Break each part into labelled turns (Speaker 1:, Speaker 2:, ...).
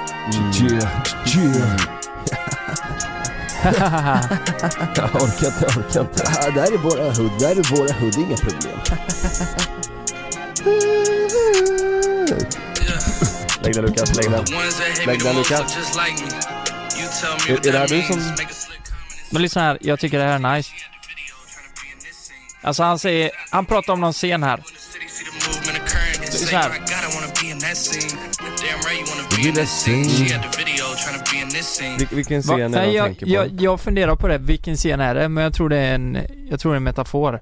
Speaker 1: Yeah, yeah.
Speaker 2: Jag orkar inte, jag orkar inte.
Speaker 1: Ah, där är våra hud, där är våra hud, inga problem.
Speaker 2: Lägg den Lukas, lägg den.
Speaker 1: Lägg den, Lukas.
Speaker 2: Är- är det här du som-
Speaker 3: Men lyssna här, jag tycker det här är nice. Alltså han säger, han pratar om någon scen här. så här.
Speaker 2: Vil- vilken
Speaker 3: Va?
Speaker 2: scen är det
Speaker 3: Nej,
Speaker 2: han
Speaker 3: jag,
Speaker 2: tänker på?
Speaker 3: jag, jag funderar på det, vilken scen är det? Men jag tror det är en, jag tror det är en metafor.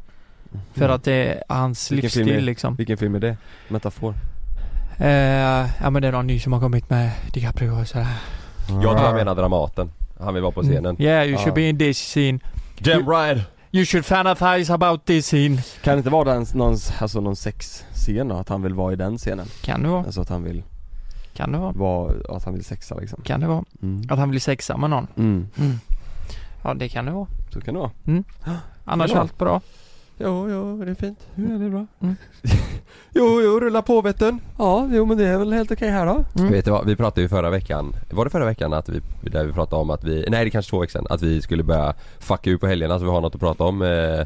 Speaker 3: För att det är hans
Speaker 2: Mm. Vilken film är
Speaker 3: livsstil
Speaker 2: det?
Speaker 3: liksom.
Speaker 2: Vilken film är det? Metafor.
Speaker 3: Eh, ja men det är någon ny som har kommit med DiCaprio och sådär.
Speaker 2: Ah.
Speaker 3: Mm.
Speaker 4: Jag tror han menar Dramaten. Han vill vara på scenen.
Speaker 3: Yeah, you
Speaker 2: Ja.
Speaker 3: should be in this scene.
Speaker 4: Jam Ride!
Speaker 3: You should fantasize about this scene.
Speaker 2: Kan det inte vara den, någon, alltså någon sexscen då? Att han vill vara i den scenen?
Speaker 3: Kan det vara,
Speaker 2: Alltså att han vill
Speaker 3: kan det vara,
Speaker 2: vara, att han vill sexa liksom
Speaker 3: kan det vara.
Speaker 2: mm.
Speaker 3: Att han vill sexa med någon.
Speaker 2: mm,
Speaker 3: Ja det kan det vara.
Speaker 2: så kan det vara
Speaker 3: Annars
Speaker 2: Ja.
Speaker 3: är allt bra.
Speaker 2: Jo, jo, det är fint. Jo, det är bra
Speaker 3: Mm.
Speaker 2: Jo, jo, rulla på vet du. Ja, jo men det är väl helt okej här då
Speaker 3: Mm.
Speaker 4: Vet du vad, vi pratade ju förra veckan, var det förra veckan att vi, där vi pratade om att vi, nej det är kanske två veckor sedan, att vi skulle börja fucka ur på helgerna så vi har något att prata om eh,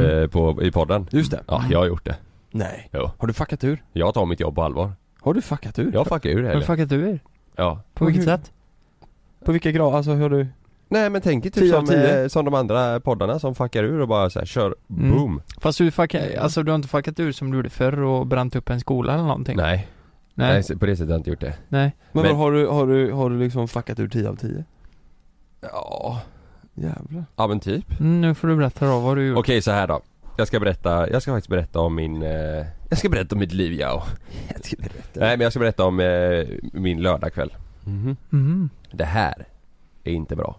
Speaker 4: eh, på, i podden.
Speaker 2: Mm. Just det
Speaker 4: Ja, jag har gjort det.
Speaker 2: Nej
Speaker 4: Jo.
Speaker 2: Har du fuckat ur?
Speaker 4: Jag tar mitt jobb på allvar.
Speaker 2: Har du fuckat ur?
Speaker 4: Jag fuckar ur det
Speaker 3: Hur
Speaker 4: eller?
Speaker 3: fuckat du är?
Speaker 4: Ja.
Speaker 3: På vilket
Speaker 2: Hur?
Speaker 3: sätt?
Speaker 2: På vilka grad, alltså hur har du?
Speaker 4: Nej men tänk er typ
Speaker 2: Tio av
Speaker 4: som,
Speaker 2: tio.
Speaker 4: eh, som de andra poddarna som fuckar ur och bara så här, kör
Speaker 3: Mm.
Speaker 4: boom.
Speaker 3: Fast du fuckar, alltså du har inte fuckat ur som du gjorde förr och bränt upp en skola eller någonting?
Speaker 4: Nej.
Speaker 3: Nej.
Speaker 4: nej, så- på det sättet har jag inte gjort det.
Speaker 3: Nej.
Speaker 2: Men,
Speaker 4: Men-
Speaker 2: vad har du, har du, har du liksom fuckat ur 10 av 10?
Speaker 4: Ja,
Speaker 2: Jävlar
Speaker 4: ja men typ.
Speaker 3: Mm, nu får du berätta då vad du gjorde.
Speaker 4: Okej så här då. Jag ska berätta, jag ska faktiskt berätta om min, eh, jag ska berätta om mitt liv ja.
Speaker 2: Jag ska berätta
Speaker 4: Nej men jag ska berätta om eh, min lördagkväll.
Speaker 2: Mhm.
Speaker 3: Mhm.
Speaker 4: Det här är inte bra.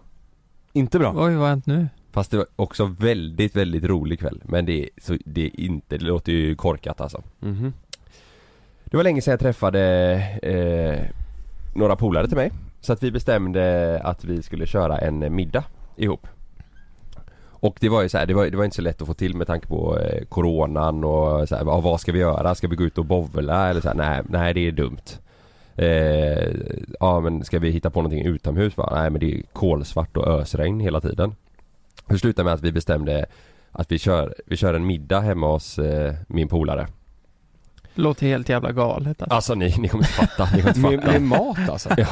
Speaker 2: Inte bra?
Speaker 3: Oj, vad har hänt nu?
Speaker 4: Fast det var också väldigt, väldigt rolig kväll. Men det är, så, det är inte, det låter ju korkat alltså.
Speaker 2: Mhm.
Speaker 4: Det var länge sedan jag träffade eh, några polare till mig. Så att vi bestämde att vi skulle köra en eh, middag ihop. Och det var ju så här, det var, det var inte så lätt att få till med tanke på eh, coronan och så här, ja, vad ska vi göra? Ska vi gå ut och bovla? Eller så här, nej, nej det är dumt. Eh, ja men ska vi hitta på någonting utomhus? Bara, nej men det är kolsvart och ösregn hela tiden. Det slutade med att vi bestämde att vi kör, vi kör en middag hemma hos eh, min polare.
Speaker 3: Låter helt jävla galet alltså.
Speaker 4: Alltså ni, ni kommer inte fatta, ni kommer
Speaker 2: Med,
Speaker 4: inte fatta.
Speaker 2: med mat alltså?
Speaker 4: Ja,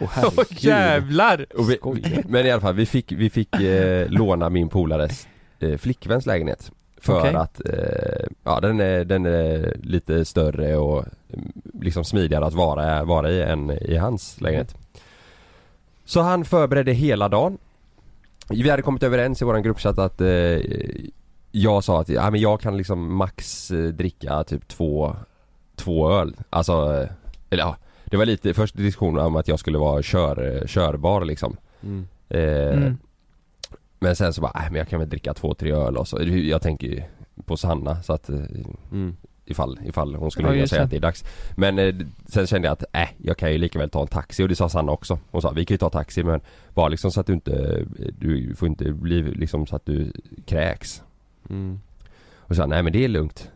Speaker 2: Åh
Speaker 3: Åh
Speaker 2: herregud
Speaker 3: jävlar!
Speaker 4: och vi,
Speaker 2: Skojar.
Speaker 4: men i alla fall vi fick, vi fick eh, låna min polares eh, flickväns lägenhet. För
Speaker 3: Okej.
Speaker 4: att, eh, ja den är, den är lite större och mm, liksom smidigare att vara, vara i än i hans lägenhet. Så han förberedde hela dagen. Vi hade kommit överens i våran gruppchatt att eh, jag sa att ja, men jag kan liksom max eh, dricka typ två, två öl. Alltså, eh, eller ja, det var lite först diskussion om att jag skulle vara kör, körbar liksom.
Speaker 2: Mm.
Speaker 4: Eh,
Speaker 3: Mm.
Speaker 4: Men sen så bara, nej men jag kan väl dricka två, tre öl och så. Jag tänker ju på Sanna så att eh,
Speaker 2: Mm.
Speaker 4: ifall, ifall hon skulle
Speaker 3: Ja,
Speaker 4: vilja
Speaker 3: just
Speaker 4: säga
Speaker 3: det.
Speaker 4: att det är dags. Men eh, sen kände jag att, äh, jag kan ju lika väl ta en taxi och det sa Sanna också. Hon sa, vi kan ju ta taxi men bara liksom så att du inte, du får inte bli liksom så att du kräks.
Speaker 2: Mm.
Speaker 4: Och så sa, nej men det är lugnt.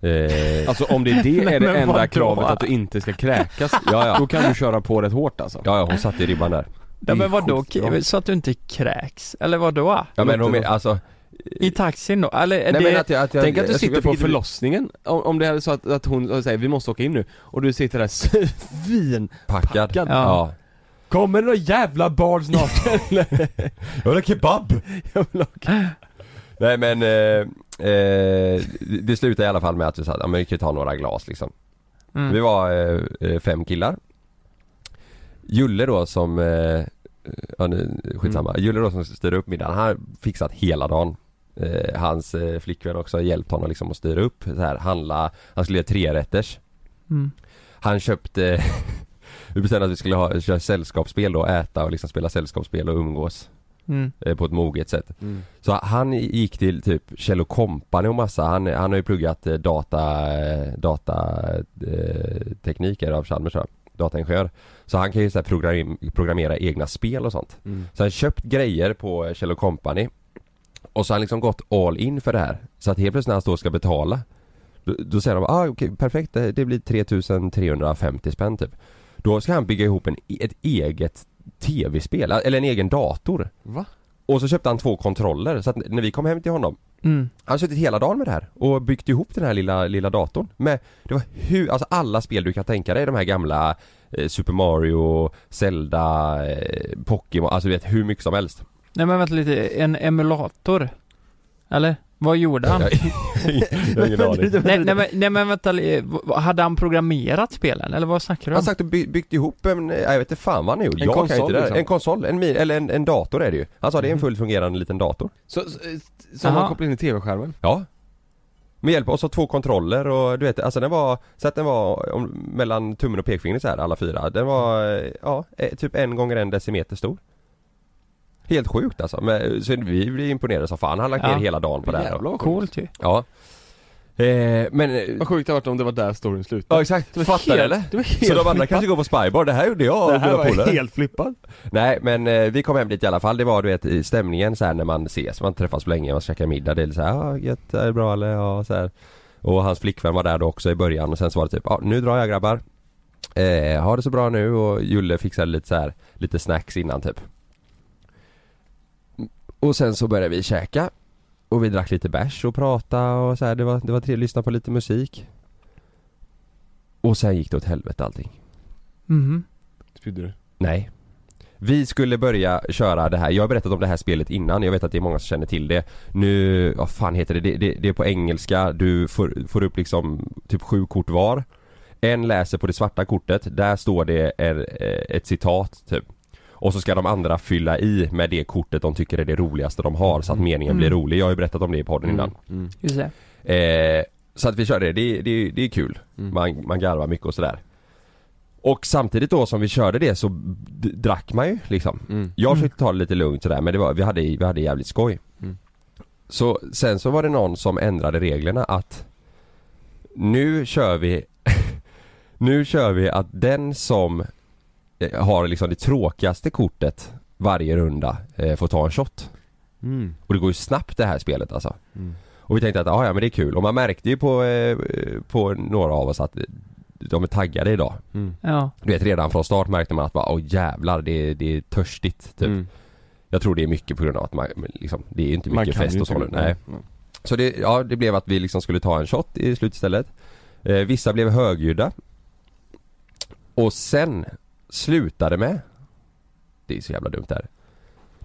Speaker 4: Eh,
Speaker 2: Alltså om det är det är det
Speaker 3: men
Speaker 2: enda
Speaker 3: vadå?
Speaker 2: kravet att du inte ska kräkas,
Speaker 4: ja, ja.
Speaker 2: då kan du köra på rätt hårt alltså
Speaker 4: ja, ja, hon satte ju ribban där.
Speaker 3: Ja, men vadå?
Speaker 2: sjukt bra.
Speaker 3: Så att du inte kräks? Eller vadå?
Speaker 4: Ja men
Speaker 2: Låter
Speaker 4: hon men,
Speaker 2: bra.
Speaker 4: alltså,
Speaker 3: I taxin då? Eller är
Speaker 4: nej
Speaker 3: det...
Speaker 4: men att jag, att jag,
Speaker 2: Tänk att du
Speaker 4: jag-
Speaker 2: sitter
Speaker 4: jag
Speaker 2: på
Speaker 4: fick inte-
Speaker 2: förlossningen, om, om det är så att, att hon säger vi måste åka in nu, och du sitter där svinpackad
Speaker 4: Packad.
Speaker 2: Ja.
Speaker 4: ja.
Speaker 2: Kommer det några jävla barn snart eller?
Speaker 4: Jag vill ha kebab!
Speaker 2: Jag vill ha-
Speaker 4: Nej men, eh, eh, det- det slutade i alla fall med att vi sa att ja, men vi kan ju ta några glas liksom. Vi
Speaker 3: mm.
Speaker 4: var eh, eh, fem killar. Julle då som, eh, ja nu, skitsamma. Julle då som styrde upp middagen, han har fixat hela dagen. Eh, hans eh, flickvän också har hjälpt honom liksom att styra upp, så här, handla, han skulle göra tre rätters
Speaker 3: Mm.
Speaker 4: Han köpte, vi bestämde att vi skulle ha, köra sällskapsspel då, äta och liksom spela sällskapsspel och umgås
Speaker 3: Mm.
Speaker 4: eh, på ett moget sätt.
Speaker 2: Mm,
Speaker 4: Så han gick till typ Kjell Company och massa, han, han har ju pluggat eh, data, eh, datateknik eh, av Chalmers tror jag. dataingenjör. Så han kan ju så här program, programmera egna spel och sånt.
Speaker 2: mm.
Speaker 4: Så han köpt grejer på eh, Kjell Company och så har han liksom gått all in för det här. Så att helt plötsligt när han står och ska eh, betala då, då säger de ah, okej perfekt det, det blir 3350 spänn typ. Då ska han bygga ihop en, e-, ett eget tv-spel, eller en egen dator.
Speaker 2: Va?
Speaker 4: Och så köpte han två kontroller, så att när vi kom hem till honom
Speaker 3: Mm.
Speaker 4: han har suttit hela dagen med det här och byggt ihop den här lilla, lilla datorn med Det var hur, alltså alla spel du kan tänka dig, de här gamla eh, Super Mario, Zelda, eh, Pokémon, alltså du vet hur mycket som helst
Speaker 3: Nej men vänta lite, en emulator? Eller? Vad gjorde han?
Speaker 4: Jag, jag har ingen aning
Speaker 3: nej, nej, men, nej men vänta, li- v- hade han programmerat spelen eller vad
Speaker 4: Han
Speaker 3: snackar du om?
Speaker 4: har sagt och by, byggt ihop en, eh, jag vet inte fan vad han har gjort,
Speaker 2: En
Speaker 4: jag
Speaker 2: konsol,
Speaker 4: kan inte det
Speaker 2: liksom. Mm-hmm.
Speaker 4: där. En konsol, en, mi- eller en, en dator är det ju Han sa det är en
Speaker 3: Mhm.
Speaker 4: fullt fungerande liten dator
Speaker 2: Så, eh, så, så
Speaker 3: Aha.
Speaker 2: man kopplar in i tv-skärmen?
Speaker 4: Ja Med hjälp av så två kontroller och du vet, alltså den var Så att den var om, mellan tummen och pekfingret så här alla fyra Den var, eh, ja, eh, typ en gånger en decimeter stor Helt sjukt alltså, men, så vi blev imponerade som fan, han har lagt
Speaker 3: Ja.
Speaker 4: ner hela dagen på det här
Speaker 2: Jävlar vad coolt.
Speaker 3: Coolt ju.
Speaker 4: Ja eh, Men, eh,
Speaker 2: Vad sjukt det hade varit om det var där storyn slutade.
Speaker 4: ja exakt, fattar
Speaker 2: helt,
Speaker 4: du eller?
Speaker 2: Det var helt
Speaker 4: Så de andra
Speaker 2: flippat.
Speaker 4: kanske går på spybar, det här gjorde jag
Speaker 2: Det
Speaker 4: och
Speaker 2: här
Speaker 4: mina
Speaker 2: var
Speaker 4: polare
Speaker 2: helt flippat.
Speaker 4: Nej men eh, vi kom hem dit i alla fall, det var du vet i stämningen så här när man ses, man träffas på länge, man käkar middag, det är lite såhär, ja gött, är det bra eller? Ja så här. Och hans flickvän var där då också i början och sen så var det typ, ja nu drar jag grabbar eh, Ha det så bra nu och Julle fixade lite så här, lite snacks innan typ Och sen så började vi käka Och vi drack lite bärs och pratade och så här, det var, det var trevligt, lyssna på lite musik Och sen gick det åt helvete allting
Speaker 3: Mhm.
Speaker 2: Spydde du?
Speaker 4: Nej. Vi skulle börja köra det här, jag har berättat om det här spelet innan, jag vet att det är många som känner till det Nu, vad fan heter det? Det, det, det är på engelska, du får, får upp liksom typ sju kort var En läser på det svarta kortet, där står det en, eh, ett citat typ Och så ska de andra fylla i med det kortet de tycker är det roligaste de har så att meningen
Speaker 3: Mm.
Speaker 4: blir rolig, jag har ju berättat om det i podden innan
Speaker 2: Mm.
Speaker 3: Just det.
Speaker 4: Eh, så att vi körde det, det, det, det är kul.
Speaker 2: Mm.
Speaker 4: Man, man garvar mycket och sådär. Och samtidigt då som vi körde det så d- drack man ju liksom.
Speaker 2: Mm.
Speaker 4: Jag försökte ta det lite lugnt sådär men det var, vi, hade, vi hade jävligt skoj.
Speaker 2: Mm.
Speaker 4: Så sen så var det någon som ändrade reglerna att nu kör vi Nu kör vi att den som eh, har liksom det tråkigaste kortet varje runda eh, får ta en shot.
Speaker 2: Mm.
Speaker 4: Och det går ju snabbt det här spelet alltså.
Speaker 2: Mm.
Speaker 4: Och vi tänkte att ah, ja men det är kul och man märkte ju på, eh, på några av oss att de är taggade idag.
Speaker 2: Mm.
Speaker 3: Ja.
Speaker 4: Du vet redan från start märkte man att bara, åh jävlar det är, det är törstigt typ.
Speaker 2: Mm.
Speaker 4: Jag tror det är mycket på grund av att man, men liksom, det är ju inte
Speaker 2: Man
Speaker 4: mycket
Speaker 2: kan
Speaker 4: fest
Speaker 2: ju
Speaker 4: och så
Speaker 2: inte-
Speaker 4: nu. Nej. Så det, ja, det blev att vi liksom skulle ta en shot i slutstället. Eh, vissa blev högljudda. Och sen slutade med Det är så jävla dumt där.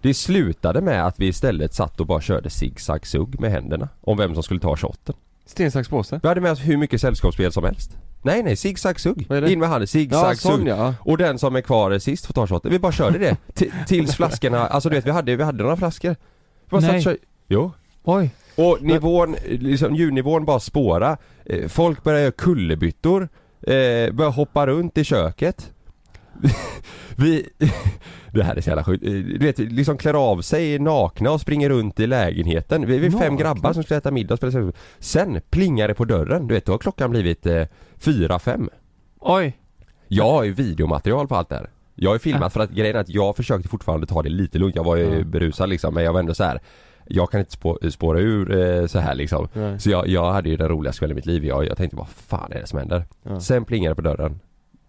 Speaker 4: Det slutade med att vi istället satt och bara körde zigzag-sugg med händerna om vem som skulle ta shoten.
Speaker 2: Sten, sax, påse?
Speaker 4: Vi hade med oss hur mycket sällskapsspel som helst. Nej nej, zigzag-sugg.
Speaker 2: Vad är det?
Speaker 4: In med handen,
Speaker 2: Ja,
Speaker 4: zigzag-sugg.
Speaker 2: sån ja.
Speaker 4: Och den som är kvar sist får ta shoten. Vi bara körde det. T- tills flaskorna, alltså du vet vi hade, vi hade några flaskor. Vi bara satt
Speaker 3: Nej.
Speaker 4: och kör... Jo.
Speaker 3: Oj.
Speaker 4: Och nivån, liksom ljudnivån bara spåra. Eh, Folk börjar göra kullerbyttor. Eh, börjar hoppa runt i köket. Vi... Det här är så jävla sjukt. Eh, Du vet, liksom klär av sig nakna och springer runt i lägenheten. Vi vi är fem
Speaker 2: Nakna?
Speaker 4: grabbar som skulle äta middag och spela sällskapsspel. Sen plingar det på dörren. Du vet, då har klockan blivit eh, fyra, fem.
Speaker 3: Oj.
Speaker 4: Jag har ju videomaterial på allt det här. Jag har ju filmat för att grejen är att jag försökte fortfarande ta det lite lugnt. Jag var ju
Speaker 2: Ja.
Speaker 4: berusad liksom men jag var ändå så här. Jag kan inte spå, spåra ur eh, så här liksom.
Speaker 2: Nej.
Speaker 4: Så jag, jag hade ju den roligaste kvällen i mitt liv. Jag, jag tänkte vad fan är det som händer?
Speaker 2: Ja.
Speaker 4: Sen plingade det på dörren.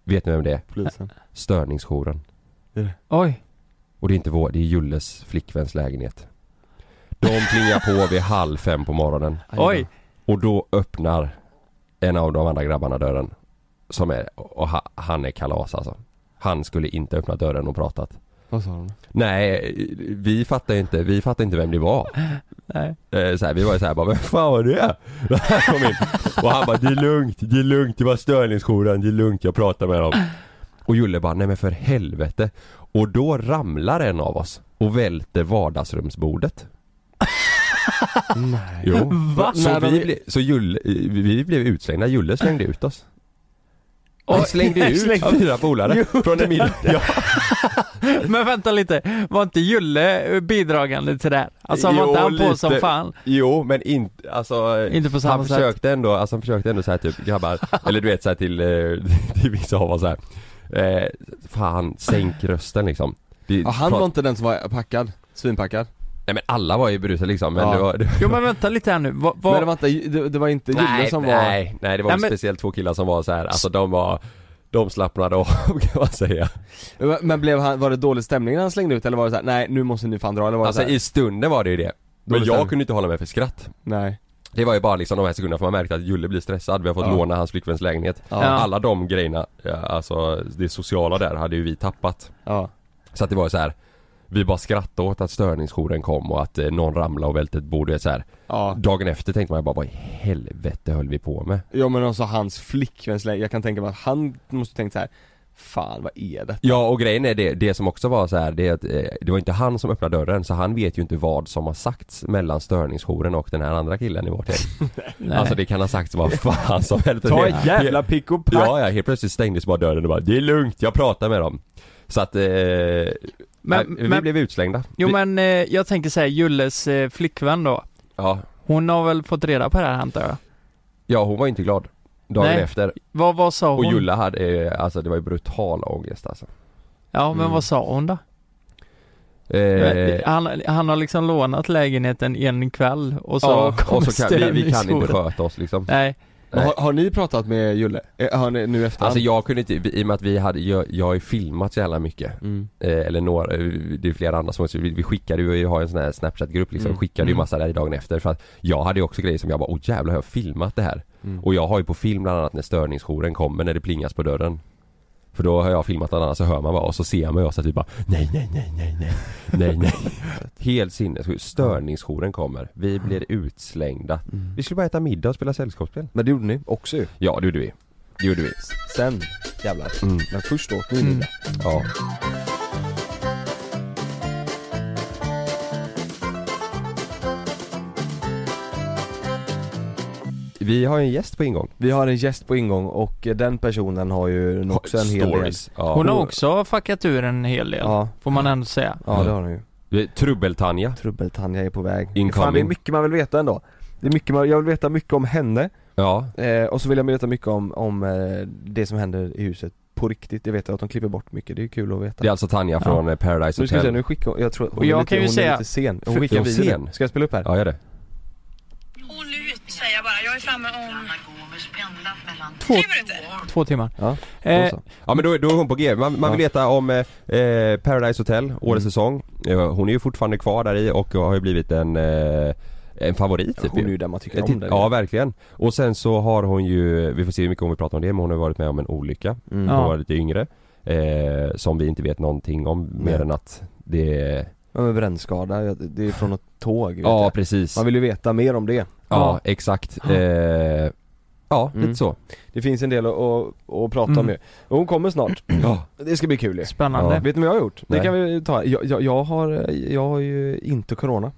Speaker 4: Vet ni vem det är?
Speaker 2: Polisen.
Speaker 4: Störningsjouren.
Speaker 3: Oj.
Speaker 4: Och det är inte vår, det är Julles flickväns lägenhet. De plingar på vid halv fem på morgonen.
Speaker 3: Oj.
Speaker 4: Och då öppnar en av de andra grabbarna dörren. Som är, och ha, han är kalas alltså. Han skulle inte öppna dörren och pratat.
Speaker 2: Vad sa de?
Speaker 4: Nej, vi fattar ju inte, vi fattar inte vem det var.
Speaker 3: Nej.
Speaker 4: Eh, Så här, vi var ju såhär bara, vem fan var det? Han kom in. Och han bara, det är lugnt, det är lugnt, det var störningsjouren, det är lugnt, jag pratar med dem. Och Julle bara, nej men för helvete. Och då ramlar en av oss och välter vardagsrumsbordet.
Speaker 2: Nej.
Speaker 4: Jo.
Speaker 3: Va?
Speaker 4: Så,
Speaker 2: Nej,
Speaker 4: vi,
Speaker 2: de-
Speaker 4: ble, så Julle, vi blev utslängda, Julle slängde ut oss. Han slängde
Speaker 2: jag
Speaker 4: ut
Speaker 2: slängde-
Speaker 4: fyra polare från en middag. Ja.
Speaker 3: Men vänta lite, var inte Julle eh, bidragande till det här? Alltså var
Speaker 4: Jo,
Speaker 3: inte han på
Speaker 4: lite.
Speaker 3: som fan?
Speaker 4: Jo men inte, alltså
Speaker 3: Inte på samma
Speaker 4: han
Speaker 3: sätt.
Speaker 4: försökte ändå, alltså han försökte ändå säga typ grabbar, eller du vet såhär till, eh, till vissa av oss såhär eh, Fan, sänk rösten liksom Det-
Speaker 2: Ja, han
Speaker 4: prat-
Speaker 2: var inte den som var packad, svinpackad.
Speaker 4: Nej men alla var ju berusade liksom men
Speaker 2: Ja.
Speaker 4: det var, det,
Speaker 3: Jo men vänta lite här nu, vad... vad-
Speaker 2: Men det var inte, det, det var inte Julle
Speaker 4: nej,
Speaker 2: som var...
Speaker 4: nej, nej det var
Speaker 3: Nej, men-
Speaker 4: speciellt två killar som var så här. alltså de var De slappnade av kan man säga.
Speaker 2: Men- Men blev han, var det dålig stämning när han slängde ut eller var det såhär, nej nu måste ni fan dra eller var det
Speaker 4: Alltså
Speaker 2: såhär,
Speaker 4: i stunden var det ju det. Men
Speaker 2: Dålig
Speaker 4: jag
Speaker 2: stämning.
Speaker 4: kunde inte hålla mig för skratt.
Speaker 2: nej?
Speaker 4: Det var ju bara liksom de här sekunderna för man märkte att Julle blir stressad, vi har fått
Speaker 2: Ja.
Speaker 4: låna hans flickväns lägenhet.
Speaker 2: Ja.
Speaker 4: Alla de grejerna, ja, alltså det sociala där hade ju vi tappat.
Speaker 2: Ja.
Speaker 4: Så att det var ju så här. Vi bara skrattade åt att störningsjouren kom och att eh, någon ramlade och välte ett bord. du vet, Så här.
Speaker 2: Ja.
Speaker 4: Dagen efter tänkte man bara vad i helvete höll vi på med?
Speaker 2: Ja men också hans flickväns läge, jag kan tänka mig att han måste tänkt så här. Fan vad är det?
Speaker 4: Ja och grejen är det, det som också var så här, det är att eh, det var inte han som öppnade dörren så han vet ju inte vad som har sagts mellan störningsjouren och den här andra killen i vårt hem.
Speaker 3: Nej.
Speaker 4: Alltså det kan ha sagts vad fan som helst.
Speaker 2: Ta
Speaker 4: Det-
Speaker 2: ett jävla pick och pack!
Speaker 4: Ja, ja, helt plötsligt stängdes bara dörren och bara Det är lugnt, jag pratar med dem Så att, eh, nej,
Speaker 3: men,
Speaker 4: vi
Speaker 3: men,
Speaker 4: blev utslängda
Speaker 3: jo
Speaker 4: vi,
Speaker 3: men eh, jag tänker säga Julles eh, flickvän då.
Speaker 4: ja,
Speaker 3: Hon har väl fått reda på det här antar jag?
Speaker 4: ja, hon var inte glad Dagen
Speaker 3: Nej,
Speaker 4: efter,
Speaker 3: Vad, vad sa
Speaker 4: och
Speaker 3: hon?
Speaker 4: Julla hade, eh, alltså det var ju brutal ångest alltså
Speaker 3: Ja men
Speaker 2: Mm.
Speaker 3: vad sa hon då?
Speaker 4: Eh,
Speaker 3: han, han har liksom lånat lägenheten en kväll och så
Speaker 4: ja,
Speaker 3: kommer
Speaker 4: och så kan, vi, vi kan inte
Speaker 3: stämningsjouren.
Speaker 4: sköta oss liksom
Speaker 3: Nej,
Speaker 2: Men
Speaker 4: Nej.
Speaker 2: Har, har ni pratat med Julle? Eh, Har ni nu efter
Speaker 4: Alltså jag kunde inte, vi- i och med att vi hade, jag, jag har ju filmat så jävla mycket
Speaker 2: mm.
Speaker 4: eh, Eller några, eh, det är flera andra som också, vi, vi skickade ju, vi har ju en sån här snapchat-grupp liksom,
Speaker 2: Mm.
Speaker 4: skickade ju
Speaker 3: Mm.
Speaker 4: massa där dagen efter för att Jag hade ju också grejer som jag bara, åh jävlar har jag filmat det här?
Speaker 2: Mm.
Speaker 4: Och jag har ju på film bland annat när störningsjouren kommer när det plingas på dörren För då har jag filmat bland annat så hör man bara och så ser man ju oss att vi bara Nej nej nej nej nej Nej nej Helt sinnessjukt, störningsjouren kommer Vi blir utslängda
Speaker 2: Mm.
Speaker 4: Vi skulle bara äta middag och spela sällskapsspel
Speaker 1: Men det gjorde ni också ju.
Speaker 4: Ja det gjorde vi Det gjorde vi
Speaker 2: Sen, jävlar.
Speaker 4: Mm.
Speaker 2: Men först åt ni middag.
Speaker 4: Ja Vi har ju en gäst på ingång
Speaker 2: Vi har en gäst på ingång och eh, den personen har ju också en hel del
Speaker 4: Stories. Ja.
Speaker 3: hon har också fuckat ur en hel del.
Speaker 2: Ja,
Speaker 3: Får man ändå säga.
Speaker 2: ja det har hon ju.
Speaker 4: Det är Trubbel-Tanja
Speaker 2: Trubbel-Tanja är på väg.
Speaker 4: Incoming.
Speaker 2: Fan det är mycket man vill veta ändå. Det är mycket man, jag vill veta mycket om henne
Speaker 4: Ja,
Speaker 2: eh, och så vill jag veta mycket om, om eh, det som händer i huset på riktigt. Jag vet att de klipper bort mycket, det är kul att veta.
Speaker 4: det är alltså Tanja från eh, Paradise
Speaker 2: Nu ska vi se,
Speaker 4: Hotel
Speaker 2: nu skickar hon, jag tror hon,
Speaker 3: Och jag
Speaker 2: är, lite,
Speaker 3: kan ju
Speaker 2: hon
Speaker 3: säga-
Speaker 2: är lite sen. Hon
Speaker 3: för-
Speaker 2: skickar
Speaker 4: Är hon
Speaker 2: video nu.
Speaker 4: sen?
Speaker 2: Ska jag spela upp här?
Speaker 4: Ja, gör det
Speaker 5: Och nu säger jag bara, jag är framme om... Tre
Speaker 3: Två,
Speaker 5: minuter.
Speaker 3: två timmar.
Speaker 2: Ja,
Speaker 3: eh,
Speaker 2: Då så.
Speaker 4: Ja men då, då är hon på G. Man, man vill
Speaker 2: Ja. Mm.
Speaker 4: veta om eh, eh, Paradise Hotel, årets säsong. Eh, hon är ju fortfarande kvar där i och har ju blivit en, eh, en favorit typ
Speaker 2: Hon är
Speaker 4: ju.
Speaker 2: ju där man tycker
Speaker 4: Eh,
Speaker 2: om
Speaker 4: titt-
Speaker 2: det.
Speaker 4: Ja verkligen. Och sen så har hon ju, vi får se hur mycket hon vill prata om det, men hon har ju varit med om en olycka.
Speaker 2: Mm.
Speaker 3: Ja.
Speaker 4: Hon var lite yngre. Eh, som vi inte vet någonting om mer
Speaker 2: Nej.
Speaker 4: än att det
Speaker 2: Ja men brännskada, jag- det är från något tåg vet
Speaker 4: Ja
Speaker 2: jag.
Speaker 4: precis.
Speaker 2: Man vill ju veta mer om det.
Speaker 4: Ja exakt.
Speaker 3: Ja.
Speaker 4: Eh, ja
Speaker 2: Mm.
Speaker 4: lite så.
Speaker 2: Det finns en del att, att, att prata om
Speaker 3: Mm.
Speaker 2: ju. Och hon kommer snart.
Speaker 4: Ja.
Speaker 2: Det ska bli kul ju.
Speaker 3: spännande.
Speaker 4: Ja.
Speaker 2: Vet ni vad jag har gjort?
Speaker 4: Nej.
Speaker 2: Det kan vi ta. Jag, jag, jag, har, jag har ju inte corona.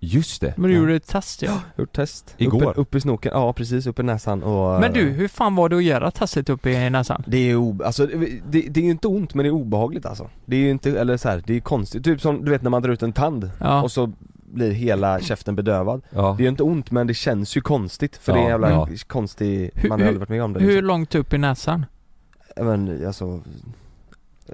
Speaker 4: Just det.
Speaker 3: Men du gjorde ett test ja.
Speaker 2: Gjort test.
Speaker 4: Igår.
Speaker 2: Upp, upp i snoken, ja precis, upp i näsan och... eh,
Speaker 3: Men du, hur fan var det att göra testet uppe i näsan?
Speaker 2: Det är o- alltså, det, det är ju inte ont men det är obehagligt alltså. Det är ju inte, eller så här, det är konstigt. Typ som du vet när man drar ut en tand
Speaker 3: Ja.
Speaker 2: och så blir hela käften bedövad.
Speaker 4: Ja.
Speaker 2: Det är ju inte ont men det känns ju konstigt för det är
Speaker 4: Ja,
Speaker 2: en jävla
Speaker 4: ja.
Speaker 2: konstig,
Speaker 3: Hur-
Speaker 2: man
Speaker 3: hur-
Speaker 2: har aldrig varit med om det
Speaker 3: Hur långt upp i näsan?
Speaker 2: Ja, Men alltså...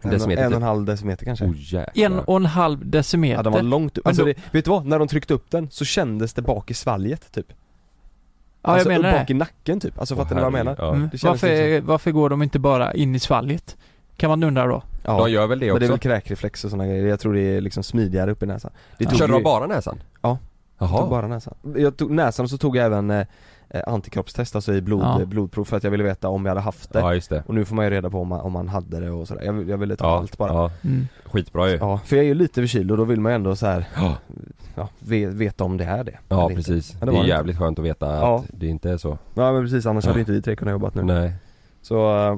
Speaker 2: En,
Speaker 4: Decimeter
Speaker 2: en och en
Speaker 4: typ.
Speaker 2: halv decimeter kanske?
Speaker 4: Oh,
Speaker 3: En
Speaker 4: jäklar.
Speaker 3: och en halv decimeter?
Speaker 2: Ja den var långt upp, alltså
Speaker 3: Men
Speaker 2: det, vet du vad? När de tryckte upp den så kändes det bak i svalget typ
Speaker 3: Ja, jag
Speaker 2: Alltså
Speaker 3: menar
Speaker 2: bak
Speaker 3: det.
Speaker 2: i nacken typ, alltså
Speaker 4: Åh,
Speaker 2: fattar ni vad jag menar?
Speaker 4: herregud. Ja.
Speaker 3: Mm.
Speaker 2: det kändes
Speaker 3: Varför, varför går de inte bara in i svalget? Kan man undra då.
Speaker 2: Ja,
Speaker 4: De gör väl det
Speaker 2: Mm. men det är
Speaker 4: också?
Speaker 2: väl kräkreflex och sådana grejer, jag tror det är liksom smidigare upp i näsan det ju-
Speaker 4: Körde de bara näsan?
Speaker 2: Ja. jag
Speaker 4: Jaha.
Speaker 2: tog bara näsan Jag tog näsan och så tog jag även eh, eh, antikroppstest, alltså i blod,
Speaker 3: Ja.
Speaker 2: eh, blodprov för att jag ville veta om jag hade haft det
Speaker 4: Ja just det.
Speaker 2: Och nu får man ju reda på om man, om man hade det och sådär, jag, jag ville ta
Speaker 4: Ja,
Speaker 2: allt bara ja.
Speaker 4: ja,
Speaker 3: Mm.
Speaker 4: skitbra ju.
Speaker 2: för jag är ju lite förkyld och då vill man ju ändå så här,
Speaker 4: Ja,
Speaker 2: ja, ve- veta om det är det
Speaker 4: ja
Speaker 2: eller inte.
Speaker 4: precis.
Speaker 2: Ja,
Speaker 4: det
Speaker 2: det var
Speaker 4: är
Speaker 2: det.
Speaker 4: jävligt skönt att veta
Speaker 2: Ja.
Speaker 4: att det inte är så.
Speaker 2: Ja men precis, annars
Speaker 4: Ja.
Speaker 2: hade ju inte vi tre kunnat jobbat nu
Speaker 4: Nej.
Speaker 2: Så, eh,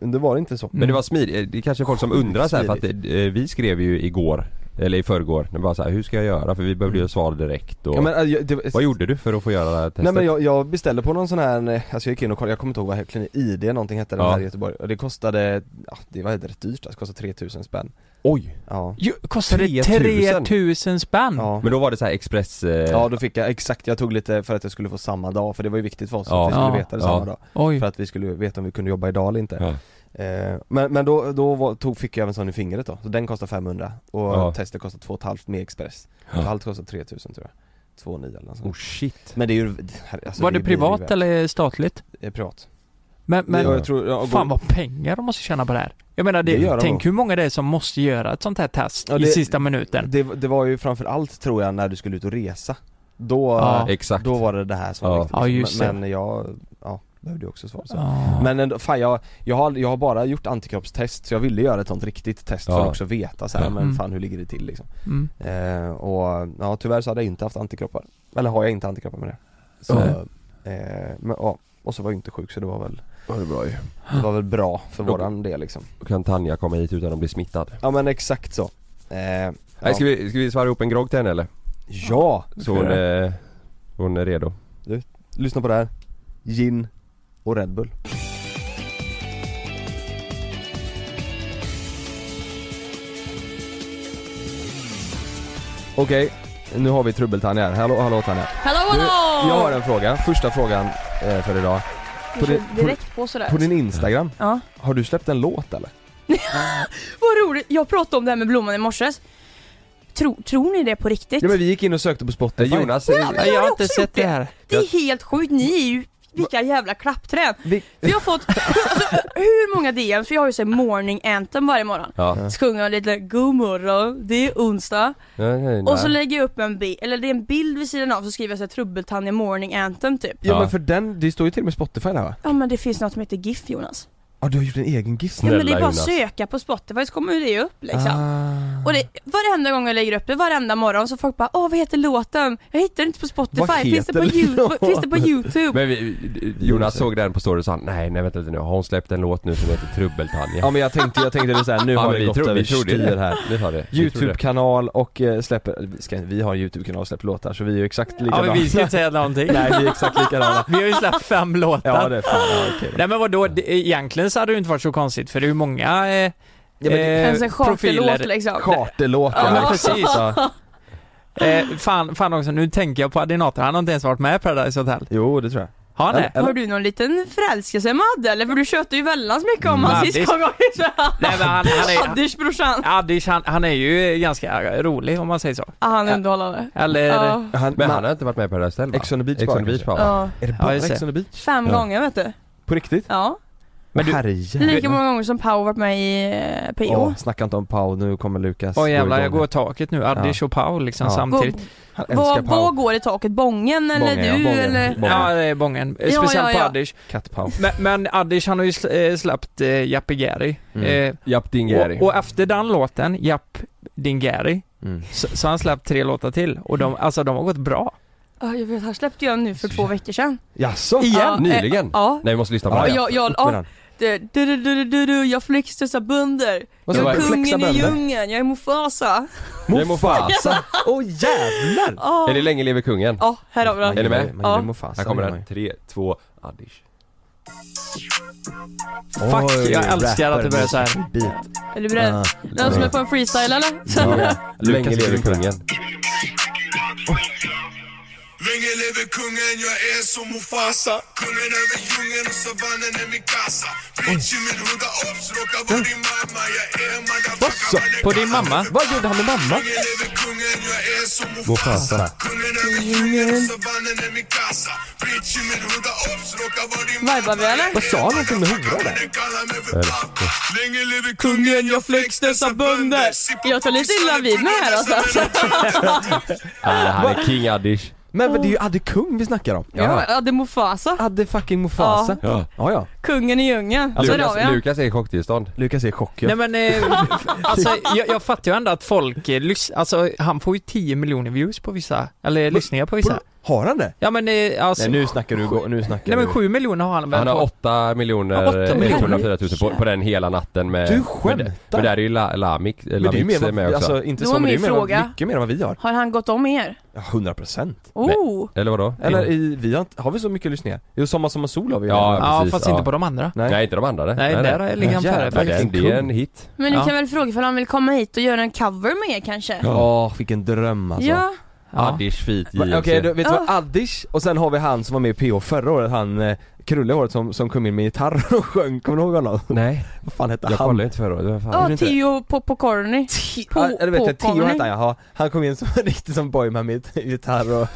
Speaker 4: Ja.
Speaker 2: det var inte så
Speaker 4: Men det var smidigt, Eh, det är kanske folk som
Speaker 2: Sjukt
Speaker 4: undrar så här, för att eh, vi skrev ju igår, eller i förrgår, det var så här, hur ska jag göra? För vi behövde ju svar direkt och
Speaker 2: Mm. Ja, men, äh, jag- det,
Speaker 4: Vad gjorde du för att få göra det här testet?
Speaker 2: Nej men jag, jag beställde på någon sån här, eh, alltså jag gick in och kollade, jag kommer inte ihåg vad kliniken, ID någonting hette den
Speaker 4: Ja.
Speaker 2: här i Göteborg och det kostade, ja, det var rätt dyrt alltså, det kostade 3000 spänn
Speaker 4: Oj!
Speaker 2: Ja,
Speaker 3: Jo, kostade
Speaker 4: 3000?
Speaker 3: 3000 spänn?
Speaker 2: ja.
Speaker 4: Mm. Men då var det så här express... Eh,
Speaker 2: ja då fick jag, exakt jag tog lite för att jag skulle få samma dag för det var ju viktigt för oss
Speaker 4: Ja.
Speaker 2: att vi skulle
Speaker 3: Ja.
Speaker 2: veta det
Speaker 4: Ja.
Speaker 2: samma dag
Speaker 3: Oj.
Speaker 2: För att vi skulle veta om vi kunde jobba idag eller inte
Speaker 4: Ja.
Speaker 2: eh, Men, men då, då var, tog, fick jag även sån i fingret då, så den kostade 500 och
Speaker 4: Ja.
Speaker 2: testet kostade 2,5 med express
Speaker 4: Ja.
Speaker 2: Allt kostade 3000 tror jag, 2,9 eller något sånt.
Speaker 4: Oh shit.
Speaker 2: Men det är ju, herre- alltså,
Speaker 3: var det,
Speaker 2: blir ju
Speaker 3: privat
Speaker 2: värt-
Speaker 3: eller statligt?
Speaker 2: eh, privat?
Speaker 3: Men, men
Speaker 2: Ja, jag tror, jag går-
Speaker 3: fan vad pengar de måste tjäna på det här. Jag menar, det,
Speaker 2: Det gör de
Speaker 3: tänk
Speaker 2: nog.
Speaker 3: hur många det är som måste göra ett sånt här test
Speaker 2: Ja,
Speaker 3: i
Speaker 2: det-
Speaker 3: sista minuten.
Speaker 2: det, det var ju framförallt tror jag när du skulle ut och resa Då,
Speaker 3: Ja.
Speaker 4: Exakt.
Speaker 2: då var det det här som
Speaker 4: Ja.
Speaker 2: var viktigt. liksom.
Speaker 3: Ja, just det.
Speaker 2: Men men jag, ja, behövde ju också svar så.
Speaker 3: Ja.
Speaker 2: Men ändå, fan jag, jag, har, jag har bara gjort antikroppstest så jag ville göra ett sånt riktigt test för
Speaker 4: Ja.
Speaker 2: att också veta så här,
Speaker 4: Ja.
Speaker 2: men
Speaker 3: Mm.
Speaker 2: fan hur ligger det till liksom
Speaker 3: Mm.
Speaker 2: eh, Och ja, tyvärr så hade jag inte haft antikroppar Eller har jag inte antikroppar med det Så, eh, men, ja, och så var jag inte sjuk så det var väl,
Speaker 4: Ja, det är bra ju.
Speaker 2: det var väl bra för
Speaker 4: Då-
Speaker 2: våran del liksom
Speaker 4: Då kan Tanja komma hit utan att bli smittad.
Speaker 2: Ja men exakt så eh,
Speaker 4: Nej, ska,
Speaker 2: ja.
Speaker 4: vi, ska vi svara ihop en grogg till henne eller?
Speaker 2: ja,
Speaker 4: Så hon, eh, hon är redo.
Speaker 2: lyssna på det här Gin och Red Bull Okej, nu har vi trubbel-Tanja här. Hallå, hallå Tanja.
Speaker 6: Hallå
Speaker 2: Du,
Speaker 6: hallå!
Speaker 2: jag har en fråga, första frågan eh, för idag. på
Speaker 6: på
Speaker 2: din- på-
Speaker 6: direkt på sådär.
Speaker 2: På din Instagram,
Speaker 6: Ja.
Speaker 2: har du släppt en låt eller?
Speaker 6: Vad roligt, jag pratade om det här med blomman i morse. Tro, tror ni det på riktigt?
Speaker 2: Ja men vi gick in och sökte på Spotify.
Speaker 4: Eh, Jonas,
Speaker 3: Nej, jag har inte
Speaker 6: också
Speaker 3: sett
Speaker 6: gjort
Speaker 3: det
Speaker 6: det.
Speaker 3: här.
Speaker 6: Det är helt sjukt, ni är ju vilka jävla klappträn.
Speaker 2: Vi,
Speaker 6: För jag har fått alltså, hur många DMs, för jag har ju såhär morning anthem varje morgon.
Speaker 4: ja.
Speaker 6: Så sjunger jag lite god morgon, det är onsdag.
Speaker 4: Nej, nej,
Speaker 6: Och så
Speaker 4: nej.
Speaker 6: lägger jag upp en bild, eller det är en bild vid sidan av så skriver jag såhär trubbeltanja morning anthem typ.
Speaker 2: ja
Speaker 4: Ja.
Speaker 2: men för den, det står ju till och med Spotify där va?
Speaker 6: Ja men det finns något som heter GIF Jonas.
Speaker 2: Ja du har gjort en egen GIF
Speaker 6: Ja
Speaker 4: Snälla,
Speaker 6: men det är bara att
Speaker 4: Jonas.
Speaker 6: söka på Spotify så kommer det ju upp liksom.
Speaker 2: Ah.
Speaker 6: Och det, varenda gång jag lägger upp det, varenda morgon så folk bara Åh vad heter låten? Jag hittar den inte på
Speaker 2: Vad
Speaker 6: Spotify, finns det på,
Speaker 2: heter
Speaker 6: you-
Speaker 2: låten?"
Speaker 6: finns det på youtube?
Speaker 4: Men vi, Jonas såg den på story och sa nej, nej vänta lite nu, har hon släppt en låt nu som heter Trubbeltanja?
Speaker 2: Ja men jag tänkte, jag tänkte det såhär, nu
Speaker 4: Ja,
Speaker 2: har
Speaker 4: men
Speaker 2: det
Speaker 4: vi
Speaker 2: gått
Speaker 4: trodde- vi
Speaker 2: över
Speaker 4: trodde
Speaker 2: styr
Speaker 4: det.
Speaker 2: här
Speaker 4: Vi tar det. Vi tror det.
Speaker 2: Youtube-kanal och eh, släpper, vi, ska, vi har en Youtube-kanal och släpper låtar så vi är ju exakt
Speaker 3: Ja,
Speaker 2: likadana
Speaker 3: men vi ska inte säga någonting.
Speaker 2: Nej vi är exakt likadana
Speaker 3: Vi har ju släppt fem låtar.
Speaker 2: Ja det är fan, ja, okej då.
Speaker 3: Nej men vadå, det, egentligen så hade det ju inte varit så konstigt för det är ju många eh,
Speaker 2: Ja, men det-
Speaker 3: eh,
Speaker 6: En sån charterlåt liksom.
Speaker 2: Eh, Charterlåt
Speaker 3: Ja, men precis.
Speaker 2: Ja.
Speaker 3: Eh, fan, fan också, nu tänker jag på Adinator, han har inte ens varit med i Paradise Hotel.
Speaker 2: Jo det tror jag
Speaker 3: Har han det?
Speaker 6: Har du någon liten förälskelse med Adde eller? För du tjötade ju väldigt mycket om
Speaker 3: Mm.
Speaker 6: honom
Speaker 3: Addis.
Speaker 6: sist gången
Speaker 3: Nej men han, han är,
Speaker 6: Adders brorsan.
Speaker 3: Adish, han, han är ju ganska rolig om man säger så.
Speaker 6: Ja Ah, han
Speaker 3: Ja.
Speaker 6: är underhållande.
Speaker 3: Eller?
Speaker 6: Ja.
Speaker 2: Han,
Speaker 4: Men
Speaker 2: man-
Speaker 4: han har inte varit med på Paradise Hotel va?
Speaker 2: Ex on the beach
Speaker 4: Ex
Speaker 2: bara,
Speaker 4: on the beach
Speaker 2: kanske.
Speaker 4: bara.
Speaker 6: Ja.
Speaker 2: Är det
Speaker 3: Ja,
Speaker 2: bara
Speaker 3: just det.
Speaker 2: Ex on the beach?
Speaker 6: Fem
Speaker 4: Ja.
Speaker 6: gånger vet du.
Speaker 2: På riktigt?
Speaker 6: Ja.
Speaker 2: Men
Speaker 3: Men
Speaker 2: du...
Speaker 3: du-
Speaker 6: Lika
Speaker 2: Herrejävlar
Speaker 6: många gånger som Pau varit med i eh, PO.
Speaker 2: Åh, snacka inte om Pau, nu kommer Lukas
Speaker 3: Åh jävlar,
Speaker 2: igång.
Speaker 3: jag går i taket nu, Adish och Paul liksom
Speaker 2: Ja.
Speaker 6: Gå,
Speaker 3: samtidigt.
Speaker 2: Han älskar
Speaker 6: vad,
Speaker 2: Pau,
Speaker 6: vad går i taket? Bången eller
Speaker 2: Bången, ja,
Speaker 6: du
Speaker 2: bången.
Speaker 6: eller?
Speaker 2: Bången.
Speaker 3: Ja det är bången, Eh,
Speaker 6: Ja,
Speaker 3: speciellt
Speaker 6: ja, ja.
Speaker 3: på Adish.
Speaker 2: katt-Pau
Speaker 3: Men, men Adish han har ju sl- eh, släppt eh, Japp Gary.
Speaker 2: Mm.
Speaker 4: Japp Dingeri.
Speaker 3: Eh, och, och efter den låten, Japp Dingeri,
Speaker 2: mm.
Speaker 3: så, så har han släppt tre låtar till och de, alltså de har gått bra.
Speaker 6: Ja, jag vet, han släppte ju en nu för två veckor sedan.
Speaker 2: Jaså?
Speaker 6: Ja,
Speaker 4: Nyligen?
Speaker 6: eh, Ja.
Speaker 4: Nej vi måste lyssna på
Speaker 6: Ja,
Speaker 4: det.
Speaker 6: jag, jag,
Speaker 2: Upp med
Speaker 6: ja,
Speaker 2: den.
Speaker 6: Du, du, du, du, du, du, jag flexar bönder.
Speaker 2: Vad
Speaker 4: sa
Speaker 6: jag är
Speaker 4: du?
Speaker 2: Flexa
Speaker 6: kungen i
Speaker 2: bönder?
Speaker 6: djungeln, jag är Mufasa.
Speaker 4: Det är Mufasa!
Speaker 2: Åh jävlar!
Speaker 6: Ja,
Speaker 4: Är det Länge leve kungen?
Speaker 6: Ja, Ah. här har vi
Speaker 2: Man
Speaker 6: den. Ah.
Speaker 4: Är
Speaker 2: gillar-
Speaker 4: ni med?
Speaker 2: Man gillar
Speaker 6: Ja.
Speaker 2: Mufasa,
Speaker 4: Här kommer
Speaker 2: det gör man
Speaker 4: den. Tre, två, Adish.
Speaker 2: ju.
Speaker 3: Fuck, jag
Speaker 2: Oj,
Speaker 3: älskar att det börjar så här.
Speaker 2: rapper, beat.
Speaker 6: Är du beredd?
Speaker 2: Ah.
Speaker 6: Någon som är på en freestyle eller?
Speaker 2: Ja.
Speaker 4: Länge
Speaker 2: Lukas
Speaker 4: leve
Speaker 2: vill på det.
Speaker 4: kungen.
Speaker 7: Länge lever kungen, jag är som Mufasa Kungen över djungeln och savannen är min kassa Bitch i min hundra ops, råkar vara din mamma Jag är en
Speaker 2: Asså,
Speaker 7: uh, motherfucker
Speaker 3: På din mamma?
Speaker 2: Vad gjorde han med mamma?
Speaker 7: Länge lever kungen, jag är som
Speaker 4: Mufasa.
Speaker 7: Mufasa Kungen över djungeln och savannen är min kassa Bitch i min hundra ops, råkar vara din mamma
Speaker 6: Vibar vi eller?
Speaker 2: Vad sa han någonting med hora där?
Speaker 7: Den kallar mig för pappa Länge lever kungen, jag flex dessa bönder
Speaker 6: Jag tar lite illa vid mig här alltså.
Speaker 4: Ah, han är king Adish.
Speaker 2: Men det är ju Adde Kung vi snackar om.
Speaker 6: Ja, ja, det är Mufasa.
Speaker 2: Adde fucking Mufasa. Ja. ja, ja.
Speaker 6: Kungen i djungeln. Så där har
Speaker 4: Lukas,
Speaker 6: vi den.
Speaker 4: Lukas är i chocktillstånd.
Speaker 2: Lukas är i chock ja.
Speaker 3: Nej men, eh, alltså, jag, jag fattar ju ändå att folk eh, lys- alltså han får ju 10 miljoner views på vissa, eller lyssningar på vissa.
Speaker 2: Har han det?
Speaker 3: Ja men eh, alltså,
Speaker 2: Nej nu snackar du, nu snackar
Speaker 3: nej men
Speaker 2: du.
Speaker 3: 7 miljoner har han väl
Speaker 4: Han har
Speaker 3: på-
Speaker 4: 8
Speaker 3: Ja, åtta
Speaker 4: miljoner
Speaker 3: miljoner.
Speaker 4: 104 000 på, på den hela natten med...
Speaker 2: Du skämtar?
Speaker 4: Men, men där är ju La- Lamik,
Speaker 2: Men det är ju
Speaker 4: Lamix
Speaker 2: mer
Speaker 4: är
Speaker 2: vad,
Speaker 4: med också.
Speaker 2: alltså inte
Speaker 6: Det
Speaker 2: så
Speaker 6: var
Speaker 2: men det är
Speaker 6: min
Speaker 2: mer vad,
Speaker 6: fråga.
Speaker 2: mycket mer än vad vi har.
Speaker 6: Har han gått om er?
Speaker 2: Ja, 100 procent.
Speaker 6: Oh!
Speaker 4: Eller vadå?
Speaker 2: Eller i, vi har, inte- har vi så mycket lyssningar? Jo Sommar Sommar Sol har vi
Speaker 4: Ja,
Speaker 3: Ja
Speaker 4: precis,
Speaker 3: fast
Speaker 4: ja.
Speaker 3: inte på de andra.
Speaker 2: Nej.
Speaker 4: Nej. inte de andra.
Speaker 3: Nej, där har jag ligger han
Speaker 2: Nej,
Speaker 3: före
Speaker 2: jävlar.
Speaker 4: Men
Speaker 3: faktiskt.
Speaker 4: den,
Speaker 2: Vilken
Speaker 4: det är
Speaker 2: kung.
Speaker 4: en hit.
Speaker 6: Men du
Speaker 3: Ja.
Speaker 6: kan väl fråga ifall han vill komma hit och göra en cover med er kanske?
Speaker 2: Åh, vilken dröm alltså.
Speaker 6: Ja,
Speaker 3: Ja.
Speaker 4: Adish feat JLC.
Speaker 2: Okej, då vet du vad?
Speaker 6: Ja.
Speaker 2: Addish, och sen har vi han som var med i PH förra året, han eh, krulle i håret som, som kom in med gitarr och sjöng, kommer du ihåg honom?
Speaker 4: Nej,
Speaker 2: Vad fan hette
Speaker 4: jag
Speaker 2: han?
Speaker 4: kollade inte förra året. Vad fan?
Speaker 6: ja
Speaker 2: inte det?
Speaker 6: Tio Popokorni.
Speaker 2: Ja, eller vet jag, Theo
Speaker 6: Popokorni.
Speaker 2: hette han, jaha. Han kom in som en riktig som boyman med gitarr och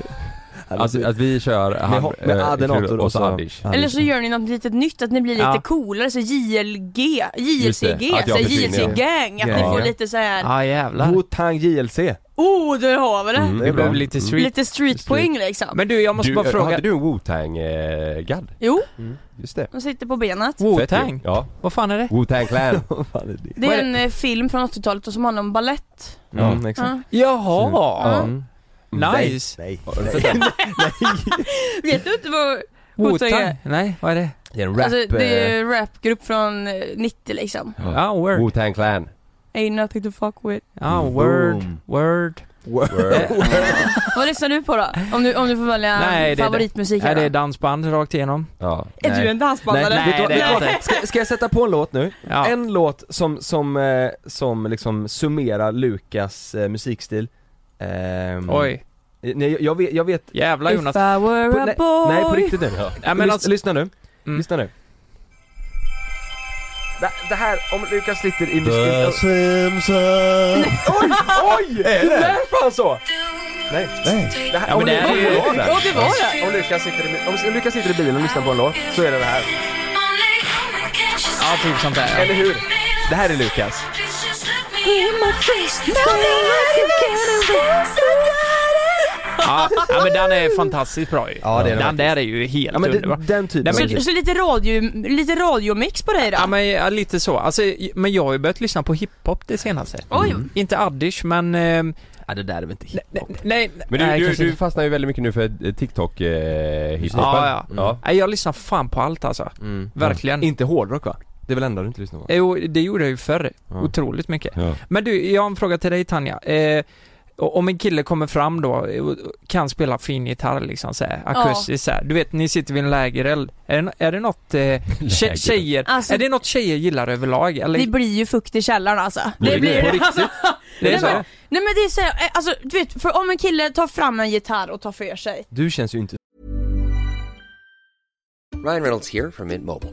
Speaker 4: Alltså att vi kör
Speaker 2: Med ho- med
Speaker 4: eh,
Speaker 2: Adenator
Speaker 4: Krull
Speaker 2: och
Speaker 4: och
Speaker 2: så-
Speaker 4: så Adish.
Speaker 6: Eller så gör ni något litet nytt, att ni blir lite
Speaker 3: Ja.
Speaker 6: coolare, så JLG,
Speaker 4: Just det, att
Speaker 6: JLCG,
Speaker 4: jag
Speaker 6: så här
Speaker 4: försvinner.
Speaker 6: JLC-gang, att ni
Speaker 4: Ja.
Speaker 6: får lite så här.
Speaker 3: Ja jävlar.
Speaker 2: Wu-Tang JLC.
Speaker 6: oh du har vi det!
Speaker 4: Mm.
Speaker 3: Vi
Speaker 2: bra.
Speaker 3: behöver lite street.
Speaker 6: Lite streetpoäng liksom.
Speaker 3: Men du, jag måste
Speaker 4: Du, eh,
Speaker 3: bara fråga.
Speaker 4: Hade du en Wu-Tang-gadd?
Speaker 6: Jo,
Speaker 4: Mm. Just det.
Speaker 6: de sitter på benet.
Speaker 4: Fett ju.
Speaker 3: Wu-Tang?
Speaker 4: Ja.
Speaker 3: Vad fan är det?
Speaker 4: Wu-Tang Clan.
Speaker 2: Vad fan är det?
Speaker 6: Det
Speaker 3: Vad
Speaker 6: är
Speaker 3: är
Speaker 6: en eh, film från 80-talet och som handlar om ballett.
Speaker 2: Ja,
Speaker 4: Mm.
Speaker 2: exakt.
Speaker 3: Jaha!
Speaker 2: Mm.
Speaker 3: Nice!
Speaker 2: Nej.
Speaker 4: Mm.
Speaker 6: Vet du inte vad Wu-Tang
Speaker 3: Wu-Tang?
Speaker 6: är?
Speaker 3: Nej, vad är det?
Speaker 2: Det är en
Speaker 6: Alltså det är
Speaker 2: eh,
Speaker 6: ju en rapgrupp från eh, 90 liksom.
Speaker 3: Ah, word.
Speaker 4: Wu-Tang Clan.
Speaker 6: Ain't nothing to fuck with.
Speaker 3: Ah, word. Word.
Speaker 6: Vad lyssnar du på då? Om du, om du får välja
Speaker 3: Nej, det är
Speaker 6: favoritmusik
Speaker 3: Är
Speaker 6: här
Speaker 3: det
Speaker 6: då?
Speaker 3: dansband rakt igenom?
Speaker 4: Ja.
Speaker 6: Är
Speaker 2: Nej.
Speaker 6: du en dansbandare?
Speaker 3: Nej,
Speaker 2: vet du vad-
Speaker 3: det är
Speaker 2: vet du
Speaker 3: jag
Speaker 2: vad? ska, ska jag sätta på en låt nu?
Speaker 3: Ja.
Speaker 2: En låt som, som, eh, som liksom summerar Lukas eh, musikstil Ehm,
Speaker 3: Mm. Oj.
Speaker 2: Nej jag- jag vet, jag vet
Speaker 3: Jävlar
Speaker 6: If
Speaker 3: Jonas.
Speaker 6: I
Speaker 2: på,
Speaker 6: were a
Speaker 2: nej,
Speaker 6: boy
Speaker 2: nej på riktigt nu,
Speaker 3: Nej, men
Speaker 2: Lys,
Speaker 3: alltså-
Speaker 2: lyssna nu,
Speaker 3: Mm.
Speaker 2: lyssna nu det, det här, om Lukas sitter i
Speaker 4: The
Speaker 2: musiken Oj! Oj! Det lät fan så! Nej, nej. Det här,
Speaker 3: Ja,
Speaker 2: om,
Speaker 3: men det
Speaker 2: Lukas-
Speaker 3: är ju-
Speaker 2: om, Lukas-
Speaker 6: Ja det var det!
Speaker 2: om Lukas sitter i, om Lukas sitter i bilen och lyssnar på en låt så är det det här,
Speaker 3: Ja, typ sånt där.
Speaker 2: eller hur? Det här är Lukas
Speaker 3: Ja, ja men den är fantastiskt bra ju.
Speaker 2: Ja, det är den
Speaker 3: den där är ju helt
Speaker 2: Ja men det,
Speaker 3: underbar.
Speaker 2: den typen
Speaker 3: Nej, men-
Speaker 2: av musik.
Speaker 6: Så, så lite, radio, lite radiomix på dig då?
Speaker 3: Ja men ja, lite så. Alltså, men jag har ju börjat lyssna på hiphop det senaste. Mm.
Speaker 6: Oj.
Speaker 3: Inte Addish men... Eh,
Speaker 2: Ja det där är väl inte
Speaker 3: nej, nej, nej.
Speaker 4: Men du,
Speaker 3: nej,
Speaker 4: du,
Speaker 3: kanske
Speaker 4: du
Speaker 3: inte.
Speaker 4: fastnar ju väldigt mycket nu för eh, TikTok eh, hiphopen.
Speaker 3: Ja, ja.
Speaker 4: ja.
Speaker 3: Nej, jag lyssnar fan på allt alltså.
Speaker 2: Mm.
Speaker 3: Verkligen.
Speaker 2: Inte hårdrock va? Det är väl enda du inte lyssnar på?
Speaker 3: Jo, det gjorde jag ju förr.
Speaker 2: Ja.
Speaker 3: Otroligt mycket.
Speaker 4: Ja.
Speaker 3: Men du, jag har en fråga till dig Tanja. Eh, o- om en kille kommer fram då eh, och och kan spela fin gitarr liksom så här, akustiskt så här. Du vet, ni sitter vid en lägereld. Är det, no- är det något eh, tje- tjejer,
Speaker 6: Alltså-
Speaker 3: är det något tjejer gillar överlag eller?
Speaker 6: Det blir ju fukt i källaren alltså.
Speaker 4: Blir det? På
Speaker 6: det. Alltså,
Speaker 3: det är så?
Speaker 6: Nej men det är så här, eh, alltså du vet, för om en kille tar fram en gitarr och tar för sig.
Speaker 2: Du känns ju inte
Speaker 8: Ryan Reynolds here from Mint Mobile.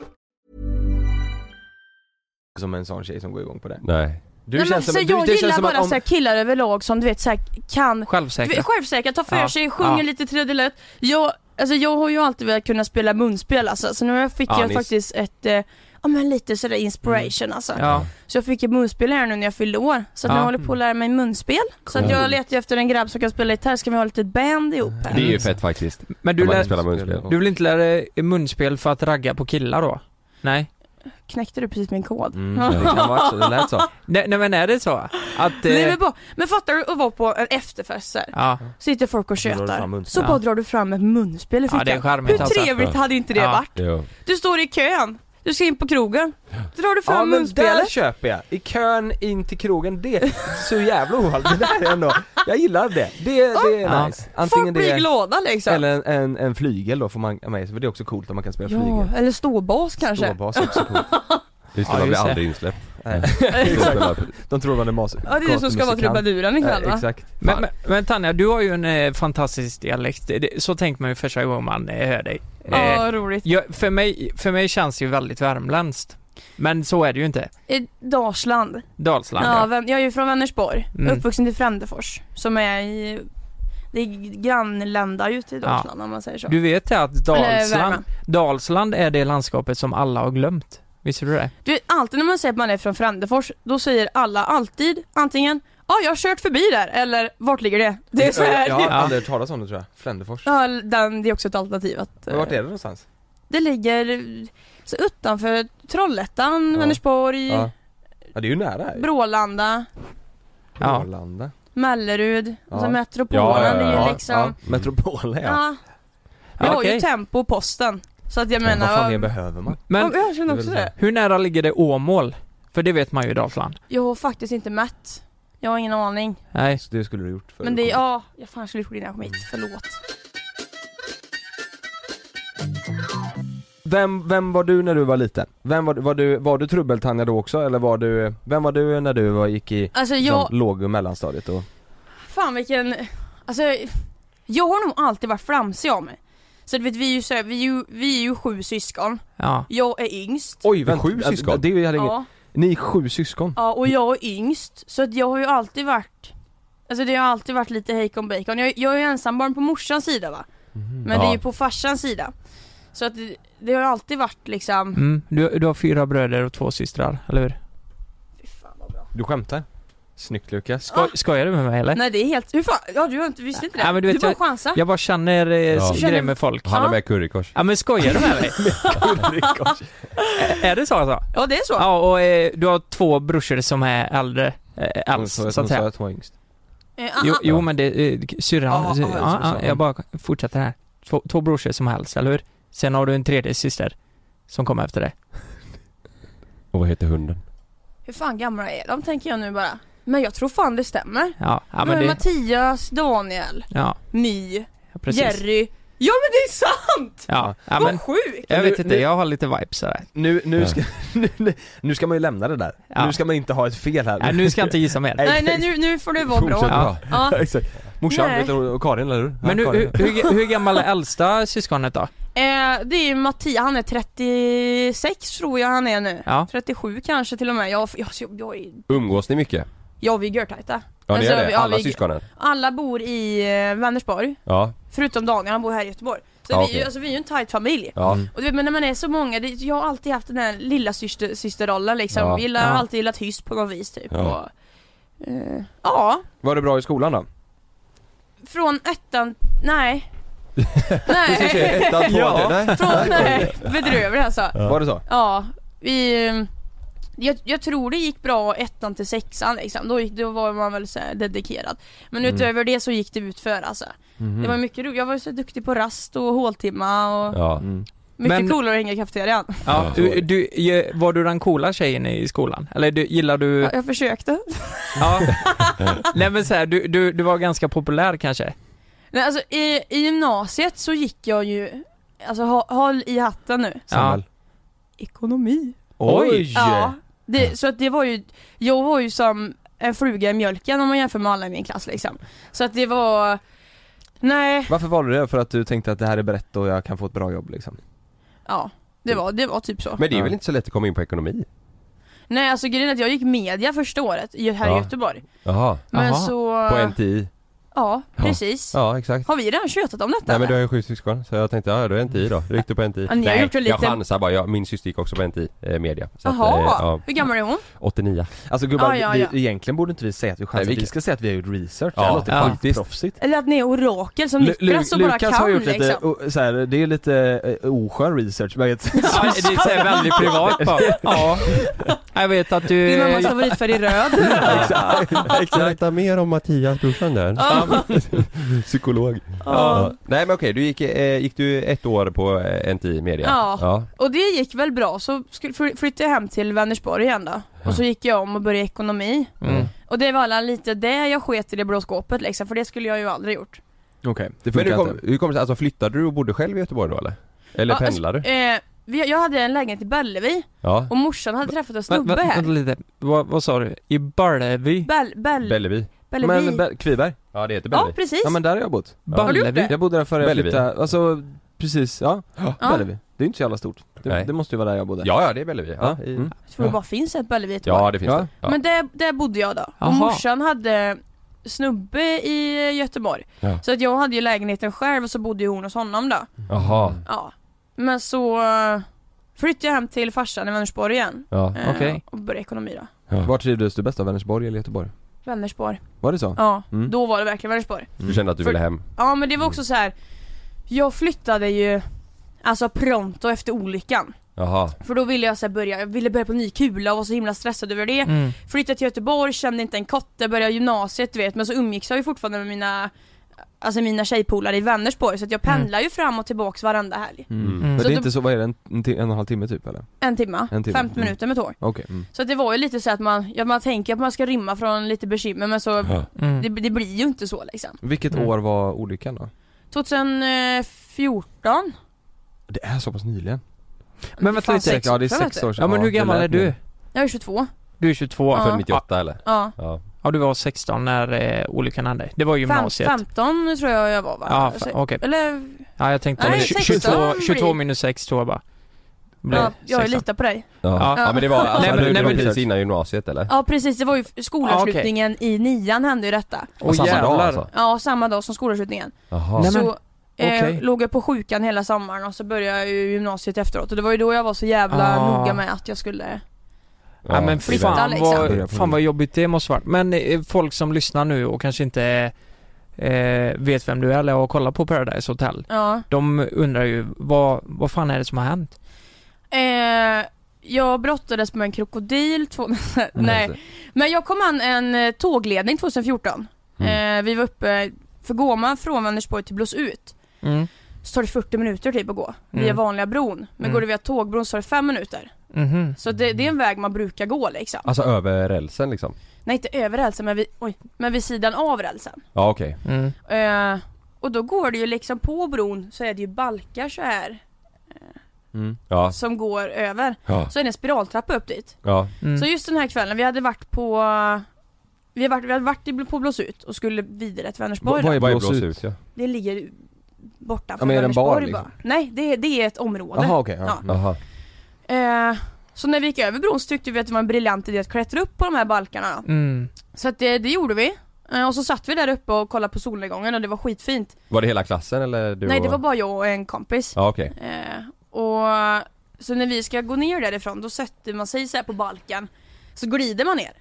Speaker 2: som en sån tjej som går igång på det
Speaker 4: Nej.
Speaker 2: Du
Speaker 6: nej, men,
Speaker 2: som,
Speaker 6: så
Speaker 2: du,
Speaker 6: jag
Speaker 2: det känns
Speaker 6: gillar
Speaker 2: som
Speaker 6: bara
Speaker 2: att om,
Speaker 6: så här, killar överlag som du vet så här, kan
Speaker 3: Självsäkra?
Speaker 6: Du vet, Självsäkra, tar för
Speaker 3: Ja.
Speaker 6: sig, sjunger
Speaker 3: Ja.
Speaker 6: lite tredjelöt. Jag, alltså, jag har ju alltid velat kunna spela munspel alltså, så nu har jag- fick
Speaker 2: Ja,
Speaker 6: jag
Speaker 2: nice.
Speaker 6: faktiskt ett, eh, ja men lite sådär inspiration alltså.
Speaker 3: Ja.
Speaker 6: Så jag fick ett munspel här nu när jag fyllde år. Så att
Speaker 3: Ja.
Speaker 6: nu håller jag på att lära mig munspel. Så att jag letar ju efter en grabb som kan spela gitarr, ska vi ha lite band ihop här?
Speaker 4: Det är ju fett faktiskt.
Speaker 3: Men
Speaker 4: Du
Speaker 3: du,
Speaker 4: man
Speaker 3: lär,
Speaker 4: kan spela munspel.
Speaker 3: du vill inte lära dig munspel för att ragga på killar då? Nej?
Speaker 6: Knäckte du precis min kod?
Speaker 2: Mm, det kan vara så, det lät så
Speaker 3: Nej, nej men är det så? Att...
Speaker 6: Nej,
Speaker 3: Eh,
Speaker 6: men, bara, men fattar du att vara på en efterfest så här.
Speaker 3: ja.
Speaker 6: sitter folk och
Speaker 2: så drar du fram
Speaker 6: tjötar,
Speaker 2: munspel.
Speaker 6: så bara
Speaker 3: Ja.
Speaker 6: drar du fram ett munspel i
Speaker 3: ja,
Speaker 6: fickan.
Speaker 3: det är charmigt
Speaker 6: Hur
Speaker 3: alltså.
Speaker 6: trevligt hade inte det
Speaker 3: Ja.
Speaker 6: varit?
Speaker 4: Jo.
Speaker 6: Du står i kön, du ska in på krogen, drar du fram
Speaker 2: Ja men där
Speaker 6: munspelet.
Speaker 2: köper jag! I kön in till krogen, det är så jävla ohalt, det där är ändå, jag gillar det, det, det är
Speaker 3: Ja.
Speaker 2: nice
Speaker 6: Folk
Speaker 2: Antingen
Speaker 6: blir
Speaker 2: det,
Speaker 6: glada liksom.
Speaker 2: eller en, en, en flygel då får man med sig, för det är också coolt om man kan spela
Speaker 6: ja,
Speaker 2: flygel
Speaker 6: eller ståbas kanske.
Speaker 2: Ståbas är också coolt
Speaker 4: Just
Speaker 2: Ja,
Speaker 4: det, man blir
Speaker 2: just det.
Speaker 4: aldrig insläppt.
Speaker 2: Nej,
Speaker 4: Exakt.
Speaker 2: De tror man är mas Eh,
Speaker 6: Ja det är du som ska vara trubaduren ikväll va?
Speaker 2: Exakt
Speaker 3: Men, men, men Tanja, du har ju en eh, fantastisk dialekt. Det, så tänker man ju första gången man eh, hör dig.
Speaker 6: Ja,
Speaker 3: Eh,
Speaker 6: roligt.
Speaker 3: jag, för, mig, för mig känns det ju väldigt värmländskt. Men så är det ju inte.
Speaker 6: I Dalsland.
Speaker 3: Dalsland
Speaker 6: Ja,
Speaker 3: ja.
Speaker 6: vem, jag är ju från Vänersborg,
Speaker 3: Mm.
Speaker 6: uppvuxen i Frändefors, som är i, det är grannländar ju till Dalsland om man säger så.
Speaker 3: Du vet det att
Speaker 6: Eller Värmland.
Speaker 3: Dalsland, Dalsland är det landskapet som alla har glömt. Visste du det?
Speaker 6: Du vet, alltid när man säger att man är från Frändefors, då säger alla alltid antingen Ja, jag har kört förbi där, eller vart ligger det? Det är så här.
Speaker 2: Jag har
Speaker 6: Ja.
Speaker 2: aldrig hört talas om det tror jag, Fländefors
Speaker 6: den, det är också ett alternativ att... eh,
Speaker 2: Men vart är det någonstans?
Speaker 6: Det ligger eh, så utanför Trollhättan,
Speaker 2: Ja.
Speaker 6: Vänersborg,
Speaker 2: Ja, ja det är ju nära här
Speaker 6: Brålanda,
Speaker 3: Ja.
Speaker 2: Arlanda
Speaker 6: Mellerud,
Speaker 2: Ja.
Speaker 6: alltså metropolen,
Speaker 4: Ja, ja, ja,
Speaker 6: det är
Speaker 4: ja.
Speaker 6: ju liksom...
Speaker 2: Metropolen
Speaker 6: Ja.
Speaker 2: ja.
Speaker 6: Vi har
Speaker 3: Okej.
Speaker 6: ju Tempo och Posten. Så att jag
Speaker 2: Men
Speaker 6: menar...
Speaker 2: vad fan mer
Speaker 6: jag,
Speaker 2: behöver man?
Speaker 3: Men
Speaker 6: jag
Speaker 2: Det
Speaker 6: känner
Speaker 2: är
Speaker 6: också
Speaker 2: väl
Speaker 6: det.
Speaker 3: hur nära ligger det Åmål? För det vet man ju i Dalsland.
Speaker 6: Jag har faktiskt inte mätt. Jag har ingen aning.
Speaker 3: Nej.
Speaker 2: Så det skulle du gjort förr.
Speaker 6: Men det är, ja, jag fan skulle gjort det innan jag kom hit. Förlåt.
Speaker 2: Vem, vem var du när du var liten? Vem var, var du, var du trubbeltanja då också eller var du, vem var du när du var, gick i
Speaker 6: Alltså,
Speaker 2: liksom,
Speaker 6: jag-
Speaker 2: låg och mellanstadiet och..
Speaker 6: Fan vilken, alltså jag har nog alltid varit flamsig av mig. Så du vet vi är ju, så här, vi är ju, vi är ju sju syskon,
Speaker 3: Ja.
Speaker 6: jag är yngst.
Speaker 2: Oj,
Speaker 4: vänta,
Speaker 2: sju
Speaker 4: äh,
Speaker 2: syskon?
Speaker 4: det
Speaker 2: hade
Speaker 6: Ja,
Speaker 2: Ni är sju syskon?
Speaker 6: ja, och jag är yngst, så att jag har ju alltid varit Alltså det har alltid varit lite hejkon bacon. Jag, jag är ju ensambarn på morsans sida va? Men det är
Speaker 4: Ja.
Speaker 6: ju på farsans sida. Så att det, det har ju alltid varit liksom
Speaker 3: Mm. Du, du har fyra bröder och två systrar, eller hur?
Speaker 6: Fy fan vad bra.
Speaker 2: Du skämtar? Snyggt Lukas
Speaker 3: Skoj, Skojar du med mig eller?
Speaker 6: Ah. Nej det är helt, hur fan, ja du har inte, visste inte det?
Speaker 3: Nej, men du vet,
Speaker 6: bara
Speaker 3: jag-
Speaker 6: chansar.
Speaker 3: Jag bara känner eh,
Speaker 4: Ja.
Speaker 3: s-
Speaker 6: Känner-
Speaker 3: grejer med folk.
Speaker 4: Han har
Speaker 6: Ja.
Speaker 4: med currykors.
Speaker 3: Ja men skojar du med mig? Ä- är det så alltså?
Speaker 6: Ja det är så.
Speaker 3: Ja och eh, du har två brorsor som är äldre eh,
Speaker 2: Hon
Speaker 3: alls
Speaker 2: sa
Speaker 3: så att
Speaker 2: hon sa
Speaker 3: säga.
Speaker 2: att hon var yngst
Speaker 6: Eh, ah,
Speaker 3: Jo,
Speaker 6: ah.
Speaker 3: jo men det, eh, syrran,
Speaker 2: Ja,
Speaker 3: sy-
Speaker 2: ja,
Speaker 3: ja,
Speaker 2: ja, så sa
Speaker 3: ja,
Speaker 2: hon.
Speaker 3: jag bara fortsätter här. Två, två brorsor som är äldst, eller hur? Sen har du en tredje syster som kommer efter det.
Speaker 4: Och vad heter hunden?
Speaker 6: Hur fan gamla är de tänker jag nu bara. Men jag tror fan det stämmer.
Speaker 3: Ja, ja
Speaker 6: Då är
Speaker 3: men det,
Speaker 6: Mattias, Daniel,
Speaker 3: ja
Speaker 6: My,
Speaker 3: precis.
Speaker 6: Jerry. Ja men det är sant!
Speaker 3: Ja, ja
Speaker 6: Vad
Speaker 3: men
Speaker 6: sjukt!
Speaker 3: jag
Speaker 2: Men
Speaker 3: vet
Speaker 2: nu-
Speaker 3: inte,
Speaker 2: nu-
Speaker 3: jag har lite vibes sådär.
Speaker 2: Nu, nu
Speaker 4: Ja.
Speaker 2: ska, nu, nu ska man ju lämna det där,
Speaker 3: Ja.
Speaker 2: nu ska man inte ha ett fel här
Speaker 3: Nej nu ska jag inte gissa mer.
Speaker 2: Nej,
Speaker 6: Nej nej nu, nu får det vara
Speaker 4: Fortsätt
Speaker 6: bra.
Speaker 4: bra.
Speaker 6: Ja.
Speaker 2: Exakt. Morsan
Speaker 6: Nej.
Speaker 2: vet du, och Karin eller hur?
Speaker 3: Men nu,
Speaker 2: Karin.
Speaker 3: hur, hur, hur gammal är äldsta syskonet då?
Speaker 6: Eh, det är ju Mattias, han är 36 tror jag han är nu.
Speaker 3: Ja.
Speaker 6: 37 kanske till och med. Jag, jag, jag, jag, är-
Speaker 4: Umgås ni mycket?
Speaker 6: jag vi är görtajta.
Speaker 4: Ja ni
Speaker 6: Alltså,
Speaker 4: gör det?
Speaker 6: ja,
Speaker 4: Alla
Speaker 6: vi-
Speaker 4: syskonen?
Speaker 6: Alla bor i eh, Vänersborg.
Speaker 4: Ja,
Speaker 6: Förutom Daniel, han bor här i Göteborg. Så
Speaker 4: Ja,
Speaker 6: vi, är ju-
Speaker 4: okej.
Speaker 6: alltså, vi är ju en tight familj.
Speaker 4: ja.
Speaker 6: Och du vet, men när man är så många, det, jag har alltid haft den här lilla syster, systerrollen liksom.
Speaker 4: Ja.
Speaker 6: Vi gillar,
Speaker 3: Ja.
Speaker 6: har alltid gillat hyss på något vis typ.
Speaker 4: Ja.
Speaker 6: Och, eh, ja,
Speaker 2: Var det bra i skolan då?
Speaker 6: från ettan, nej.
Speaker 2: Ska vi se,
Speaker 6: nej,
Speaker 2: ettan, tvåan,
Speaker 3: Ja.
Speaker 2: tre- nej.
Speaker 6: från, nej, bedrövlig alltså.
Speaker 2: Var det så?
Speaker 6: Ja, vi, eh, jag, jag tror det gick bra ettan till sexan liksom. Då, gick, då var man väl så här dedikerad. Men utöver det så gick det ut för alltså.
Speaker 4: Mm.
Speaker 6: Det var mycket roligt, jag var så duktig på rast och håltimma och
Speaker 4: ja.
Speaker 2: Mm.
Speaker 6: mycket
Speaker 3: Men- Eh.
Speaker 6: coolare att hänga i kafeterian.
Speaker 3: Ja, du, du, ju- var du den coola tjejen i skolan? Eller du, gillar du...
Speaker 6: Ja, jag försökte.
Speaker 3: Ja. Nej men så här, du, du, du var ganska populär kanske?
Speaker 6: Nej, alltså, i, I gymnasiet så gick jag ju, alltså ha, håll i hatten nu,
Speaker 2: Samhäll.
Speaker 6: ekonomi.
Speaker 3: Oj!
Speaker 6: Ja, det, så att det var ju, jag var ju som en fluga i mjölken om man jämför med alla i min klass liksom. Så att det var, nej,
Speaker 2: Varför valde du det? För att du tänkte att det här är brett och jag kan få ett bra jobb liksom?
Speaker 6: ja. Det var, det var typ så.
Speaker 4: Men det är väl
Speaker 2: Ja.
Speaker 4: inte så lätt att komma in på ekonomi?
Speaker 6: Nej alltså grejen är att jag gick media första året i- här i
Speaker 4: Ja.
Speaker 6: Göteborg.
Speaker 4: Jaha,
Speaker 6: Men
Speaker 3: Jaha.
Speaker 6: så,
Speaker 4: på NTI?
Speaker 6: ja precis.
Speaker 4: Ja exakt
Speaker 6: Har vi redan tjötat om detta
Speaker 4: Nej men du
Speaker 6: eller?
Speaker 4: har ju sju syskon, så jag tänkte ja då är NTI då, du gick du på NTI?
Speaker 6: Ja, ni har
Speaker 4: Nej,
Speaker 6: gjort en
Speaker 4: jag
Speaker 6: liten-
Speaker 4: chansar bara, jag, min syster gick också på NTI, eh, media så att,
Speaker 6: Jaha,
Speaker 4: eh, ja,
Speaker 6: hur gammal är hon?
Speaker 4: 89
Speaker 2: Alltså gubbar,
Speaker 6: Ja, ja,
Speaker 2: vi-
Speaker 6: ja.
Speaker 2: Vi, egentligen borde inte vi säga att vi chansar,
Speaker 4: Nej, vi
Speaker 2: vi,
Speaker 4: kan-
Speaker 2: ska säga att vi har gjort research,
Speaker 4: Ja,
Speaker 2: det låter
Speaker 3: ja.
Speaker 2: faktiskt proffsigt
Speaker 6: Eller att ni är orakel som Niklas och bara
Speaker 2: Lukas
Speaker 6: kan
Speaker 2: har gjort lite,
Speaker 6: liksom.
Speaker 2: o- så här, det är lite eh, oskön research men jag vet-
Speaker 3: Ja, det är så här väldigt privat bara. Ja. Jag vet att du...
Speaker 6: Din mammas favoritfärg är röd.
Speaker 4: Exakt, berätta mer om Mattias, brorsan där Psykolog ja. Nej men okej, du gick, eh, gick du ett år på eh, NTI media?
Speaker 6: Ja.
Speaker 4: ja.
Speaker 6: Och det gick väl bra, så skulle- fly- flyttade jag hem till Vänersborg igen då. Och så gick jag om och började ekonomi.
Speaker 3: Mm.
Speaker 6: Och det var alla lite det jag sket i det blå skåpet liksom, för det skulle jag ju aldrig gjort.
Speaker 2: Okej, det
Speaker 4: Men
Speaker 2: funkar
Speaker 4: hur kom,
Speaker 2: inte
Speaker 4: hur kom det sig, alltså flyttade du och bodde själv i Göteborg då eller? Eller
Speaker 6: Ja,
Speaker 3: alltså,
Speaker 4: pendlade du?
Speaker 6: Eh, vi, jag hade en lägenhet i Bellevi
Speaker 4: Ja,
Speaker 6: och morsan hade träffat en
Speaker 3: Vä- vä-
Speaker 6: snubbe
Speaker 3: vänta
Speaker 6: här.
Speaker 3: lite, vad, vad sa du? I Balleby?
Speaker 6: Bell, Bell,
Speaker 4: Bellevi
Speaker 6: Bellevi.
Speaker 2: Men Be- Kviberg?
Speaker 4: Ja det heter
Speaker 6: ja
Speaker 4: Bellevi
Speaker 6: precis.
Speaker 2: Ja men där har jag bott
Speaker 6: Har du gjort
Speaker 3: Balleby?
Speaker 6: det?
Speaker 2: Jag bodde där före jag
Speaker 4: Bellevi.
Speaker 2: flyttade, alltså precis, ja,
Speaker 6: Ja.
Speaker 2: Bellevi Det är inte så jävla stort, det,
Speaker 4: Nej.
Speaker 2: det måste ju vara där jag bodde
Speaker 4: Ja, ja det är Bellevi, ja,
Speaker 2: Ja,
Speaker 4: i-
Speaker 2: mm.
Speaker 6: Jag tror det bara finns ett Bellevi i Göteborg.
Speaker 4: ja det finns
Speaker 2: Ja.
Speaker 4: det ja.
Speaker 6: Men där, där bodde jag då.
Speaker 3: Jaha.
Speaker 6: Och morsan hade snubbe i Göteborg.
Speaker 4: Ja.
Speaker 6: Så att jag hade ju lägenheten själv och så bodde ju hon hos honom då.
Speaker 4: Jaha,
Speaker 6: Ja. Men så eh, flyttade jag hem till farsan i Vänersborg igen.
Speaker 4: ja.
Speaker 6: Eh,
Speaker 3: Okej.
Speaker 6: Och började ekonomi då.
Speaker 2: Var trivdes du bäst då? Vänersborg eller Göteborg?
Speaker 6: Vänersborg.
Speaker 2: Var det så?
Speaker 6: Ja,
Speaker 2: Mm.
Speaker 6: då var det verkligen Vänersborg.
Speaker 4: Du kände att du
Speaker 6: För-
Speaker 4: ville hem?
Speaker 6: Ja men det var också så här. Jag flyttade ju Alltså pronto efter olyckan.
Speaker 4: Jaha
Speaker 6: För då ville jag så här börja, jag ville börja på ny kula och var så himla stressad över det.
Speaker 3: Mm.
Speaker 6: Flyttade till Göteborg, kände inte en kotte, började gymnasiet du vet men så umgicks jag ju fortfarande med mina Alltså mina tjejpolare i Vänersborg så att
Speaker 2: Mm.
Speaker 6: jag pendlar ju fram och tillbaks varenda helg.
Speaker 4: Mm.
Speaker 2: Men
Speaker 3: Mm.
Speaker 2: det
Speaker 6: Så
Speaker 2: är
Speaker 6: då-
Speaker 2: inte så, vad är det, en, en, ti- en och en halv timme typ eller?
Speaker 6: En timme,
Speaker 2: En timme,
Speaker 6: 50
Speaker 2: mm.
Speaker 6: minuter med tåg.
Speaker 2: Okej, mm.
Speaker 6: Så att det var ju lite så att man, ja, man tänker att man ska rymma från lite bekymmer men så
Speaker 4: Ja.
Speaker 3: Mm.
Speaker 6: det, det blir ju inte så liksom.
Speaker 2: Vilket
Speaker 3: Mm.
Speaker 2: år var olyckan då?
Speaker 6: 2014
Speaker 2: Det är så pass nyligen
Speaker 3: Men vänta
Speaker 6: fan,
Speaker 3: lite.
Speaker 6: sex
Speaker 3: Ja,
Speaker 4: det är
Speaker 6: år sedan, typ.
Speaker 4: sex
Speaker 6: vet
Speaker 4: år sedan.
Speaker 3: Ja men
Speaker 4: Ja,
Speaker 3: hur
Speaker 4: det
Speaker 3: gammal
Speaker 4: lät
Speaker 3: är du?
Speaker 4: nu.
Speaker 6: du. Jag är 22.
Speaker 3: Du är 22?
Speaker 6: Ja.
Speaker 4: Född 98 eller?
Speaker 6: Ja.
Speaker 4: Ja.
Speaker 3: Ja, du var 16 när eh, olyckan hände. Det var gymnasiet.
Speaker 6: Fem, 15 tror jag jag var va?
Speaker 3: Ja,
Speaker 6: Så-
Speaker 3: fa- okej.
Speaker 6: Eller,
Speaker 3: Ja, jag tänkte
Speaker 6: Nej,
Speaker 3: tju-
Speaker 6: 16
Speaker 3: 22,
Speaker 6: blir-
Speaker 3: 22 minus 6 tror jag bara. Blev
Speaker 6: ja, jag
Speaker 3: 16.
Speaker 6: litar på dig.
Speaker 4: Ja.
Speaker 3: Ja.
Speaker 4: ja men det var alltså,
Speaker 3: Nej,
Speaker 4: nej,
Speaker 3: men-
Speaker 4: men,
Speaker 3: nej,
Speaker 4: det var
Speaker 3: men-
Speaker 4: precis innan gymnasiet eller?
Speaker 6: Ja precis, det var ju skolavslutningen i nian hände ju detta.
Speaker 3: Åh
Speaker 4: samma
Speaker 3: jävlar.
Speaker 4: dag alltså?
Speaker 6: Ja, samma dag som skolavslutningen.
Speaker 4: Jaha.
Speaker 3: Nej, men-
Speaker 6: så eh,
Speaker 3: okej.
Speaker 6: låg jag på sjukan hela sommaren och så började jag ju gymnasiet efteråt och det var ju då jag var så jävla
Speaker 3: Ah.
Speaker 6: noga med att jag skulle
Speaker 3: Ja, men
Speaker 6: flytta,
Speaker 3: fan,
Speaker 6: liksom.
Speaker 3: vad, fan vad jobbigt det måste varit. Men eh, folk som lyssnar nu och kanske inte eh, vet vem du är eller har kollat på Paradise Hotel.
Speaker 6: Ja.
Speaker 3: De undrar ju vad, vad fan är det som har hänt?
Speaker 6: Eh, jag brottades med en krokodil, två... nej.
Speaker 4: Alltså.
Speaker 6: Men jag kom an en eh, tågledning 2014.
Speaker 3: Mm.
Speaker 6: Eh, vi var uppe, för går man från Vänersborg till Blåsut
Speaker 3: Mm.
Speaker 6: så tar det 40 minuter typ att gå via
Speaker 3: Mm.
Speaker 6: vanliga bron. Men
Speaker 3: Mm.
Speaker 6: går du via tågbron så tar det 5 minuter.
Speaker 3: Mhm.
Speaker 6: Så det, det är en väg man brukar gå liksom.
Speaker 4: Alltså över rälsen liksom?
Speaker 6: Nej inte över rälsen men vid, oj, men vid sidan av rälsen.
Speaker 4: Ja okej.
Speaker 3: Mm.
Speaker 6: Eh, och då går det ju liksom på bron så är det ju balkar så här
Speaker 3: Mm.
Speaker 4: Ja.
Speaker 6: som går över.
Speaker 4: Ja.
Speaker 6: Så är det en spiraltrappa upp dit.
Speaker 4: ja.
Speaker 3: Mm.
Speaker 6: Så just den här kvällen, vi hade varit på vi hade varit, vi hade varit i- på Blåsut och skulle vidare till Vänersborg då.
Speaker 4: Vad är blås
Speaker 2: blås
Speaker 4: ut?
Speaker 2: ut?
Speaker 4: ja.
Speaker 6: Det ligger borta
Speaker 2: Ja,
Speaker 6: från
Speaker 2: men är det en bar,
Speaker 6: Vänersborg
Speaker 2: liksom?
Speaker 6: bara. Nej, det, är- det är ett område.
Speaker 2: Jaha okej,
Speaker 6: Ja.
Speaker 2: ja.
Speaker 4: Jaha.
Speaker 6: Eh, så när vi gick över bron så tyckte vi att det var en briljant idé att klättra upp på de här balkarna då.
Speaker 3: Mm.
Speaker 6: Så att det, det gjorde vi. Eh, och så satt vi där uppe och kollade på solnedgången och det var skitfint.
Speaker 4: Var det hela klassen eller du
Speaker 6: Nej,
Speaker 4: och...
Speaker 6: det var bara jag och en kompis.
Speaker 4: Ja okej.
Speaker 6: Eh, och så när vi ska gå ner därifrån då sätter man sig så här på balkan. Så glider man ner.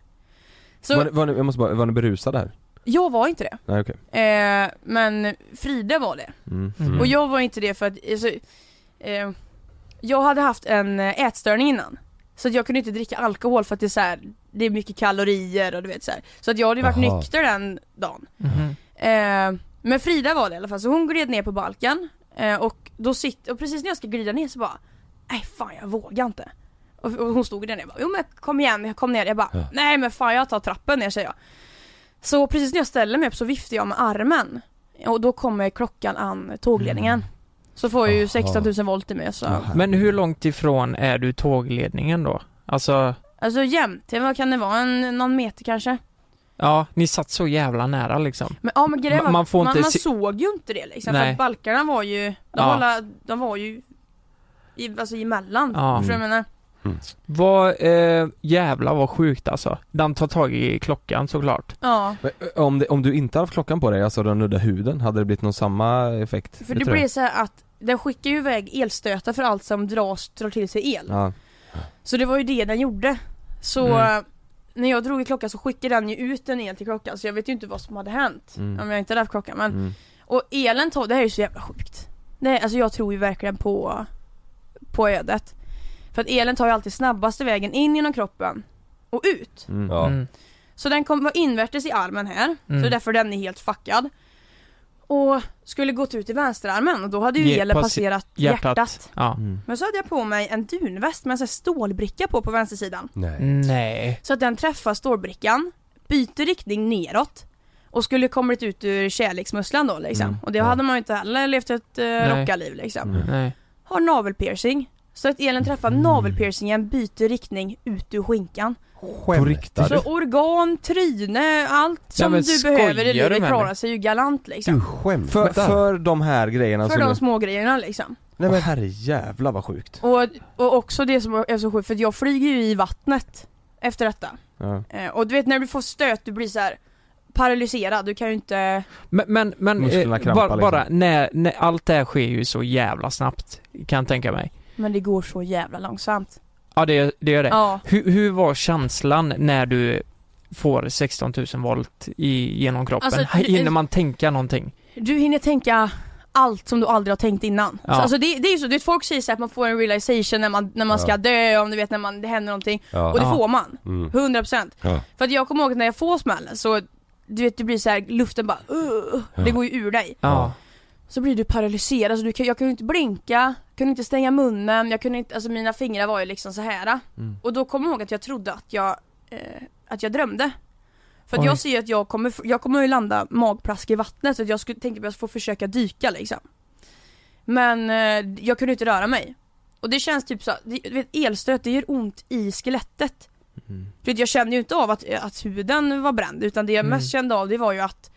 Speaker 6: Så
Speaker 2: Var, ni- var, ni- jag måste bara, var ni berusade här?
Speaker 6: jag var inte det.
Speaker 2: Nej okej.
Speaker 6: Eh, men Frida var det.
Speaker 2: Mm.
Speaker 3: Mm.
Speaker 6: Och jag var inte det för att, alltså, eh, jag hade haft en eh, ätstörning innan. Så att jag kunde inte dricka alkohol för att det är så här, det är mycket kalorier och du vet så här. Så att jag hade ju varit
Speaker 4: Aha.
Speaker 6: nykter den dagen.
Speaker 3: Mhm.
Speaker 6: Eh, men Frida var det i alla fall, så hon gled ner på balkan. Eh, och då sitter, och precis när jag ska glida ner så bara, nej fan jag vågar inte. Och, och hon stod där nere och bara, jo men kom igen, jag kom ner. Jag bara,
Speaker 4: Ja.
Speaker 6: nej men fan jag tar trappen ner säger jag. Så precis när jag ställer mig upp så viftar jag med armen. Och då kommer klockan an tågledningen. Så får jag ju
Speaker 4: Mm. Aha.
Speaker 6: 16 000 volt i mig så.
Speaker 2: Mm.
Speaker 3: Men hur långt ifrån är du tågledningen då? Alltså,
Speaker 6: Alltså jämnt, vad kan det vara? En, någon meter kanske?
Speaker 3: ja, ni satt så jävla nära liksom.
Speaker 6: Men, ja, men grejen
Speaker 3: Ma-
Speaker 6: var,
Speaker 3: man
Speaker 6: man,
Speaker 3: får
Speaker 6: man,
Speaker 3: inte se-
Speaker 6: såg ju inte det liksom, för
Speaker 3: Nej.
Speaker 6: att balkarna var ju, de,
Speaker 3: Ja.
Speaker 6: var, alla, de var ju i, alltså emellan,
Speaker 3: Ja.
Speaker 6: förstår du vad jag menar?
Speaker 3: Vad, eh, jävlar vad sjukt alltså. De tar tag i klockan såklart.
Speaker 6: Ja,
Speaker 2: Men, ö, om, det, om du inte hade haft klockan på dig, alltså den nudda huden, hade det blivit någon samma effekt?
Speaker 6: för
Speaker 2: Det
Speaker 6: det
Speaker 2: tror
Speaker 6: blir
Speaker 2: jag.
Speaker 6: så här att den skickar ju iväg elstötar för allt som dras, drar till sig el.
Speaker 2: Ja.
Speaker 6: Så det var ju det den gjorde. Så
Speaker 3: Mm.
Speaker 6: eh, när jag drog i klockan så skickade den ju ut en el till klockan så jag vet ju inte vad som hade hänt
Speaker 2: Mm.
Speaker 6: om jag inte hade haft klockan. Men,
Speaker 2: Mm.
Speaker 6: Och elen tog, det här är ju så jävla sjukt. Nej, alltså jag tror ju verkligen på, på ödet. För att elen tar ju alltid snabbaste vägen in genom kroppen och ut.
Speaker 2: Mm.
Speaker 4: Ja.
Speaker 3: Mm.
Speaker 6: Så den kom, var invärtes i armen här, så
Speaker 3: Mm.
Speaker 6: det är därför den är helt fuckad. Och skulle gått ut i vänsterarmen och då hade ju
Speaker 3: Ge-
Speaker 6: elen
Speaker 3: passi-
Speaker 6: passerat hjärtat.
Speaker 3: Hjärtat. Ja.
Speaker 2: Mm.
Speaker 6: Men så hade jag på mig en dunväst med en sån här stålbricka på på vänstersidan.
Speaker 3: Mm.
Speaker 4: Nej.
Speaker 3: Nej.
Speaker 6: Så att den träffar stålbrickan, byter riktning neråt och skulle kommit ut ur kärleksmusslan då liksom.
Speaker 2: Mm,
Speaker 6: och det
Speaker 2: ja.
Speaker 6: hade man ju inte heller levt ett uh, rockarliv liksom.
Speaker 2: Mm.
Speaker 3: Nej.
Speaker 6: Har navelpiercing. Så att elen träffar
Speaker 3: Mm.
Speaker 6: navelpiercingen, byter riktning ut ur skinkan.
Speaker 2: På riktigt?
Speaker 6: Så organ, tryne, allt som
Speaker 3: men
Speaker 6: du behöver i
Speaker 3: skojar du
Speaker 6: livet
Speaker 3: med
Speaker 6: klarar
Speaker 3: mig?
Speaker 6: sig ju galant liksom.
Speaker 4: Du skämtar?
Speaker 2: För, för de här grejerna
Speaker 3: alltså
Speaker 6: för
Speaker 2: som...
Speaker 6: de små grejerna liksom.
Speaker 2: Nej men herrejävlar vad sjukt.
Speaker 6: Och, och också det som är så sjukt, för att jag flyger ju i vattnet efter detta.
Speaker 2: Ja.
Speaker 6: Eh, och du vet när du får stöt, du blir så här paralyserad, du kan ju inte...
Speaker 3: Men, men, men
Speaker 2: Musklerna
Speaker 3: eh,
Speaker 2: krampar
Speaker 3: bara,
Speaker 2: liksom.
Speaker 3: bara när, när, allt det här sker ju så jävla snabbt, kan jag tänka mig.
Speaker 6: Men det går så jävla långsamt.
Speaker 3: Ja, det, det gör det.
Speaker 6: Ja,
Speaker 3: Hur, hur var känslan när du får 16 000 volt i, genom kroppen?
Speaker 6: Alltså, det-
Speaker 3: Hinner man tänka någonting?
Speaker 6: du hinner tänka allt som du aldrig har tänkt innan.
Speaker 3: Ja.
Speaker 6: Så, alltså det, det är ju så, du vet, folk säger så här att man får en realization när man, när man ska
Speaker 4: Ja.
Speaker 6: dö, om du vet när man, det händer någonting.
Speaker 4: Ja.
Speaker 6: Och det
Speaker 3: Ja.
Speaker 6: får man,
Speaker 4: Mm.
Speaker 6: 100%.
Speaker 4: Ja.
Speaker 6: För att jag kommer ihåg när jag får smällen så, du vet det blir så här, luften bara uh, det
Speaker 4: Ja.
Speaker 6: går ju ur dig.
Speaker 3: Ja.
Speaker 6: Så blir du paralyserad, så du kan, jag kunde inte blinka, kunde inte stänga munnen, jag kunde inte, alltså mina fingrar var ju liksom så här.
Speaker 3: Mm.
Speaker 6: Och då kommer jag ihåg att jag trodde att jag, eh, att jag drömde. För att
Speaker 3: Oj.
Speaker 6: jag ser ju att jag kommer, jag kommer ju landa magplask i vattnet så att jag skulle tänka att jag får försöka dyka liksom. Men eh, jag kunde inte röra mig. Och det känns typ så, det- du vet elstöt det gör ont i skelettet
Speaker 3: Mm.
Speaker 6: Du vet, jag kände ju inte av att, att huden var bränd utan det jag
Speaker 3: Mm.
Speaker 6: mest kände av det var ju att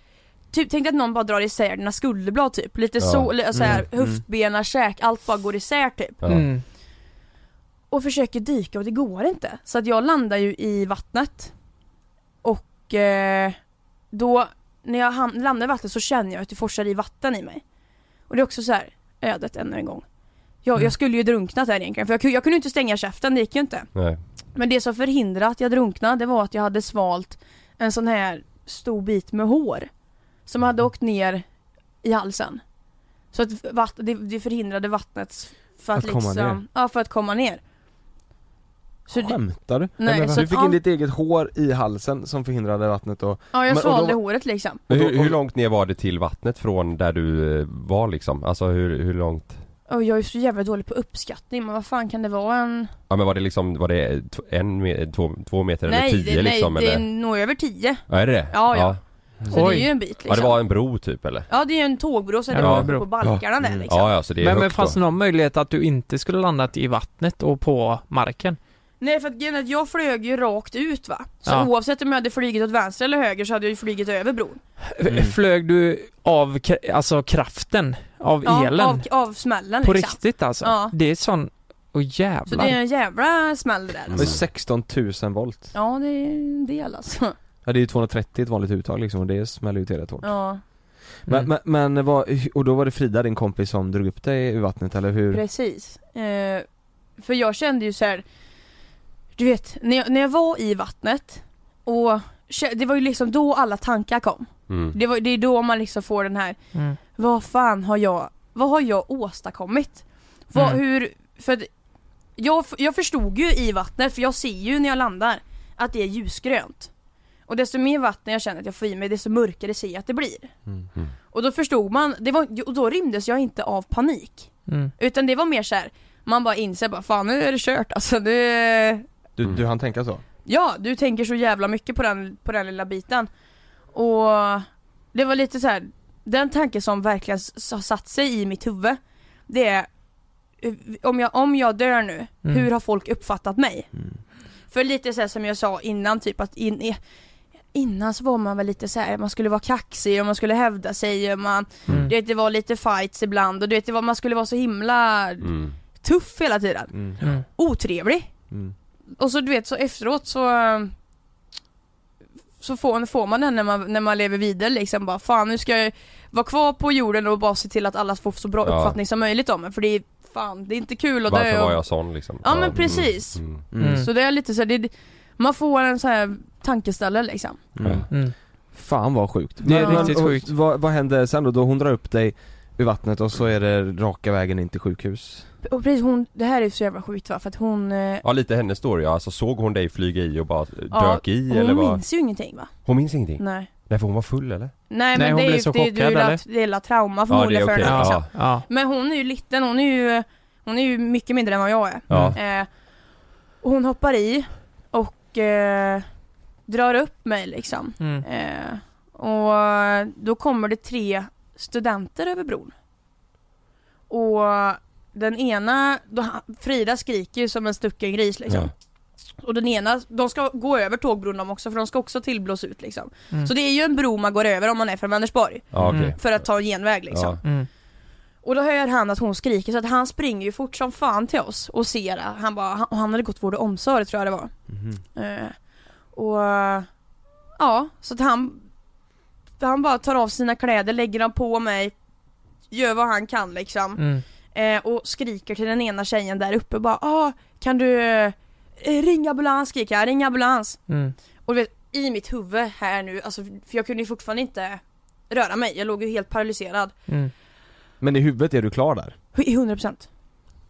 Speaker 6: Typ tänk dig att någon bara drar isär dina skulderblad typ, lite
Speaker 4: Ja.
Speaker 6: så, eller så här,
Speaker 3: Mm, mm.
Speaker 6: höftbena, käk, allt bara går isär typ
Speaker 4: Ja.
Speaker 3: Mm.
Speaker 6: Och försöker dyka och det går inte, så att jag landar ju i vattnet Och eh, då, när jag ham- landar i vattnet så känner jag att det forsar i vatten i mig Och det är också så här ödet ännu en gång jag,
Speaker 3: Mm.
Speaker 6: jag skulle ju drunknat här egentligen, för jag, ku- jag kunde ju inte stänga käften, det gick ju inte
Speaker 4: Nej.
Speaker 6: men det som förhindrade att jag drunknade det var att jag hade svalt en sån här stor bit med hår Som
Speaker 2: Mm.
Speaker 6: hade åkt ner i halsen Så att vatt, det, det förhindrade vattnet för att,
Speaker 2: Att komma
Speaker 6: liksom,
Speaker 2: ner.
Speaker 6: ja för att komma ner Så det,
Speaker 2: Skämtar du?
Speaker 6: Nej,
Speaker 2: men
Speaker 6: så
Speaker 2: du
Speaker 6: att
Speaker 2: fick
Speaker 6: om-
Speaker 2: in ditt eget hår i halsen som förhindrade vattnet och...
Speaker 6: ja jag
Speaker 2: Men- och då
Speaker 6: svalde
Speaker 2: var-
Speaker 6: håret liksom
Speaker 4: Men
Speaker 2: Och
Speaker 4: hur,
Speaker 2: då-
Speaker 4: hur långt ner var det till vattnet från där du eh, var liksom? Alltså hur, hur långt?
Speaker 6: och jag är så jävla dålig på uppskattning men vad fan kan det vara en...
Speaker 4: Ja men var det liksom, var det t- en, me- två, två meter eller
Speaker 6: nej,
Speaker 4: tio
Speaker 6: det,
Speaker 4: liksom
Speaker 6: nej det är
Speaker 4: eller?
Speaker 6: nog över 10
Speaker 4: Ja är det det?
Speaker 6: Ja, ja. Så
Speaker 3: Oj.
Speaker 6: det är ju en bit liksom
Speaker 4: Ja det var en bro typ eller?
Speaker 6: Ja det är ju en tågbro så
Speaker 3: Ja,
Speaker 6: det
Speaker 3: det var
Speaker 6: var
Speaker 3: en bro.
Speaker 6: på balkarna där
Speaker 2: Mm.
Speaker 6: liksom
Speaker 4: Ja ja så det är
Speaker 3: Men, men
Speaker 4: högt
Speaker 3: fanns det
Speaker 4: då.
Speaker 3: någon möjlighet att du inte skulle landat i vattnet och på marken?
Speaker 6: Nej för att grejen är att jag flög ju rakt ut va Så
Speaker 3: Ja.
Speaker 6: oavsett om jag hade flugit åt vänster eller höger så hade jag ju flugit över bron
Speaker 2: Mm.
Speaker 3: Flög du av kra- alltså, kraften av elen?
Speaker 6: av, av smällen
Speaker 3: På
Speaker 6: exakt
Speaker 3: riktigt alltså?
Speaker 6: Ja.
Speaker 3: Det är sån... Åh
Speaker 6: Så
Speaker 3: jävlar.
Speaker 6: det är en jävla smäll det där
Speaker 2: Det är
Speaker 6: alltså.
Speaker 2: 16 000 volt.
Speaker 6: Ja det är en del alltså
Speaker 2: Ja det är ju 230 ett vanligt uttag liksom och det smäller ju till rätt hårt.
Speaker 6: Ja
Speaker 2: Men,
Speaker 3: Mm.
Speaker 2: men, men vad, och då var det Frida din kompis som drog upp dig ur vattnet eller hur?
Speaker 6: precis eh, För jag kände ju så här. Du vet när jag, när jag var i vattnet och kä- det var ju liksom då alla tankar kom
Speaker 4: Mm.
Speaker 6: Det, var, det är då man liksom får den här
Speaker 3: Mm.
Speaker 6: Vad fan har jag, vad har jag åstadkommit? Vad,
Speaker 3: Mm.
Speaker 6: hur, för att jag, f- jag förstod ju i vattnet, för jag ser ju när jag landar att det är ljusgrönt Och desto mer vatten jag känner att jag får i mig, desto mörkare ser jag att det blir
Speaker 2: Mm.
Speaker 4: Mm.
Speaker 6: Och då förstod man, det var, och då rymdes jag inte av panik
Speaker 3: Mm.
Speaker 6: Utan det var mer så här. man bara inser bara fan nu är det kört alltså det,
Speaker 2: Du,
Speaker 4: Mm.
Speaker 2: du hann tänka så?
Speaker 6: Ja, du tänker så jävla mycket på den, på den lilla biten. Och det var lite så här. den tanke som verkligen s- har satt sig i mitt huvud, det är eh, om jag, om jag dör nu,
Speaker 3: Mm.
Speaker 6: hur har folk uppfattat mig? För lite så här som jag sa innan, typ att in, i- innan så var man väl lite så här, man skulle vara kaxig och man skulle hävda sig och man,
Speaker 3: Mm.
Speaker 6: du vet, det var lite fights ibland och du vet, det var, man skulle vara så himla
Speaker 4: Mm.
Speaker 6: tuff hela tiden.
Speaker 2: Mm.
Speaker 3: Mm.
Speaker 6: Otrevlig.
Speaker 2: Mm.
Speaker 6: Och så du vet så efteråt så eh, Så får, får man den när man, när man lever vidare liksom bara fan nu ska jag vara kvar på jorden och bara se till att alla får så bra
Speaker 4: Ja.
Speaker 6: uppfattning som möjligt om en för det är fan det är inte kul att
Speaker 4: Varför
Speaker 6: dö
Speaker 4: var jag sån liksom?
Speaker 6: Ja, men precis.
Speaker 4: Mm. Mm.
Speaker 2: Mm.
Speaker 3: Mm.
Speaker 6: Så det är lite så här, det, man får en så här tankeställare liksom
Speaker 2: Mm.
Speaker 3: Mm.
Speaker 2: Fan vad sjukt.
Speaker 3: Det är riktigt
Speaker 2: och
Speaker 3: sjukt.
Speaker 2: Vad, vad händer sen då? Då hon drar upp dig ur vattnet och så är det raka vägen in till sjukhus?
Speaker 6: Och precis hon, det här är så jävla sjukt va för att hon eh,
Speaker 4: Ja lite hennes story ja, alltså såg hon dig flyga i och bara eh,
Speaker 6: Ja,
Speaker 4: dök i eller
Speaker 6: Hon
Speaker 4: vad?
Speaker 6: minns ju ingenting va?
Speaker 4: Hon minns ingenting?
Speaker 6: Nej
Speaker 4: Nej för hon var full eller?
Speaker 3: Nej,
Speaker 6: Nej men
Speaker 3: hon
Speaker 6: det är
Speaker 3: blev
Speaker 6: ju,
Speaker 3: så
Speaker 6: det, är ju-
Speaker 3: chockad,
Speaker 6: det är ju
Speaker 3: eller?
Speaker 6: la- det är la trauma förmodligen för henne liksom.
Speaker 4: ja.
Speaker 3: Ja.
Speaker 6: Men hon är ju liten, hon är ju, hon är ju mycket mindre än vad jag är
Speaker 4: Ja.
Speaker 6: Eh, och hon hoppar i och eh, drar upp mig liksom.
Speaker 3: Mm.
Speaker 6: Eh, och då kommer det tre studenter över bron. Och den ena, då, Frida skriker ju som en stucken gris liksom.
Speaker 4: Ja.
Speaker 6: Och den ena, de ska gå över tågbron de också för de ska också tillblås ut liksom.
Speaker 3: Mm.
Speaker 6: Så det är ju en bro man går över om man är från Vänersborg.
Speaker 4: Ja okej.
Speaker 3: Mm.
Speaker 6: För att ta en genväg liksom.
Speaker 4: Ja.
Speaker 3: Mm.
Speaker 6: Och då hör han att hon skriker så att han springer ju fort som fan till oss och ser det. Han bara, han, och han hade gått vård och omsorg tror jag det var. Eh, och eh, ja, så att han han bara tar av sina kläder, lägger dem på mig, gör vad han kan liksom.
Speaker 3: Mm.
Speaker 6: Eh, och skriker till den ena tjejen där uppe bara ah, kan du eh, ringa ambulans skriker jag, ring ambulans.
Speaker 3: Mm.
Speaker 6: Och du vet, i mitt huvud här nu, alltså, för jag kunde ju fortfarande inte röra mig, jag låg ju helt paralyserad.
Speaker 3: Mm.
Speaker 2: Men i huvudet är du klar där?
Speaker 6: I 100%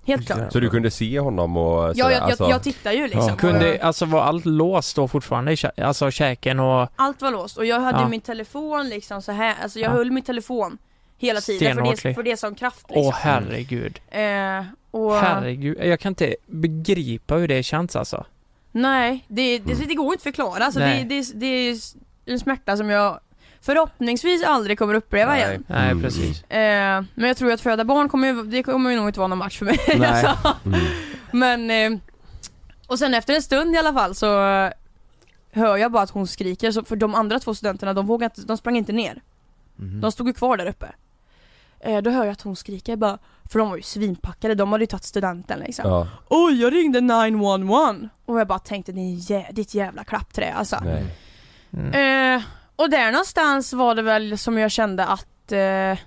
Speaker 6: Helt klart.
Speaker 4: Så du kunde se honom och
Speaker 6: Ja,
Speaker 4: sådär,
Speaker 6: jag,
Speaker 4: alltså,
Speaker 6: jag, jag tittar ju liksom.
Speaker 2: Ja.
Speaker 3: Kunde,
Speaker 6: Och
Speaker 3: alltså var allt låst då fortfarande i kä- alltså käken och...
Speaker 6: Allt var låst och jag hade
Speaker 3: Ja.
Speaker 6: ju min telefon liksom så här. alltså jag
Speaker 3: Ja.
Speaker 6: höll min telefon hela tiden för
Speaker 3: Stenhårt,
Speaker 6: det,
Speaker 3: liksom.
Speaker 6: för det som kraft
Speaker 3: Åh
Speaker 6: liksom.
Speaker 3: herregud.
Speaker 6: eh, och,
Speaker 3: Herregud. Jag kan inte begripa hur det känns alltså.
Speaker 6: Nej, det, det, det går inte att förklara. Alltså, det,
Speaker 3: Mm. Nej.
Speaker 6: det, det är en smärta som jag förhoppningsvis aldrig kommer uppleva igen.
Speaker 3: Nej,
Speaker 4: Mm.
Speaker 3: precis.
Speaker 6: Eh, men jag tror att föda barn kommer ju, det kommer ju nog inte vara någon match för mig.
Speaker 3: Nej.
Speaker 6: Alltså.
Speaker 4: Mm.
Speaker 6: Men, eh, och sen efter en stund i alla fall så eh, hör jag bara att hon skriker, så, för de andra två studenterna de vågade inte, de sprang inte ner.
Speaker 4: Mhm.
Speaker 6: De stod ju kvar där uppe. Eh, då hör jag att hon skriker bara, för de var ju svinpackade, de hade ju tagit studenten liksom.
Speaker 4: Ja,
Speaker 6: Oj jag ringde 911! Och jag bara tänkte din jä- ditt jävla klappträ alltså.
Speaker 4: nej.
Speaker 3: Mm.
Speaker 6: Eh, och där någonstans var det väl som jag kände att eh,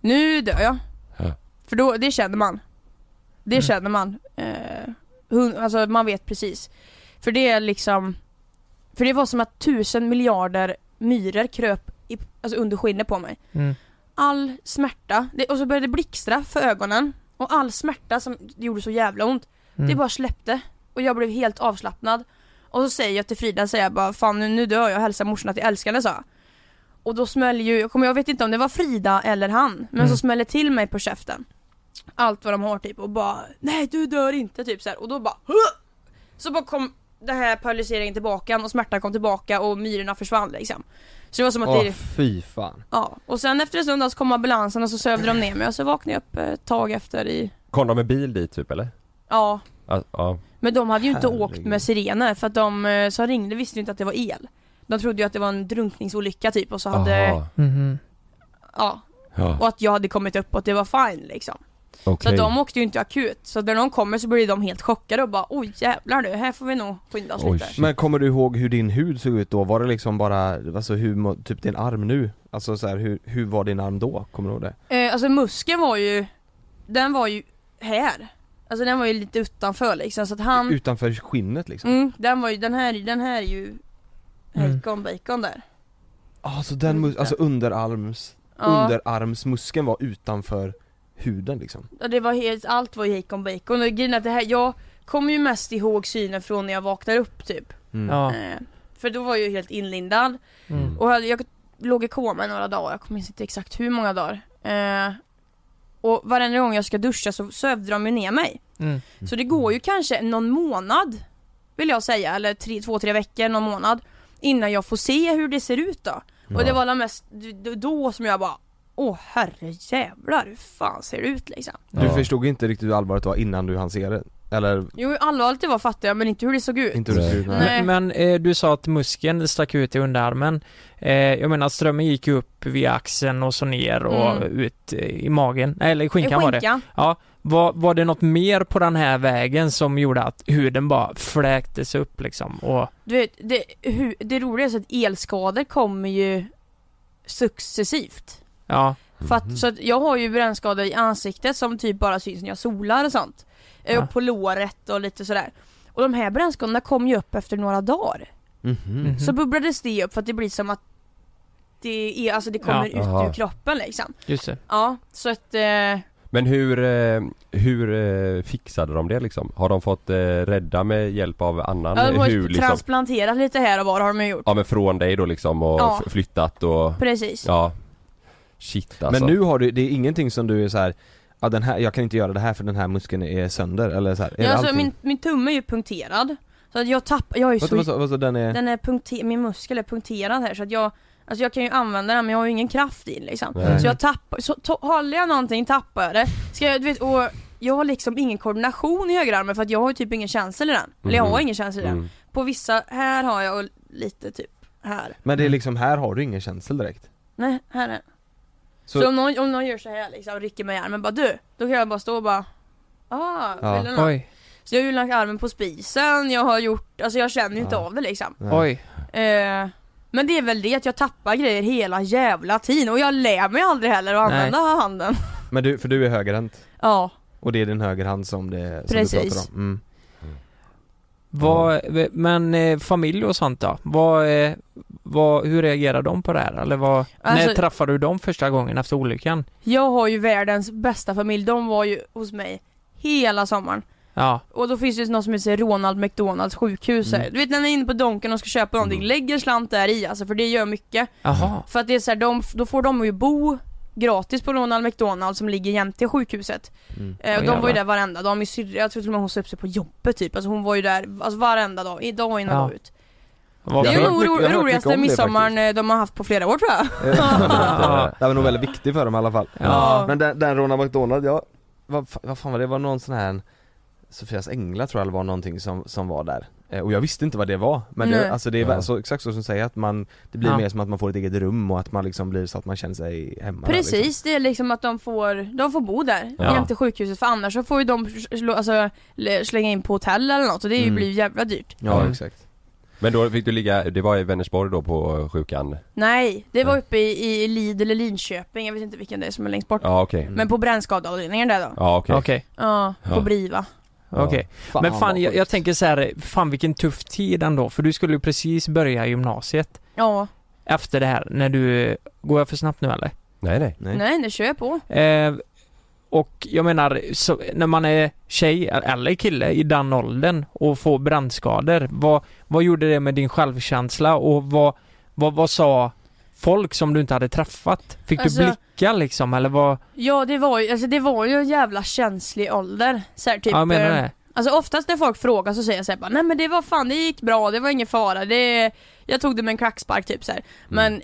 Speaker 6: nu dör jag.
Speaker 4: Ja.
Speaker 6: För då, det känner man. Det känner man. Eh, hun, alltså man vet precis. För det är liksom, för det var som att tusen miljarder myror kröp i, alltså under skinnet på mig.
Speaker 3: Mm.
Speaker 6: All smärta, det, och så började det blixtra för ögonen. Och all smärta som gjorde så jävla ont, det
Speaker 3: Mm.
Speaker 6: bara släppte och jag blev helt avslappnad. Och så säger jag till Frida, säger jag bara fan nu, nu dör jag, hälsa morsan att jag älskar henne sa jag. Och då smäller ju, jag kommer jag vet inte om det var Frida eller han, men
Speaker 3: Mm.
Speaker 6: så smäller till mig på käften. Allt vad de har typ och bara nej du dör inte typ så här. och då bara Hö! Så bara kom den här paralyseringen tillbaka och smärtan kom tillbaka och myrorna försvann liksom. Så det var som att
Speaker 2: Åh
Speaker 6: det,
Speaker 2: fy fan.
Speaker 6: ja. Och sen efter en stund så kom ambulansen och så sövde de ner mig och så vaknade jag upp eh, ett tag efter i,
Speaker 4: Kom de med bil dit typ eller?
Speaker 6: ja
Speaker 4: Ja, ja.
Speaker 6: Men de hade ju inte
Speaker 2: Herregud.
Speaker 6: åkt med sirener för att de eh, som ringde visste ju inte att det var el. De trodde ju att det var en drunkningsolycka typ och så hade,
Speaker 4: Aha.
Speaker 3: Mhm.
Speaker 6: ja,
Speaker 4: Ja,
Speaker 6: och att jag hade kommit upp och att det var fine liksom. Så
Speaker 4: okej.
Speaker 6: att de åkte ju inte akut, så att när de kommer så blir de helt chockade och bara oj jävlar nu, här får vi nog skynda oss
Speaker 4: Oj,
Speaker 6: lite.
Speaker 4: shit.
Speaker 2: Men kommer du ihåg hur din hud såg ut då? Var det liksom bara, alltså hur, må- typ din arm nu? Alltså så här, hur, hur var din arm då? Kommer du ihåg det?
Speaker 6: Eh, alltså muskeln var ju, den var ju här. Alltså den var ju lite utanför liksom så att han,
Speaker 2: Utanför skinnet liksom?
Speaker 6: mm, den var ju, den här, den här är ju
Speaker 3: Mm.
Speaker 6: Bacon, bacon där.
Speaker 2: Alltså den mus- alltså underarms,
Speaker 6: Ja.
Speaker 2: underarmsmuskeln var utanför huden liksom?
Speaker 6: Ja, det var helt, allt var hejkon bacon och grejen är att det här, jag kommer ju mest ihåg synen från när jag vaknar upp typ
Speaker 2: Mm.
Speaker 3: Ja.
Speaker 6: eh, För då var jag ju helt inlindad
Speaker 3: Mm.
Speaker 6: och jag, jag låg i koma i några dagar, jag kommer inte exakt hur många dagar eh, Och varenda gång jag ska duscha så sövde de ju ner mig
Speaker 3: Mm.
Speaker 6: Så det går ju kanske någon månad Vill jag säga, eller tre, två, tre veckor, någon månad Innan jag får se hur det ser ut då Och det var det mest, d- då som jag bara Åh herre jävlar hur fan ser det ut liksom?
Speaker 2: Du
Speaker 4: Ja.
Speaker 2: förstod inte riktigt hur allvarligt det var innan du hann se det? Eller
Speaker 6: Jo hur allvarligt det var fattar jag men inte hur det såg ut.
Speaker 2: inte hur det såg ut?
Speaker 6: Nej.
Speaker 3: Men, men eh, du sa att muskeln stack ut i underarmen. Eh, jag menar strömmen gick ju upp via axeln och så ner och
Speaker 6: Mm.
Speaker 3: ut eh, i magen, eller i
Speaker 6: En
Speaker 3: skinkan var det. Var, var det något mer på den här vägen som gjorde att huden bara fläktes upp liksom? Och,
Speaker 6: Du vet, det, hur, det roliga är så att elskador kommer ju successivt.
Speaker 3: ja.
Speaker 6: För att, så att jag har ju brännskador i ansiktet som typ bara syns när jag solar och sånt. Eh,
Speaker 3: Ja.
Speaker 6: Och på låret och lite sådär. Och de här brännskadorna kom ju upp efter några dagar.
Speaker 2: Mhm.
Speaker 3: mhm.
Speaker 6: Så bubblades det upp för att det blir som att det är, alltså det kommer
Speaker 4: Ja.
Speaker 6: ut
Speaker 4: Aha.
Speaker 6: ur kroppen liksom.
Speaker 3: Just det.
Speaker 6: Ja, så att eh,
Speaker 4: Men hur, eh, hur eh, fixade de det liksom? Har de fått eh, rädda med hjälp av annan
Speaker 6: ja, de
Speaker 4: eh,
Speaker 6: har ju
Speaker 4: hud liksom?
Speaker 6: transplanterat lite här och var har de ju gjort.
Speaker 4: Ja men från dig då liksom och
Speaker 6: Ja.
Speaker 4: f- flyttat och,
Speaker 6: Precis.
Speaker 4: ja Shit alltså
Speaker 2: Men nu har du, det är ingenting som du är så här, ja den här, jag kan inte göra det här för den här muskeln är sönder eller så här, är
Speaker 6: Ja,
Speaker 2: det
Speaker 6: alltså,
Speaker 2: allting?
Speaker 6: min, min tumme är ju punkterad. Så att jag tappar, jag är ju
Speaker 2: Vänta, vad
Speaker 6: så,
Speaker 2: sa- vad sa den är?
Speaker 6: den är punkter, min muskel är punkterad här så att jag Alltså jag kan ju använda den men jag har ju ingen kraft i den liksom.
Speaker 4: Nej.
Speaker 6: Så jag tappar, så to- håller jag någonting tappar jag det. Ska jag, du vet, och jag har liksom ingen koordination i högerarmen för att jag har ju typ ingen känsel i den. Eller jag har
Speaker 4: Mhm.
Speaker 6: ingen känsel i den.
Speaker 4: mm.
Speaker 6: På vissa, här har jag och lite typ här.
Speaker 2: Men det är liksom, här har du ingen känsel direkt?
Speaker 6: Nej, här är
Speaker 2: Så-
Speaker 6: Så, om, någon, om någon gör så här liksom, rycker mig i armen bara du, då kan jag bara stå och bara Ah,
Speaker 2: Ja.
Speaker 6: vill du något?
Speaker 3: Oj,
Speaker 6: Så jag har ju lagt armen på spisen, jag har gjort, alltså jag känner ju inte
Speaker 2: Ja.
Speaker 6: av det liksom
Speaker 2: Nej.
Speaker 3: oj.
Speaker 6: eh, Men det är väl det att jag tappar grejer hela jävla tiden och jag lär mig aldrig heller att
Speaker 3: Nej.
Speaker 6: använda handen
Speaker 2: Men du, för du är högerhänt?
Speaker 6: Ja,
Speaker 2: Och det är din högerhand som det, som du
Speaker 6: Precis.
Speaker 2: pratar om? Mm.
Speaker 3: Vad, men eh, familj och sånt då? Vad, eh, vad, hur reagerar de på det här? Eller vad, när
Speaker 6: Alltså-
Speaker 3: träffade du dem första gången efter olyckan?
Speaker 6: jag har ju världens bästa familj, de var ju hos mig hela sommaren
Speaker 3: Ja,
Speaker 6: och då finns det ju något som heter Ronald McDonalds sjukhus här.
Speaker 3: Mm.
Speaker 6: Du vet när ni är inne på Donken och ska köpa någonting, lägg en slant där i alltså för det gör mycket
Speaker 3: jaha.
Speaker 6: För att det är så här, de, då får de ju bo gratis på Ronald McDonald som ligger jämte sjukhuset.
Speaker 2: Mm.
Speaker 6: Eh, och
Speaker 3: Åh,
Speaker 6: de var
Speaker 3: jävlar.
Speaker 6: ju där varenda dag, min syrra, jag tror till och med hon sa upp sig på jobbet typ. Alltså hon var ju där alltså varenda dag, i dag in och
Speaker 3: Ja.
Speaker 6: dag ut.
Speaker 3: Vad
Speaker 6: Det är
Speaker 3: fint.
Speaker 6: nog
Speaker 2: mycket- jag har hört
Speaker 6: ro-
Speaker 2: mycket
Speaker 6: roligaste
Speaker 2: om det
Speaker 6: midsommaren eh, de har haft på flera år tror jag.
Speaker 2: Ja. Det var nog väldigt viktig för dem i alla fall.
Speaker 3: Ja.
Speaker 2: Men den, den Ronald McDonald, ja, vad, fa- vad fan var det? Det var någon sån här Sofias änglar tror jag det var någonting som, som var där Eh, Och jag visste inte vad det var, men
Speaker 6: Nej.
Speaker 2: det, alltså det är
Speaker 4: Ja.
Speaker 2: väl så, exakt så som du säger att man Det blir
Speaker 3: Ja.
Speaker 2: mer som att man får ett eget rum och att man liksom blir så att man känner sig hemma där, liksom.
Speaker 6: Precis, det är liksom att de får, de får bo där
Speaker 4: Ja.
Speaker 6: jämte sjukhuset för annars så får ju de slå, alltså, l- slänga in på hotell eller något och det är ju
Speaker 2: Mm.
Speaker 6: blir ju jävla dyrt.
Speaker 2: Ja
Speaker 4: Mm.
Speaker 2: exakt
Speaker 4: Men då fick du ligga, det var i Vänersborg då på eh, sjukan?
Speaker 6: Nej, det var uppe i, i Lid eller Linköping, jag vet inte vilken det är som är längst bort.
Speaker 4: Ja okej.
Speaker 6: Men på brännskadeavdelningen där då.
Speaker 4: Ja okej.
Speaker 3: Mm. Okej,
Speaker 6: Ja, på
Speaker 4: Ja.
Speaker 6: Briva.
Speaker 4: Ja.
Speaker 3: okej. Men fan, jag, jag tänker så här, fan vilken tuff tid ändå, för du skulle ju precis börja gymnasiet
Speaker 6: Ja,
Speaker 3: efter det här, när du... Går jag för snabbt nu eller?
Speaker 4: Nej nej.
Speaker 2: Nej.
Speaker 6: nej det kör jag på.
Speaker 3: Eh, och jag menar, så, när man är tjej eller kille i den åldern och får brandskador, vad, vad gjorde det med din självkänsla och vad, vad, vad sa folk som du inte hade träffat? Fick
Speaker 6: Alltså-
Speaker 3: du blicka liksom eller vad?
Speaker 6: Ja det var ju, alltså det var ju en jävla känslig ålder. Så här, typ,
Speaker 3: ja, jag menar
Speaker 6: eh,
Speaker 3: det.
Speaker 6: Alltså oftast när folk frågar så säger jag såhär bara, nej men det var fan, det gick bra, det var ingen fara, det... Jag tog det med en klackspark typ
Speaker 3: Mm.
Speaker 6: såhär. Men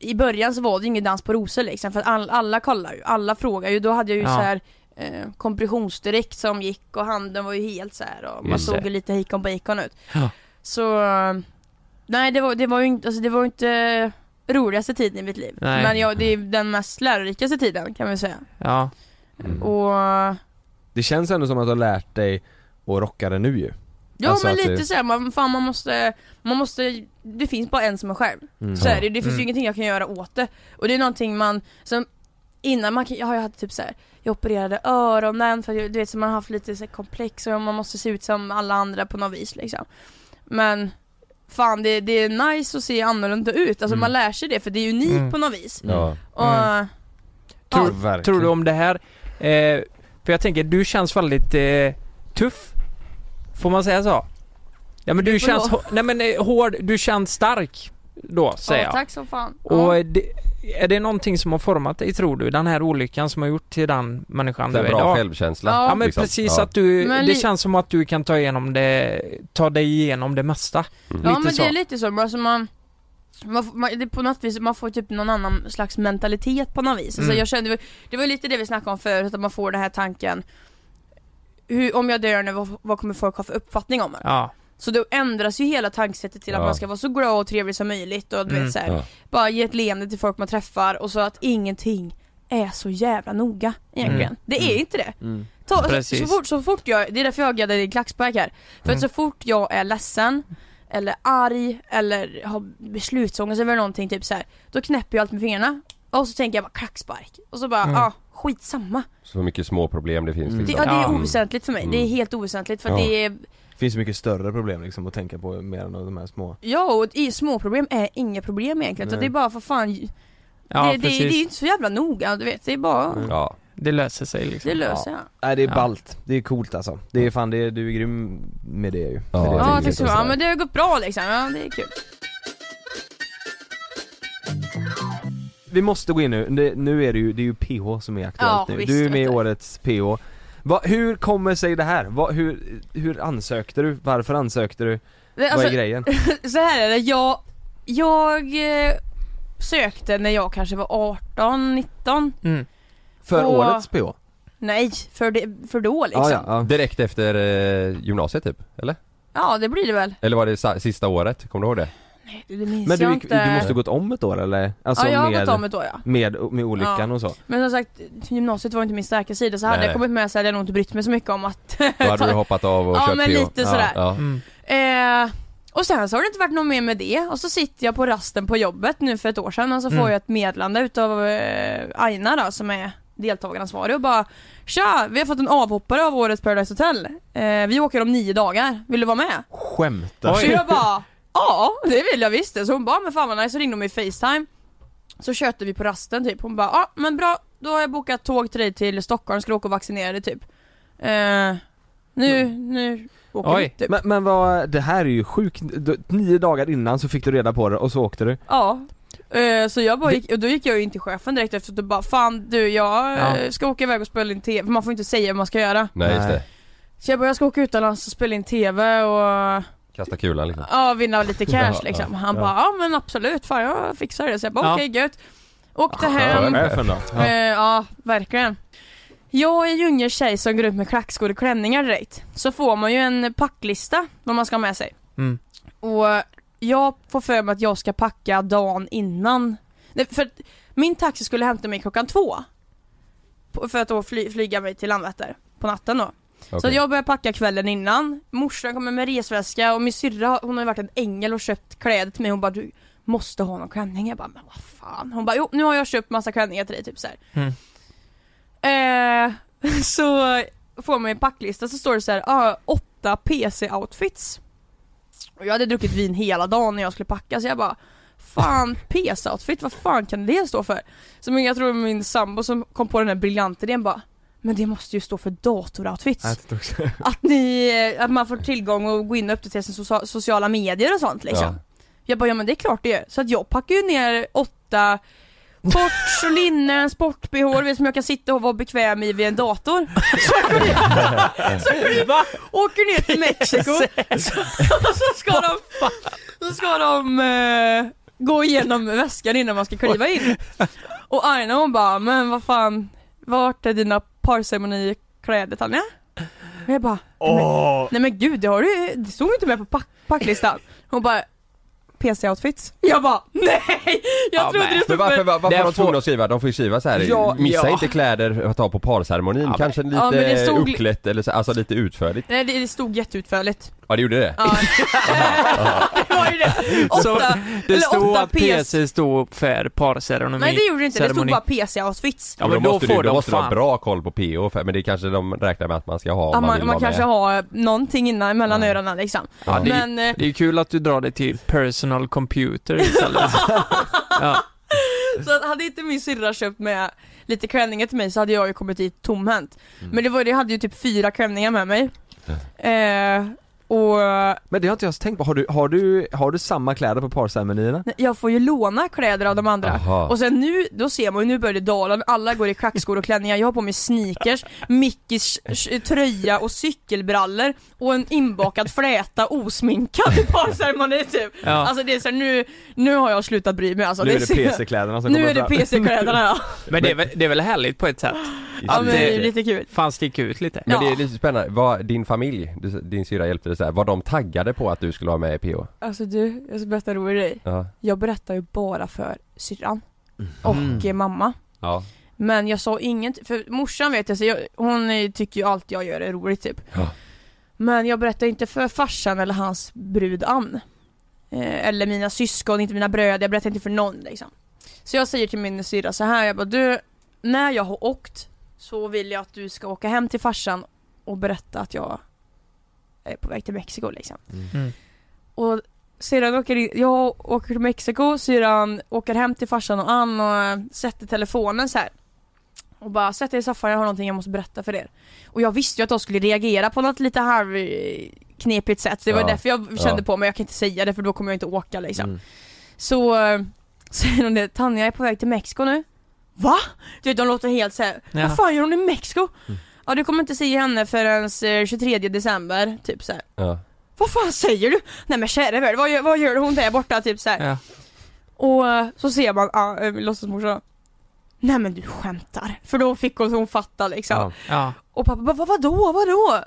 Speaker 6: i början så var det ingen dans på rosor liksom, för att all, alla kollar ju, alla frågar ju, då hade jag ju
Speaker 3: Ja.
Speaker 6: så här eh, kompressionsdräkt som gick och handen var ju helt så här och man
Speaker 3: Just
Speaker 6: såg
Speaker 3: det.
Speaker 6: ju lite hikon på hikon ut.
Speaker 3: Ja.
Speaker 6: Så... eh, Nej det var, det var ju inte, alltså, det var ju inte roligaste tiden i mitt liv.
Speaker 3: Nej.
Speaker 6: Men jag, det är den mest lärorikaste tiden kan vi säga.
Speaker 3: Ja. Mm.
Speaker 6: Och...
Speaker 2: Mm. Det känns ändå som att du har lärt dig att rocka det nu ju
Speaker 6: Ja
Speaker 2: Alltså
Speaker 6: men
Speaker 2: att det-
Speaker 6: lite såhär, man, fan man måste, man måste, det finns bara en som är själv. Så är det, det finns
Speaker 3: Mm.
Speaker 6: ju ingenting jag kan göra åt det. Och det är någonting man, som innan man kan, jag har ju haft typ såhär, jag opererade öronen för att jag- du vet så man har haft lite så här komplex och man måste se ut som alla andra på något vis liksom. Men fan det, det är nice att se annorlunda ut, alltså
Speaker 2: Mm.
Speaker 6: man lär sig det för det är unikt
Speaker 3: Mm.
Speaker 6: på något vis.
Speaker 4: Ja.
Speaker 6: Och,
Speaker 3: Mm.
Speaker 6: ja,
Speaker 2: verkligen.
Speaker 3: Tror du om det här? Eh, för jag tänker, du känns väldigt eh, tuff. Får man säga så? Ja men du,
Speaker 6: Du får
Speaker 3: känns,
Speaker 6: lov.
Speaker 3: hå- nej men eh, hård, du känns stark då säger
Speaker 6: ja,
Speaker 3: jag.
Speaker 6: tack som fan.
Speaker 3: Och
Speaker 6: ja.
Speaker 3: är det, är det någonting som har format dig tror du? Den här olyckan som har gjort till den
Speaker 4: Så
Speaker 3: människan du
Speaker 4: här
Speaker 3: är
Speaker 4: bra
Speaker 3: idag?
Speaker 4: självkänsla.
Speaker 6: Ja.
Speaker 3: Ja men
Speaker 4: liksom.
Speaker 3: precis
Speaker 4: Ja.
Speaker 3: att du,
Speaker 6: Men
Speaker 3: det
Speaker 6: li-
Speaker 3: känns som att du kan ta igenom det, ta dig igenom det mesta.
Speaker 6: Ja
Speaker 3: Lite
Speaker 6: men
Speaker 3: så.
Speaker 6: det är lite så, alltså man, man, får- man det är på något vis, man får typ någon annan slags mentalitet på något vis. Alltså
Speaker 3: Mm.
Speaker 6: jag kände, det var lite det vi snackade om förut, att man får den här tanken hur, om jag dör nu, vad, vad kommer folk ha för uppfattning om mig?
Speaker 3: Ja.
Speaker 6: Så då ändras ju hela tankesättet till att
Speaker 4: Ja.
Speaker 6: man ska vara så glad och trevlig som möjligt och du
Speaker 3: Mm.
Speaker 6: vet, så här,
Speaker 4: Ja.
Speaker 6: bara ge ett leende till folk man träffar och så att ingenting är så jävla noga egentligen.
Speaker 3: Mm.
Speaker 6: Det är
Speaker 3: Mm.
Speaker 6: inte det.
Speaker 2: Mm.
Speaker 6: Ta, så,
Speaker 3: Precis.
Speaker 6: så, fort, så fort jag, det är därför jag gaddar i klackspark här. För att så fort jag är ledsen, eller arg, eller har beslutsångest över någonting typ så här, då knäpper jag allt med fingrarna. Och så tänker jag bara klackspark. Och så bara, ja ah, skitsamma.
Speaker 4: Så mycket små problem det finns
Speaker 2: Mm.
Speaker 6: Det,
Speaker 4: liksom.
Speaker 6: ja, det är
Speaker 3: Ja.
Speaker 6: oväsentligt för mig. Det är
Speaker 4: Mm.
Speaker 6: helt oväsentligt för
Speaker 4: Ja.
Speaker 6: det är,
Speaker 2: Finns ju mycket större problem liksom att tänka på mer än de här små
Speaker 6: ja och i- småproblem är inga problem egentligen. Så
Speaker 2: Nej.
Speaker 6: det är bara för fan,
Speaker 3: Ja
Speaker 6: det, det,
Speaker 3: precis.
Speaker 6: det
Speaker 3: Det,
Speaker 6: är ju inte så jävla noga du vet. Det är bara,
Speaker 4: Ja.
Speaker 3: löser sig liksom.
Speaker 6: det löser jag.
Speaker 2: Nej det är
Speaker 3: Ja.
Speaker 2: ballt, det är coolt alltså. Det är fan, det är, du är grym med det ju.
Speaker 4: Ja,
Speaker 2: Med det
Speaker 4: jag tänker
Speaker 6: Ja tack så
Speaker 4: inte
Speaker 6: mycket.
Speaker 4: så
Speaker 6: Ja
Speaker 4: här.
Speaker 6: men det har gått bra liksom. Ja det är kul.
Speaker 2: Vi måste gå in nu, det, nu är det ju, det är ju PH som är aktuellt
Speaker 6: Ja,
Speaker 2: nu.
Speaker 6: visst,
Speaker 2: Du är med i
Speaker 6: vet du.
Speaker 2: årets PH. Va, hur kommer sig det här? Va, hur, hur ansökte du? Varför ansökte du?
Speaker 6: Det,
Speaker 2: Vad
Speaker 6: alltså,
Speaker 2: är grejen?
Speaker 6: så här är det, jag, jag eh, sökte när jag kanske var 18, 19
Speaker 3: Mm.
Speaker 2: För
Speaker 6: och-
Speaker 2: årets PH? Ja,
Speaker 6: Nej, för, det, för då liksom
Speaker 2: ja,
Speaker 6: ja,
Speaker 2: ja.
Speaker 4: Direkt efter eh, gymnasiet typ, eller?
Speaker 6: det blir det väl
Speaker 4: Eller var det sa- sista året? Kommer du ihåg det?
Speaker 6: Nej, Det minns
Speaker 2: Men
Speaker 6: jag
Speaker 2: du, gick,
Speaker 6: inte
Speaker 2: du måste gått om ett år eller? Alltså
Speaker 6: Ja jag har
Speaker 2: med,
Speaker 6: gått om ett år ja
Speaker 2: med, med olyckan
Speaker 6: Ja.
Speaker 2: och så?
Speaker 6: Men som sagt, gymnasiet var inte min starka sida så hade
Speaker 4: Nej.
Speaker 6: jag kommit med så hade jag nog inte brytt mig så mycket om att
Speaker 4: Då hade du hoppat av och
Speaker 6: Ja,
Speaker 4: kört
Speaker 6: men
Speaker 4: PO.
Speaker 6: lite sådär.
Speaker 4: Ja.
Speaker 3: Mm.
Speaker 6: Eh, och sen så har det inte varit något mer med det och så sitter jag på rasten på jobbet nu för ett år sedan och så
Speaker 3: Mm.
Speaker 6: får jag ett meddelande utav eh, Aina då som är deltagaransvarig och bara Tja! Vi har fått en avhoppare av årets Paradise Hotel. Eh, vi åker om nio dagar. Vill du vara med?
Speaker 2: Skämtar
Speaker 6: Så
Speaker 2: du?
Speaker 6: jag bara Ja, det vill jag visst det. Så hon bara men fan vad nice. Så ringde hon mig i Facetime. Så tjötade vi på rasten typ. Hon bara ja men bra då har jag bokat tåg till dig till Stockholm. Ska du åka och vaccinera dig typ. Eh, nu, nu åker
Speaker 3: Mm. Oj.
Speaker 6: vi typ.
Speaker 2: Men, men vad, det här är ju sjukt. Du- Nio dagar innan så fick du reda på det och så åkte du?
Speaker 6: Ja, Eh, så jag bara gick, och då gick jag ju in till chefen direkt efteråt och typ bara Fan du jag eh,
Speaker 3: Ja.
Speaker 6: ska åka iväg och spela in TV, för man får inte säga vad man ska göra
Speaker 4: Nej, just
Speaker 2: Nej.
Speaker 4: det.
Speaker 6: Så jag bara jag ska åka utomlands och spela in TV och
Speaker 4: Kasta kulan liksom.
Speaker 6: Ja, vinna lite cash
Speaker 4: Ja,
Speaker 6: liksom.
Speaker 4: ja,
Speaker 6: Han
Speaker 4: ja.
Speaker 6: bara, ja men absolut, fan jag fixar det. Så jag bara,
Speaker 4: Ja.
Speaker 6: okej gött. Åkte hem.
Speaker 2: Skön chef ändå.
Speaker 6: Ja. Eh, ja, verkligen. Jag är ju ingen tjej som går ut med klackskor och klänningar direkt. Så får man ju en packlista vad man ska ha med sig.
Speaker 3: Mm.
Speaker 6: Och jag får för mig att jag ska packa dagen innan. Nej, för att min taxi skulle hämta mig klockan två. På- För att då fly, flyga mig till Landvetter på natten då. Så
Speaker 4: Okej.
Speaker 6: jag börjar packa kvällen innan. Morsan kommer med resväska och min syrra hon har ju varit en ängel och köpt kläder till mig. Hon bara du måste ha någon klänning. Jag bara men vad fan. Hon bara jo nu har jag köpt massa klänningar till dig typ så här.
Speaker 3: Mm.
Speaker 6: Eh, så får man en packlista så står det så här, ah, åtta PC-outfits. Och jag hade druckit vin hela dagen när jag skulle packa så jag bara Fan PC-outfit, vad fan kan det stå för? Så min- jag tror min sambo som kom på den här briljanta idén bara Men det måste ju stå för datoroutfits
Speaker 2: Jag tyckte också-
Speaker 6: att, ni, eh, att man får tillgång och gå in och uppdatera sina socia- sociala medier och sånt liksom.
Speaker 4: Ja.
Speaker 6: Jag bara, ja men det är klart det gör. Så att jag packar ju ner åtta shorts och linnen, sport-bh som jag kan sitta och vara bekväm i vid en dator. Så går jag- så går jag- åker ner till Mexiko så, och så ska de, så ska de eh, gå igenom väskan innan man ska kliva in. Och Aina hon bara, men vad fan, vart är dina parceremonikläder Tanja? Och jag bara, nej men, nej men gud det har du det stod ju inte med på pack, packlistan. Hon bara, PC-outfits. Jag bara, nej!
Speaker 3: Ja,
Speaker 6: Jag trodde
Speaker 3: men-
Speaker 6: det
Speaker 4: Men
Speaker 6: stod
Speaker 4: varför,
Speaker 6: för...
Speaker 4: varför
Speaker 3: Det
Speaker 4: var de
Speaker 3: får-
Speaker 4: tvungna att skriva? De får ju skriva så här.
Speaker 3: Ja,
Speaker 4: missa
Speaker 3: ja.
Speaker 4: inte kläder att ta på parceremonin, kanske lite
Speaker 6: Ja, men det stod-
Speaker 4: uppklätt eller så, alltså lite utförligt.
Speaker 6: Nej det det stod jätteutförligt.
Speaker 4: Ja det gjorde det.
Speaker 6: Ja. det var ju det.
Speaker 3: Så
Speaker 6: Åtta,
Speaker 3: Det
Speaker 6: eller
Speaker 3: stod
Speaker 6: åtta
Speaker 3: att
Speaker 6: PC.
Speaker 3: PC stod för parceremoni.
Speaker 6: Nej det gjorde det inte, det stod
Speaker 3: ceremoni.
Speaker 6: bara PC-outfits.
Speaker 3: Ja, men då
Speaker 4: måste
Speaker 3: får
Speaker 4: du, då
Speaker 3: de
Speaker 4: måste du ha
Speaker 3: fan.
Speaker 4: bra koll på PO, för, men det kanske de räknar med att man ska ha om
Speaker 6: Ja,
Speaker 4: man,
Speaker 6: man
Speaker 4: vill
Speaker 6: man
Speaker 4: vara
Speaker 6: kanske
Speaker 4: med.
Speaker 6: har någonting innan mellan
Speaker 4: Ja.
Speaker 6: öronen liksom.
Speaker 4: Ja, det är-
Speaker 6: Men, eh,
Speaker 3: Det är ju kul att du drar det till personal computer istället. ja.
Speaker 6: Så att hade inte min syrra köpt med lite klänningar till mig så hade jag ju kommit dit tomhänt.
Speaker 4: Mm.
Speaker 6: Men det var, jag hade ju typ fyra klänningar med mig. Eh, och
Speaker 2: Men det har inte jag tänkt på, har du, har du, har du samma kläder på parceremonierna?
Speaker 6: jag får ju låna kläder av de andra.
Speaker 4: Aha.
Speaker 6: Och sen nu, då ser man ju, nu börjar det dala, alla går i klackskor och klänningar, jag har på mig sneakers, Mickis sh- eh, tröja och cykelbrallor och en inbakad fläta osminkad i parceremoni typ.
Speaker 3: Ja.
Speaker 6: Alltså det är så här, nu, nu har jag slutat bry mig alltså.
Speaker 2: Nu är det
Speaker 6: ser-
Speaker 2: PC-kläderna som
Speaker 6: Nu
Speaker 2: kommer
Speaker 6: är det
Speaker 2: fram.
Speaker 6: PC-kläderna ja.
Speaker 3: Men det är, väl, det är väl härligt på ett sätt?
Speaker 6: ja men det är
Speaker 3: det-
Speaker 6: lite kul.
Speaker 3: Fan sticka ut lite.
Speaker 4: Men det
Speaker 6: Ja.
Speaker 4: är lite spännande, vad, din familj, du- din syrra hjälpte dig så här, var de taggade på att du skulle vara med i PO?
Speaker 6: Alltså du, jag ska berätta en rolig grej.
Speaker 4: Ja.
Speaker 6: Jag berättar ju bara för syrran
Speaker 2: Mm.
Speaker 6: och eh, mamma.
Speaker 4: Ja.
Speaker 6: Men jag sa inget, för morsan vet jag, så jag hon eh, tycker ju allt jag gör är roligt typ.
Speaker 4: Ja.
Speaker 6: Men jag berättar inte för farsan eller hans brud Ann. Eh, eller mina syskon, inte mina bröder, jag berättar inte för någon liksom. Så jag säger till min syrra så här, jag bara du, när jag har åkt så vill jag att du ska åka hem till farsan och berätta att jag är på väg till Mexiko liksom.
Speaker 3: Mm.
Speaker 6: Och syrran åker in, jag åker till Mexiko, syrran åker hem till farsan och Ann och eh, sätter telefonen så här. Och bara sätt dig i soffan, jag har någonting jag måste berätta för er. Och jag visste ju att de skulle reagera på något lite halvknepigt sätt, så det var
Speaker 4: Ja.
Speaker 6: därför jag kände
Speaker 4: Ja.
Speaker 6: på mig, jag kan inte säga det för då kommer jag inte åka liksom.
Speaker 2: Mm.
Speaker 6: Så eh, säger hon det, Tanja jag är på väg till Mexiko nu. Va? Du vet de låter helt såhär,
Speaker 3: Ja.
Speaker 6: vad fan gör hon i Mexiko? Ja du kommer inte se henne förrän eh, 23 december, typ så här.
Speaker 4: Ja.
Speaker 6: Vad fan säger du? Nej men kära värld, vad, gör- vad gör hon där borta? Typ så här.
Speaker 3: Ja.
Speaker 6: Och eh, så ser man ah, eh, låtsasmorsan Nej men du skämtar, för då fick hon, hon fatta liksom
Speaker 2: Ja.
Speaker 3: Ja.
Speaker 6: Och pappa bara, "Vad- vadå, vadå?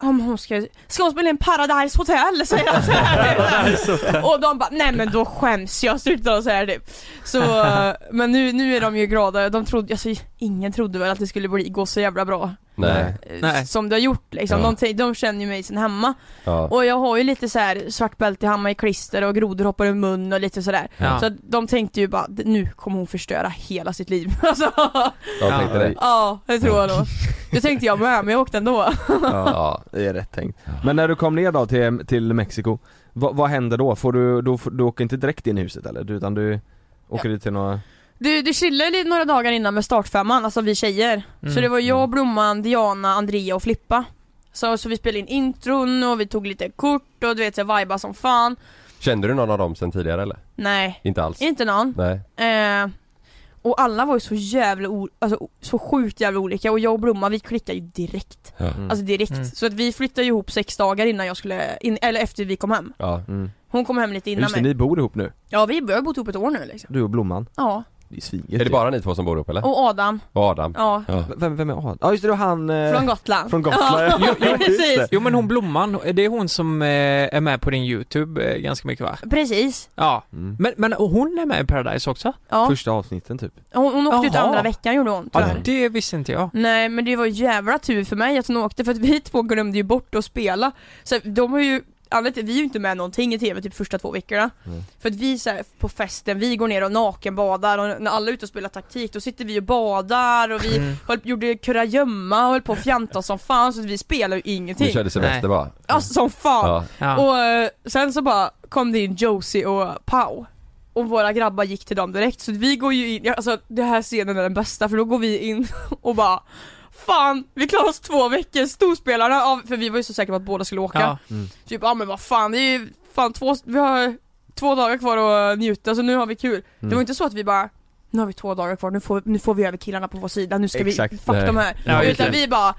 Speaker 6: Ja men hon ska, ska hon spela in Paradise Hotel? Säger han så här. Och de bara, nej men då skäms jag, slutar de säga typ Så, eh, men nu, nu är de ju glada, de trodde, alltså ingen trodde väl att det skulle bli, gå så jävla bra
Speaker 4: Nej.
Speaker 6: eh,
Speaker 3: Nej.
Speaker 6: Som det har gjort liksom,
Speaker 4: Ja.
Speaker 6: de, t- de känner ju mig sen hemma
Speaker 4: Ja.
Speaker 6: och jag har ju lite så här svart bälte, hammar i klister och grodor hoppar i mun och lite sådär.
Speaker 3: Ja.
Speaker 6: Så att de tänkte ju bara, "D- nu kommer hon förstöra hela sitt liv. Alltså,
Speaker 4: Jag
Speaker 3: Ja.
Speaker 4: tänkte det.
Speaker 6: ja, det tror jag nog. Det tänkte jag med, men jag åkte ändå.
Speaker 4: Ja.
Speaker 2: Det är rätt tänkt. Men när du kom ner då till, till Mexiko, vad, vad händer då? Får du, då, får- du åker inte direkt in i huset eller? Du- Utan du åker dit till några...
Speaker 6: Du, du chillade lite några dagar innan med startfemman, alltså vi tjejer. Så
Speaker 3: Mm.
Speaker 6: det var jag, Blomman, Diana, Andrea och Flippa. Så, så vi spelade in intron och vi tog lite kort och du vet jag vibade som fan.
Speaker 4: Kände du någon av dem sen tidigare eller?
Speaker 6: Nej,
Speaker 4: Inte alls?
Speaker 6: inte någon.
Speaker 4: Nej.
Speaker 6: Eh, Och alla var ju så jävla, o- alltså o- så sjukt jävla olika och jag och Blomma vi klickade ju direkt
Speaker 4: Ja.
Speaker 6: Alltså direkt,
Speaker 3: Mm.
Speaker 6: så att vi flyttade ju ihop sex dagar innan jag skulle, in, eller efter vi kom hem
Speaker 4: Ja.
Speaker 2: Mm.
Speaker 6: Hon kom hem lite innan
Speaker 2: Just det,
Speaker 6: mig
Speaker 2: ni bor ihop nu.
Speaker 6: Ja vi har bott ihop ett år nu liksom
Speaker 2: Du och Blomman.
Speaker 6: Ja,
Speaker 2: Det är svinget
Speaker 4: Är det
Speaker 2: ju.
Speaker 4: bara ni två som bor ihop eller?
Speaker 6: och Adam,
Speaker 4: Och Adam?
Speaker 6: ja,
Speaker 4: Ja.
Speaker 2: Vem, vem är Adam? Ja just det, det var han... eh,
Speaker 6: från Gotland
Speaker 2: Från Gotland.
Speaker 6: Ja,
Speaker 2: Ja, just
Speaker 6: precis
Speaker 2: det.
Speaker 3: Jo men hon Blomman, det är hon som eh, är med på din YouTube eh, ganska mycket va?
Speaker 6: Precis,
Speaker 3: Ja.
Speaker 2: Mm.
Speaker 3: Men, men hon är med i Paradise också?
Speaker 6: ja.
Speaker 2: Första avsnitten typ.
Speaker 6: Hon, hon åkte ut
Speaker 3: Jaha.
Speaker 6: andra veckan gjorde hon
Speaker 3: Ja,
Speaker 6: tyvärr.
Speaker 3: det visste inte jag.
Speaker 6: Nej men det var jävla tur för mig att hon åkte för att vi två glömde ju bort att spela Så de har ju, anledningen till- vi är ju inte med någonting i TV typ första två veckorna
Speaker 2: Mm.
Speaker 6: För att vi så här, på festen, vi går ner och nakenbadar och när alla är ute och spelar taktik då sitter vi och badar och vi
Speaker 3: Mm.
Speaker 6: höll, gjorde kurragömma och höll på och fjanta som fan så att vi spelar ju
Speaker 4: Ni
Speaker 6: ingenting
Speaker 4: körde semester
Speaker 3: Nej.
Speaker 4: bara?
Speaker 6: Alltså som fan!
Speaker 4: Ja.
Speaker 3: Ja.
Speaker 6: Och eh, sen så bara kom det in Josie och Pau och våra grabbar gick till dem direkt så vi går ju in, ja, alltså det här scenen är den bästa för då går vi in och bara Fan, vi klarar oss två veckor, storspelarna av, för vi var ju så säkra på att båda skulle åka
Speaker 3: Ja.
Speaker 6: Typ, ja men vad fan, det är ju fan två, vi har två dagar kvar att eh, njuta så nu har vi kul Det var inte så att vi bara nu har vi två dagar kvar, nu får, nu får vi över killarna på vår sida, nu ska
Speaker 2: Exakt.
Speaker 6: vi, fuck
Speaker 4: Nej.
Speaker 6: de här.
Speaker 3: Ja, just
Speaker 6: Utan
Speaker 3: det.
Speaker 6: vi bara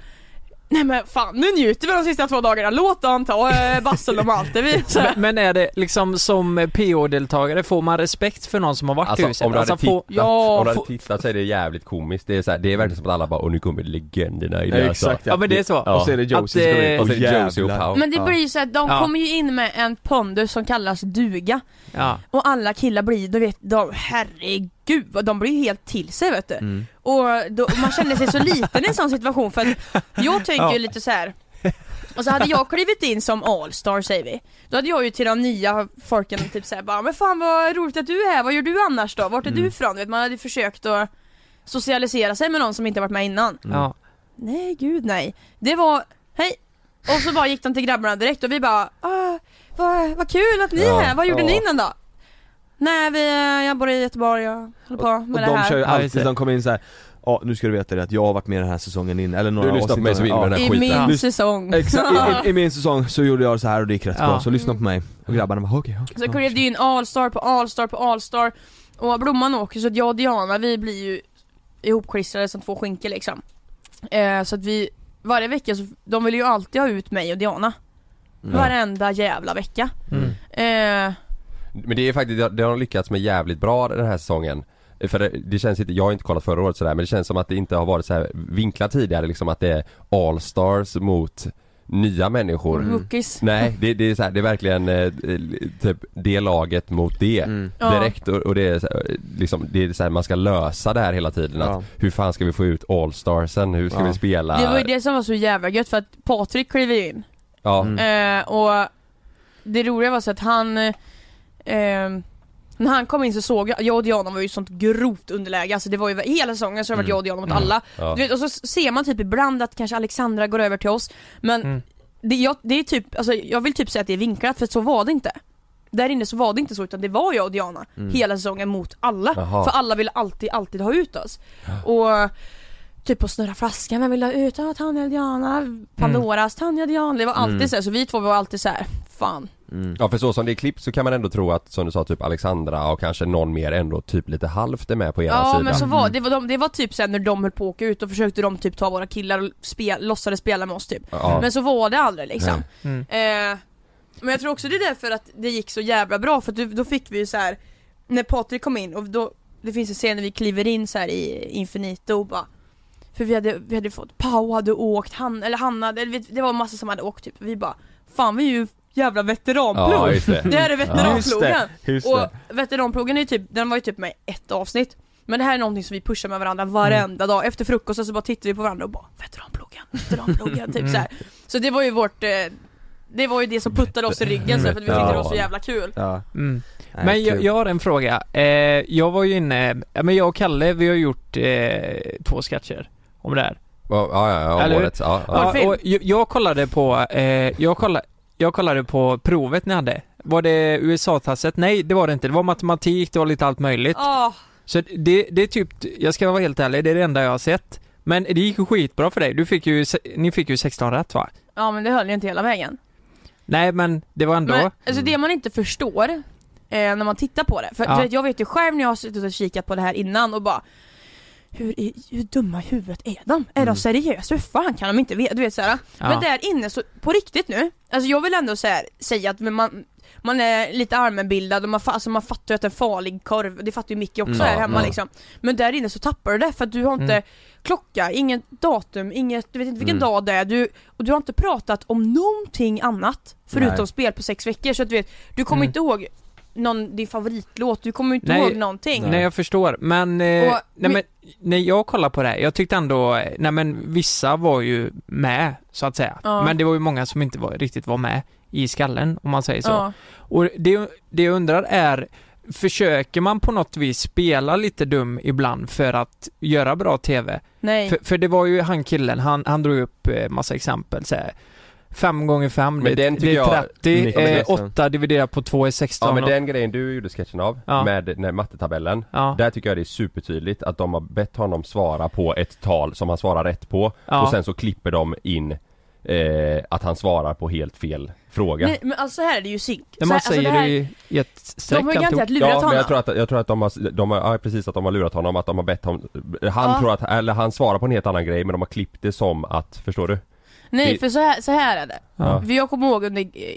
Speaker 6: Nej men fan, nu njuter vi de sista två dagarna, låt dem ta eh, bassen de allt det vi så här.
Speaker 3: Men, men är det liksom som PO-deltagare, får man respekt för någon som har varit i
Speaker 4: Alltså
Speaker 3: huset?
Speaker 4: om du hade
Speaker 3: alltså, få-
Speaker 4: tittat,
Speaker 6: Ja,
Speaker 4: om du
Speaker 6: få-
Speaker 4: hade tittat så är det jävligt komiskt. Det är, så här, det är verkligen som att alla bara 'Åh nu kommer legenderna in' alltså.
Speaker 3: Ja men det är så.
Speaker 4: Ja.
Speaker 2: Och så är det Josie
Speaker 3: Att, eh,
Speaker 2: som kommer in.
Speaker 4: Och så är det
Speaker 2: Åh,
Speaker 4: Josie och
Speaker 2: jävlar.
Speaker 4: Pau.
Speaker 6: Men det blir ju såhär, de
Speaker 3: Ja.
Speaker 6: kommer ju in med en pondus som kallas duga
Speaker 3: Ja.
Speaker 6: Och alla killar blir, du vet, de, herregud vad de blir ju helt till sig vet du
Speaker 2: Mm.
Speaker 6: Och då, och man känner sig så liten i en sån situation för att jag tänker ju
Speaker 3: Ja.
Speaker 6: lite så här. Och så hade jag klivit in som allstar säger vi Då hade jag ju till de nya folken typ såhär bara Men fan vad roligt att du är här, vad gör du annars då? Vart är
Speaker 3: Mm.
Speaker 6: du ifrån? Du vet, man hade ju försökt att socialisera sig med någon som inte varit med innan
Speaker 2: Mm.
Speaker 3: Ja.
Speaker 6: Nej gud nej Det var, hej! Och så bara gick de till grabbarna direkt och vi bara ah, vad, vad kul att ni är här, vad gjorde ni innan då? Nej vi, jag bor i Göteborg, jag håller på
Speaker 2: Och
Speaker 6: med det
Speaker 2: de
Speaker 6: här
Speaker 2: kör ju
Speaker 3: Ja, just
Speaker 2: alltid,
Speaker 3: det.
Speaker 2: de kommer in såhär Ja nu ska du veta det att jag har varit med den här säsongen in, eller några
Speaker 4: Du lyssnar på
Speaker 2: avsnitt
Speaker 4: mig så
Speaker 2: av
Speaker 4: vinner den här skiten.
Speaker 6: I min
Speaker 2: Ja.
Speaker 6: säsong.
Speaker 2: Exakt, I, i, i min säsong så gjorde jag så här och det gick rätt
Speaker 3: Ja.
Speaker 2: bra, så lyssna på mig.
Speaker 4: Mm.
Speaker 2: Och grabbarna bara okej, okej.
Speaker 6: Så
Speaker 2: ja,
Speaker 6: klev det ju in Allstar på Allstar på Allstar och Blomman åker så att jag och Diana vi blir ju ihopklistrade som två skinkor liksom. Eh, så att vi, varje vecka så, de vill ju alltid ha ut mig och Diana. Varenda jävla vecka.
Speaker 3: Mm.
Speaker 6: Eh,
Speaker 4: Men det är faktiskt, det har de lyckats med jävligt bra den här säsongen För det, det känns inte, jag har inte kollat förra året sådär men det känns som att det inte har varit så här vinklat tidigare liksom att det är allstars mot nya människor
Speaker 2: Mm.
Speaker 6: Rookies.
Speaker 4: Nej, det, det är så här, det är verkligen eh, typ det laget mot det
Speaker 2: Mm.
Speaker 6: Ja.
Speaker 4: direkt och, och det är så här, liksom, det är så här, man ska lösa det här hela tiden
Speaker 2: Ja.
Speaker 4: att hur fan ska vi få ut allstarsen, hur ska
Speaker 2: Ja.
Speaker 4: vi spela?
Speaker 6: Det var ju det som var så jävla gött för att Patrik klev ju in
Speaker 4: Ja,
Speaker 2: Mm.
Speaker 6: Eh, och det roliga var så att han eh, eh, när han kom in så såg jag, jag och Diana var ju i sånt grovt underläge, alltså det var ju hela säsongen så har det varit jag och Diana mot alla.
Speaker 4: ja.
Speaker 6: Du vet, och så ser man typ ibland att kanske Alexandra går över till oss, men
Speaker 3: Mm.
Speaker 6: det, jag, det är typ, alltså, jag vill typ säga att det är vinklat för så var det inte. Där inne så var det inte så utan det var jag och Diana hela säsongen mot alla.
Speaker 4: Mm. Jaha.
Speaker 6: För alla ville alltid, alltid ha ut oss. Och typ på snurra flaskan, vem vill ha ut? Ja, Tanja och Diana,
Speaker 4: Mm.
Speaker 6: Pandoras, Tanja och Diana. Det var alltid så här, så vi två var alltid så här, fan.
Speaker 4: Ja för så som det är klippt så kan man ändå tro att som du sa typ Alexandra och kanske någon mer ändå typ lite halvt är med på era
Speaker 6: Ja
Speaker 4: sida.
Speaker 6: men så var det, var de, det var typ sen när de höll på att åka ut och försökte de typ ta våra killar och spel, låtsades spela med oss typ.
Speaker 4: Ja.
Speaker 6: Men så var det aldrig liksom.
Speaker 3: Mm.
Speaker 6: Eh, men jag tror också det är därför att det gick så jävla bra för att du, då fick vi ju så här när Patrik kom in och då, det finns en scen när vi kliver in så här i Infinito och bara för vi hade, vi hade fått, Pau hade åkt, han, eller Hanna, hade- eller vet- det var massa som hade åkt typ, vi bara Fan vi är ju jävla veteranplog!
Speaker 4: Ja, just det.
Speaker 6: det här är veteranplogen!
Speaker 2: just
Speaker 6: Och
Speaker 2: det.
Speaker 6: veteranplogen är ju typ, den var ju typ med i ett avsnitt Men det här är någonting som vi pushar med varandra
Speaker 2: Mm.
Speaker 6: varenda dag, efter frukosten så bara tittar vi på varandra och bara Veteranplogen, veteranplogen, typ så här. Så det var ju vårt eh, Det var ju det som puttade oss i ryggen så här, för att vi tyckte det var så jävla kul
Speaker 2: Ja.
Speaker 3: Mm.
Speaker 2: Nej,
Speaker 3: Men jag,
Speaker 2: kul.
Speaker 3: jag har en fråga. Eh, jag var ju inne, ja, men jag och Kalle vi har gjort eh, två sketcher om det här.
Speaker 4: Ja, ja, ja,
Speaker 3: Eller
Speaker 4: ja
Speaker 3: hur?
Speaker 4: året. Ja, ja.
Speaker 3: Ja,
Speaker 6: Varför?
Speaker 3: och jag, jag kollade på, eh, jag, kollade, jag kollade på provet ni hade. Var det USA-tasset? Nej, det var det inte. Det var matematik, det var lite allt möjligt.
Speaker 6: Ah,
Speaker 3: Så det, det är typ, jag ska vara helt ärlig, det är det enda jag har sett. Men det gick ju skitbra för dig. Du fick ju, se- ni fick ju 16 rätt va?
Speaker 6: Ja men det höll ju inte hela vägen
Speaker 3: Nej men det var ändå.
Speaker 6: Men alltså det man inte förstår eh, när man tittar på det. För
Speaker 3: Ja.
Speaker 6: du vet, jag vet ju själv när jag har suttit och kikat på det här innan och bara hur, i- hur dumma i huvudet är de? Är
Speaker 2: Mm.
Speaker 6: de seriösa? Hur fan kan de inte veta? Du vet såhär.
Speaker 3: Ja.
Speaker 6: Men där inne, så, på riktigt nu, alltså jag vill ändå så här, säga att man, man är lite allmänbildad och man, fa- alltså man fattar ju att en farlig korv, det fattar ju Micke också
Speaker 2: Mm.
Speaker 6: här
Speaker 2: Ja,
Speaker 6: hemma
Speaker 2: ja.
Speaker 6: liksom. Men där inne så tappar du det för att du har inte
Speaker 3: Mm.
Speaker 6: klocka, inget datum, inget, du vet inte vilken
Speaker 2: Mm.
Speaker 6: dag det är, du, och du har inte pratat om någonting annat förutom
Speaker 2: Nej.
Speaker 6: spel på sex veckor så att du vet, du kommer
Speaker 3: Mm.
Speaker 6: inte ihåg någon, din favoritlåt, du kommer inte
Speaker 3: Nej.
Speaker 6: ihåg någonting.
Speaker 3: Nej jag förstår, men, eh,
Speaker 6: Och-
Speaker 3: nej,
Speaker 6: men-
Speaker 3: men när jag kollar på det här, jag tyckte ändå, eh, nej men vissa var ju med så att säga.
Speaker 6: Ja.
Speaker 3: Men det var ju många som inte var, riktigt var med i skallen om man säger så.
Speaker 6: Ja.
Speaker 3: Och det, det jag undrar är, försöker man på något vis spela lite dum ibland för att göra bra TV?
Speaker 6: Nej.
Speaker 3: För, för det var ju han killen, han, han drog upp eh, massa exempel så här. 5 gånger 5
Speaker 4: Men
Speaker 3: det,
Speaker 4: den
Speaker 3: är-
Speaker 4: tycker
Speaker 3: det är
Speaker 4: jag-
Speaker 3: 30,
Speaker 4: Mikael
Speaker 3: eh,
Speaker 2: Jansson.
Speaker 3: 8 dividerat på 2 är 16
Speaker 4: Ja men
Speaker 3: och-
Speaker 4: den grejen du gjorde sketchen av
Speaker 3: Ja.
Speaker 4: med den här mattetabellen
Speaker 3: Ja.
Speaker 4: Där tycker jag det är supertydligt att de har bett honom svara på ett tal som han svarar rätt på
Speaker 3: Ja.
Speaker 4: och sen så klipper de in eh, att han svarar på helt fel fråga
Speaker 6: Nej, men alltså så här är det ju synk.
Speaker 3: När
Speaker 6: Så här-
Speaker 3: man
Speaker 6: alltså,
Speaker 3: säger
Speaker 6: det här,
Speaker 3: det ju i ett streck
Speaker 6: de har ju
Speaker 3: alltihop.
Speaker 6: garanterat lurat
Speaker 4: ja, men
Speaker 6: honom.
Speaker 4: jag tror, att, jag tror att de har, de har ja, precis att de har lurat honom, att de har bett honom Han
Speaker 6: Ja.
Speaker 4: tror att, eller han svarar på en helt annan grej men de har klippt det som att, förstår du?
Speaker 6: Nej
Speaker 4: det-
Speaker 6: för så här, så här är det.
Speaker 3: Ja.
Speaker 6: För jag kommer ihåg under eh,